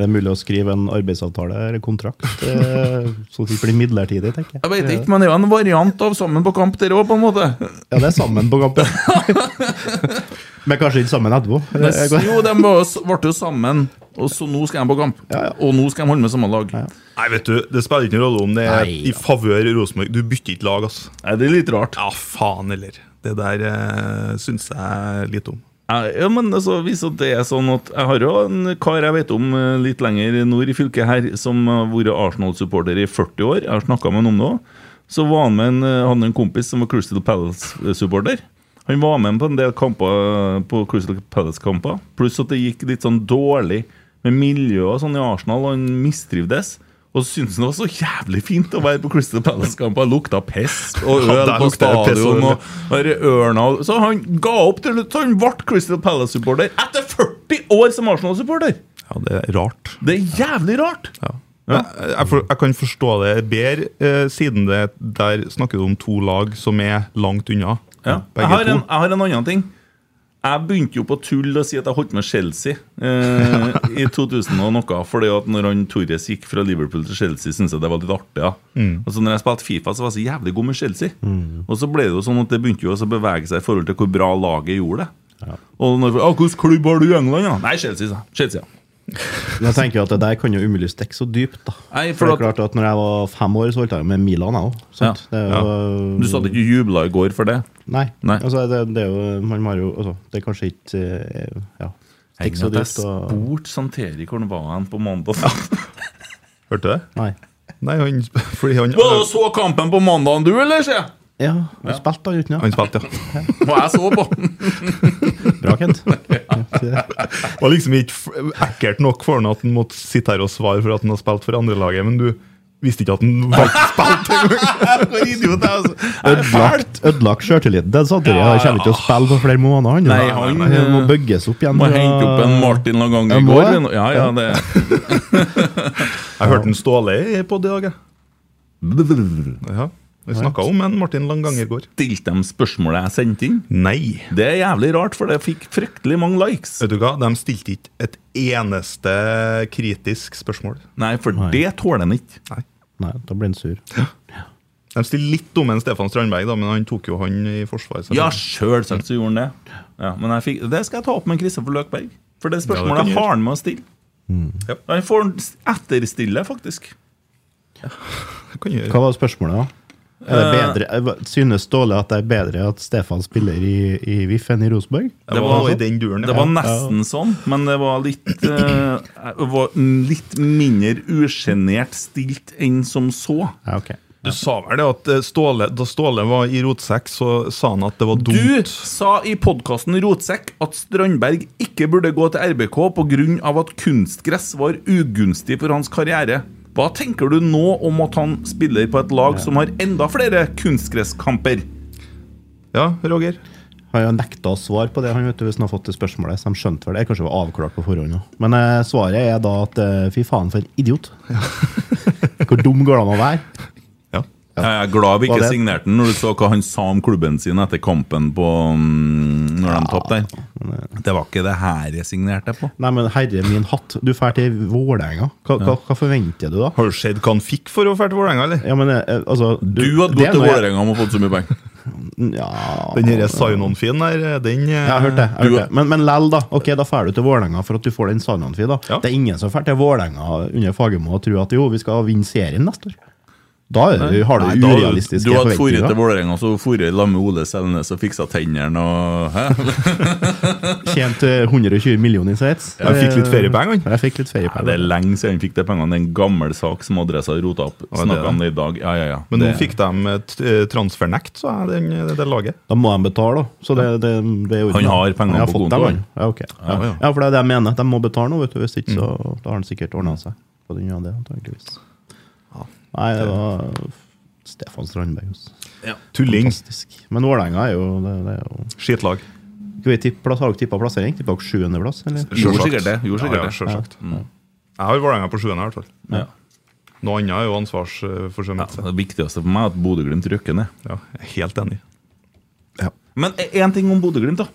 F: Er det mulig å skrive en arbeidsavtale eller kontrakt? eh, Så det blir midlertidig, tenker jeg.
B: Jeg vet ikke, men det er jo en variant av Sammen på kamp, dere òg, på en måte.
F: Ja, det er sammen på kampen. Men kanskje ikke sammen etterpå.
B: Men s-
F: Jeg går-
B: Jo, de var jo s- ble jo sammen, og så nå skal de på kamp. Og nå skal de holde med samme lag.
C: Nei, vet du, Det spiller ikke noen rolle om det er
F: Nei,
C: i favør Rosenborg. Du bytter ikke lag, altså.
B: Nei, det er litt rart.
C: Ja, faen heller. Det der eh, syns jeg litt om.
B: Nei, Ja, men altså, hvis at det er sånn at Jeg har jo en kar jeg vet om eh, litt lenger nord i fylket her, som har vært Arsenal-supporter i 40 år. Jeg har snakka med han om det òg. Så var han med en, eh, han en kompis som var Crystal Palace-supporter. Han var med på en del kamper eh, på Crystal Palace-kamper. Pluss at det gikk litt sånn dårlig med miljøet og sånn i Arsenal, og han mistrivdes. Og så syntes han det var så jævlig fint å være på Crystal Palace-kamper. Lukta piss og
C: Ja,
B: øl
C: der
B: på
C: lukter det piss
B: stadion.
C: og øl.
B: og der er ørna og- Så han ga opp til slutt. så Han ble Crystal Palace-supporter etter 40 år som Arsenal-supporter!
C: Ja, Det er rart.
B: Det er jævlig rart!
C: Men Jeg, jeg, for, jeg kan forstå det bedre, eh, siden det der snakker du om to lag som er langt unna.
B: Ja. Jeg,
C: Begge
B: har en, jeg har en annen ting. Jeg begynte jo på tull å si at jeg holdt med Chelsea eh, i 2000 og noe. Fordi at når han Torres gikk fra Liverpool til Chelsea, syntes jeg det var litt artig. Ja.
C: Mm.
B: Og så når jeg spilte Fifa, så var jeg så jævlig god med Chelsea. Og så ble det jo sånn at det begynte jo også å bevege seg i forhold til hvor bra laget gjorde det. Og når, ah, 'Hvilken klubb har du i England?' Ja? Nei, Chelsea, sa jeg. Chelsea, ja.
F: Men jeg tenker jo at det der kan jo umulig stikke så dypt, da.
B: Nei,
F: For det er
B: at-
F: klart at når jeg var fem år, så holdt jeg jo med Milan, jeg òg.
B: Ja.
F: jo
B: Du sa at du ikke jubla i går for det?
F: Nei.
B: Nei.
F: Altså, det, det er jo Man har jo altså, Det er kanskje ikke eh, Ja.
B: Jeg
F: Stikke så
B: jeg
F: dypt og
B: spurte Santeri hvor han var hen på mandag.
C: Hørte du det?
F: Nei.
C: Nei, han, fordi han,
B: Var det så kampen på mandag du, eller? sier jeg?
F: Ja, han spilte han uten, ja.
C: han spilte, ja.
B: Hva jeg så på?
F: Bra, Kent.
C: Det var liksom ikke f- ekkelt nok for han at han måtte sitte her og svare for at han har spilt for andrelaget, men du visste ikke at han valgte spilt
B: For idiot, jeg, altså.
F: Ødelagt, ødelagt sjøltilliten til Santeri. Han kommer ikke til å spille på flere måneder. Han,
B: Nei, han,
F: han må
B: eh,
F: bygges opp igjen.
B: Må
F: fra-
B: hente opp en Martin Lagange i
F: Jeg må
B: går.
F: det.
B: vi nå. Ja, ja, det
C: Jeg hørte en Ståle på det òg, jeg.
B: Mm.
C: Ja. Vi snakka om en Martin Langanger går.
B: Stilte dem spørsmålet jeg sendte inn?
C: Nei.
B: Det er jævlig rart, for det fikk fryktelig mange likes.
C: Vet du hva, De stilte ikke et eneste kritisk spørsmål.
B: Nei, for det tåler han ikke.
C: Nei.
F: Nei, da blir han sur.
C: De stiller litt dumme enn Stefan Strandberg, da, men han tok jo han i forsvar. så-
B: Ja, sjølsagt så gjorde han det. Ja, men jeg fikk, det skal jeg ta opp med Kristoffer Løkberg. For det
C: Ja, det kan
B: spørsmålet
C: du Mm.
B: har han med å stille.
C: Ja.
B: Han får den s- etterstille, faktisk.
C: Det kan du gjøre.
F: Hva var spørsmålet, da? Er det bedre, eh, synes Ståle at det er bedre at Stefan spiller i, i VIF enn i Rosenborg?
C: Det var noe i den duren.
B: Det var nesten sånn, men det var litt eh, det var Litt mindre usjenert stilt enn som så.
F: Ja, ok.
C: Du sa vel det at eh, Ståle, da Ståle var i rotsekk, så sa han at det var
B: Du
C: dumt.
B: sa i podkasten Rotsekk at Strandberg ikke burde gå til RBK pga. at kunstgress var ugunstig for hans karriere. Hva tenker du nå om at han spiller på et lag som har enda flere kunstgresskamper?
C: Ja, Roger?
F: Han har nekta å svare på det han vet du, hvis han har fått det spørsmålet. Så de skjønte vel det. Kanskje det var avklart på forhånd. da. Men eh, svaret er da at eh, fy faen, for en idiot. Hvor dum går det an å være?
C: Ja.
B: Jeg er glad vi
F: Var
B: ikke
F: det-
B: signerte den når du så hva han sa om klubben sin etter kampen på mm, Når de tapte der. Det var ikke det her jeg signerte på.
F: Nei, men herre min hatt, du drar til Vålerenga. Hva, hva, hva forventer du da?
C: Har du sett hva han fikk for å dra til Vålerenga, eller?
F: Ja, men eh, altså
B: Du hadde
F: det
B: gått
F: er
B: til
F: noe jeg-
B: Vålerenga og fått så mye penger.
F: Ja
C: Den her sign-on-fin der, den eh,
F: Jeg har hørt det. Jeg har
B: Du-
F: hørt det. Men, men lell, da. Ok, da drar du til Vålerenga for at du får den Sandhamn-fi. da.
C: Ja.
F: Det er ingen som drar til Vålerenga under Fagermo og tror at jo, vi skal vinne serien neste år. Da er du, har du
B: Nei, da-
F: urealistiske
B: Du hadde foret til
F: forventninger.
B: Vålerenga, så foret i lag med Ole Selnes og fiksa tennene og hæ?
F: Tjent eh, 120 millioner i Sveits.
C: Han fikk litt feriepenger, han.
F: Jeg fikk litt
B: Nei, det er
F: feriepenger.
B: lenge siden han fikk de pengene. Det er en gammel sak som adressa rota opp.
C: det er
B: Snakka
C: det.
B: om det i dag. Ja, ja, ja.
C: Men nå
B: Det-
C: fikk de et eh, transfernekt, sa jeg, den, eh, det, det laget.
F: Da må de betale, da. Så det, det, det er jo
B: Han har pengene
F: Han har
B: på
F: fått
B: konto,
F: dem,
B: han.
F: han. Ja, ok. Ja.
B: Ja, Mm. ja.
F: ja, for det er det jeg mener. De må betale nå, vet du. Hvis ikke, så da har han sikkert ordna seg. På grunn av det, antageligvis. Nei, det var Stefan Strandberg. altså.
C: Tulling.
F: Fantastisk. Men Vålerenga er jo det, det er jo
C: Skitlag.
F: Skal vi tippe plass? Har dere tippa plassering? Tippa dere sjuendeplass, eller?
B: Gjorde
C: Selvsagt.
B: sikkert det. Gjorde
C: Ja,
B: sikkert
C: ja,
B: det. Mm.
C: selvsagt. Jeg har Vålerenga på sjuende, i hvert fall.
B: Ja.
C: Noe annet er jo
B: Ja,
C: ansvarsforsømmelse.
B: det viktigste for meg er at Bodø-Glimt rykker ned.
C: Ja, jeg er helt enig.
B: Men én ting om Bodø-Glimt, da.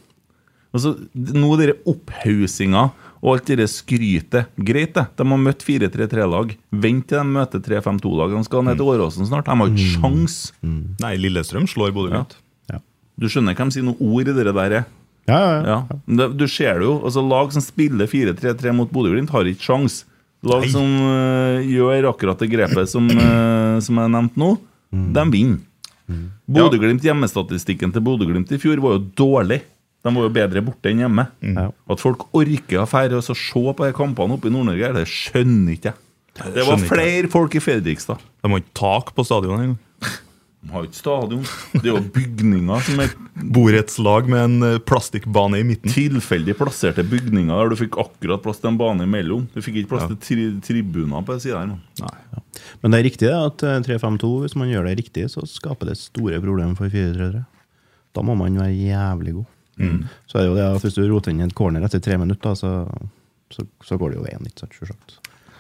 B: Altså, nå dere opphaussinga og alt dere skrytet. Greit, det. De har møtt 4-3-3-lag. Vent til de møter 3-5-2-lag. De skal ned til
C: Mm.
B: Åråsen snart. De har ikke sjans.
C: Nei, Lillestrøm slår Bodø-Glimt.
F: Ja.
B: Du skjønner hvem sine ord i det der er?
F: Ja, ja, ja.
B: Ja, det, du ser det jo. Altså, lag som spiller 4-3-3 mot Bodø-Glimt, har ikke sjans. Lag
C: Nei.
B: som øh, gjør akkurat det grepet som, øh, som jeg nevnte nå, de vinner. Bodø-Glimt Hjemmestatistikken til Bodø-Glimt i fjor var jo dårlig. De var jo bedre borte enn hjemme.
F: Ja.
B: At folk orker å fære og så se på de kampene oppe i Nord-Norge, det skjønner ikke jeg. Det var
C: skjønner ikke
B: flere folk i Fredrikstad.
C: De har ikke tak på stadionet engang.
B: De har jo ikke stadion. Det er jo bygninger som er
C: Borettslag med en eh, plastikkbane i
B: Mm.
C: midten.
B: tilfeldig plasserte bygninger der du fikk akkurat plass til en bane imellom. Du fikk ikke plass til tri tribuner på sida her. nå.
F: Men det er riktig det, at eh, 3-5-2, hvis man gjør det riktig, så skaper det store problemer for 4-3-3. Da må man være jævlig god. Så er det jo det at hvis du roter inn i et corner etter tre minutter, så, så, så går det jo veien litt, så selvsagt.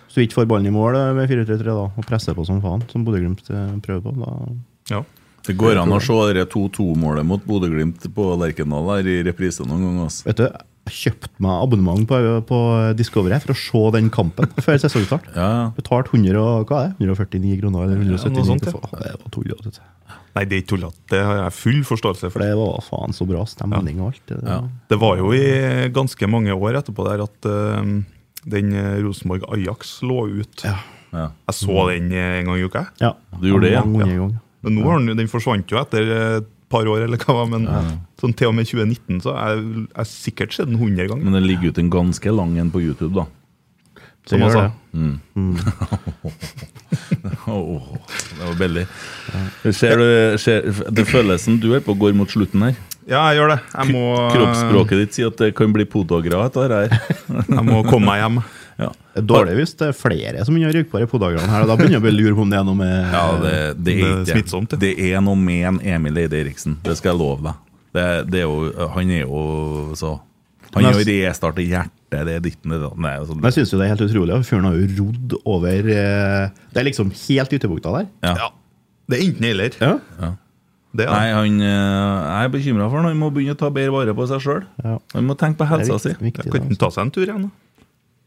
F: Hvis du ikke får ballen i mål eh, med 4-3-3 da, og presser på som faen, som Bodø-Glimt eh, prøver på, da
C: Ja.
B: Det går an å se det 2-2-målet mot Bodø-Glimt på Lerkendal her i reprise noen ganger. Altså.
F: Vet du, jeg kjøpte meg abonnement på, på Discovery for å se den kampen før sesongstart.
B: Ja.
F: Betalt 100 og, hva er det? 149 kroner eller 179
C: noe sånt, ja.
F: for- Det var tullete. vet du.
C: Nei, det er ikke tullete. Det har jeg full forståelse
F: For
C: for.
F: det var faen så bra stemning og alt. Det, det.
C: Det var jo i ganske mange år etterpå der at eh, den eh, Rosenborg-Ajax lå ut.
B: Ja.
C: Jeg så den eh, en gang i uka. jeg.
F: Ja.
B: Du gjorde det, ja.
F: Mange ganger.
C: Men nå har den, jo- den forsvant jo etter eh, et par år, eller hva, men sånn til og med 2019 så har jeg, jeg har sikkert sett den 100 ganger.
B: Men det ligger ut en ganske lang en på YouTube, da.
F: Det
C: Som han
F: gjør
C: sa.
F: det.
B: Åh, det var billig. Ser du, ser, det føles som du er på går mot slutten her.
C: Ja, jeg gjør det. Jeg må, eh,
B: Kroppsspråket ditt sier at det kan bli podagra etter det her.
C: jeg må komme meg hjem.
B: Ja.
F: Det er dårlig hvis det er flere som begynner å ryke på de podagene her. og Da begynner jeg å bli lure på om det er noe med
B: Ja, det, det,
C: Det er
B: er ikke-
C: smittsomt, det.
B: Det er noe med en Emil Eide Eriksen, det skal jeg love deg. Det, det er jo, han er jo så Han
F: Men
B: gjør
F: jeg-
B: restart i hjertet, det er ditten det datten, det er jo sånn-
F: Men jeg syns jo det er helt utrolig. at Fyren har jo rodd over eh, Det er liksom helt ytterbukta der.
B: ja.
C: Ja. Det er enten eller.
F: Ja.
C: Det er
B: Nei, han, eh, jeg er bekymra for han. Han må begynne å ta bedre vare på seg sjøl.
F: Ja.
B: Han må tenke på
F: Det er
B: helsa si.
F: viktig, viktig,
C: Kan
F: det, altså.
C: den ta seg en tur igjen? da?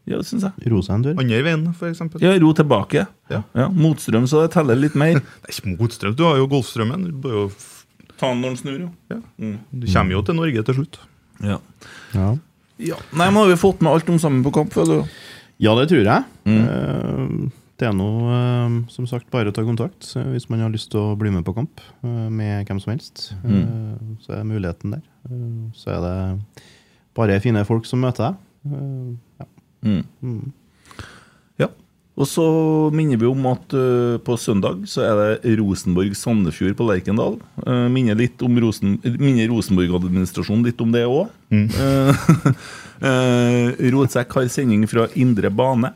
B: Ja, det syns jeg.
F: Ro seg en tur.
C: Andre veien, for eksempel.
B: Ja, ro tilbake.
C: Ja.
B: Motstrøm, så det teller litt mer.
C: Det er ikke motstrøm. Du har jo Golfstrømmen. Du, bør jo, f-
B: Ta den når den snur, jo.
C: ja.
B: Mm.
C: du kommer jo til Norge til slutt.
B: Ja.
F: Ja.
B: Nei, men har vi fått med alt om Sammen på kamp? Føler du?
F: ja, det tror jeg. Eh, Det er nå eh, som sagt bare å ta kontakt eh, hvis man har lyst til å bli med på kamp eh, med hvem som helst. Eh, Så er muligheten der. Eh, Så er det bare fine folk som møter deg. Eh, Ja.
B: Ja. Og så minner vi om at eh, på søndag så er det Rosenborg-Sandefjord på Lerkendal. Eh, minner litt om Rosen, minner Rosenborg-administrasjonen litt om det òg. Rotsekk har sending fra Indre bane.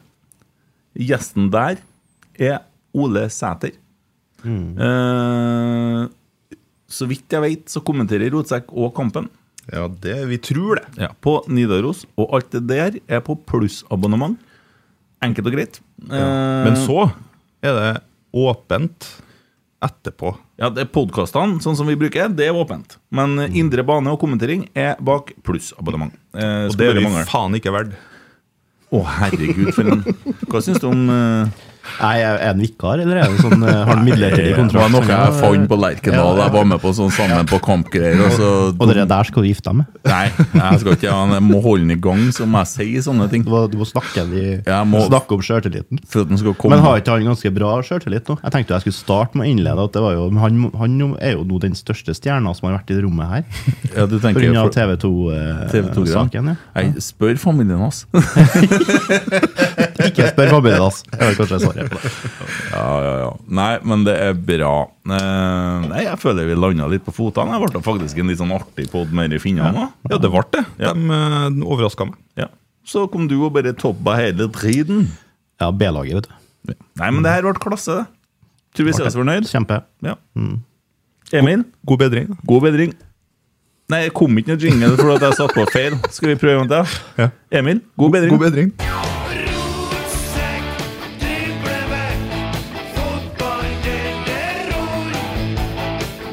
B: Gjesten der er Ole Sæter.
C: Mm.
B: Eh, så vidt jeg vet, så kommenterer Rotsekk og kampen.
C: Ja, det, vi tror det.
B: Ja, på Nidaros. Og alt det der er på plussabonnement. Enkelt og greit. Eh,
C: Men så er det åpent etterpå.
B: Ja, det er Podkastene, sånn som vi bruker, det er åpent. Men
C: Mm.
B: eh, indre bane og kommentering er bak plussabonnement. Eh,
C: Og det er
B: skulle
C: vi
B: bare mangle.
C: faen ikke verdt.
B: Å, herregud, for en Hva syns du om eh,
F: Nei, Er er han vikar, eller er det sånn, eh, har han midlertidig
B: Det var
F: kontrakt?
B: noe jeg fant på Lerkendal. Jeg var med på sånn Sammen på kamp-greier. Og så
F: Og det der skal du gifte deg med?
B: Nei, jeg skal ikke ja, Jeg må holde den i gang, så må jeg si sånne ting.
F: Du må, du må snakke, de,
B: Jeg må-
F: snakke opp sjøltilliten.
B: For at den skal komme
F: Men har ikke han ganske bra sjøltillit nå? Jeg tenkte jeg skulle starte med å innlede at det var jo, han, han er jo nå den største stjerna som har vært i det rommet her.
B: ja, du tenker,
F: Pga.
B: for-
F: eh, TV2-saken.
B: TV2-greia. Nei, spør familien hans.
F: ja. Ikke spør familien hans. Det var kanskje svaret på det.
B: Ja, ja, ja. Nei, men det er bra. Eh, nei, jeg føler vi landa litt på fotene. Det ble faktisk en litt sånn artig pod med de finnene. da.
C: Ja, det ble det.
B: Ja.
C: De uh, overraska meg.
B: Ja. Så kom du og bare toppa hele driten.
F: Ja, B-laget, vet du.
B: Nei, men det her ble klasse, det. Tror vi ser oss fornøyd.
F: Kjempe.
B: Ja. Emil,
C: Mm. God bedring. da.
B: god bedring. Nei, jeg kom ikke noe jingle fordi at jeg satte på feil. Skal vi prøve en til?
C: Ja.
B: Emil, god bedring.
C: God bedring.
A: Rotsekk, drible vekk, fotball den er rund.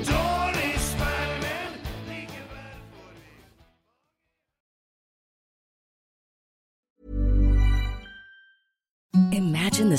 A: Dårlig spill, men likevel får vi
H: Imagine the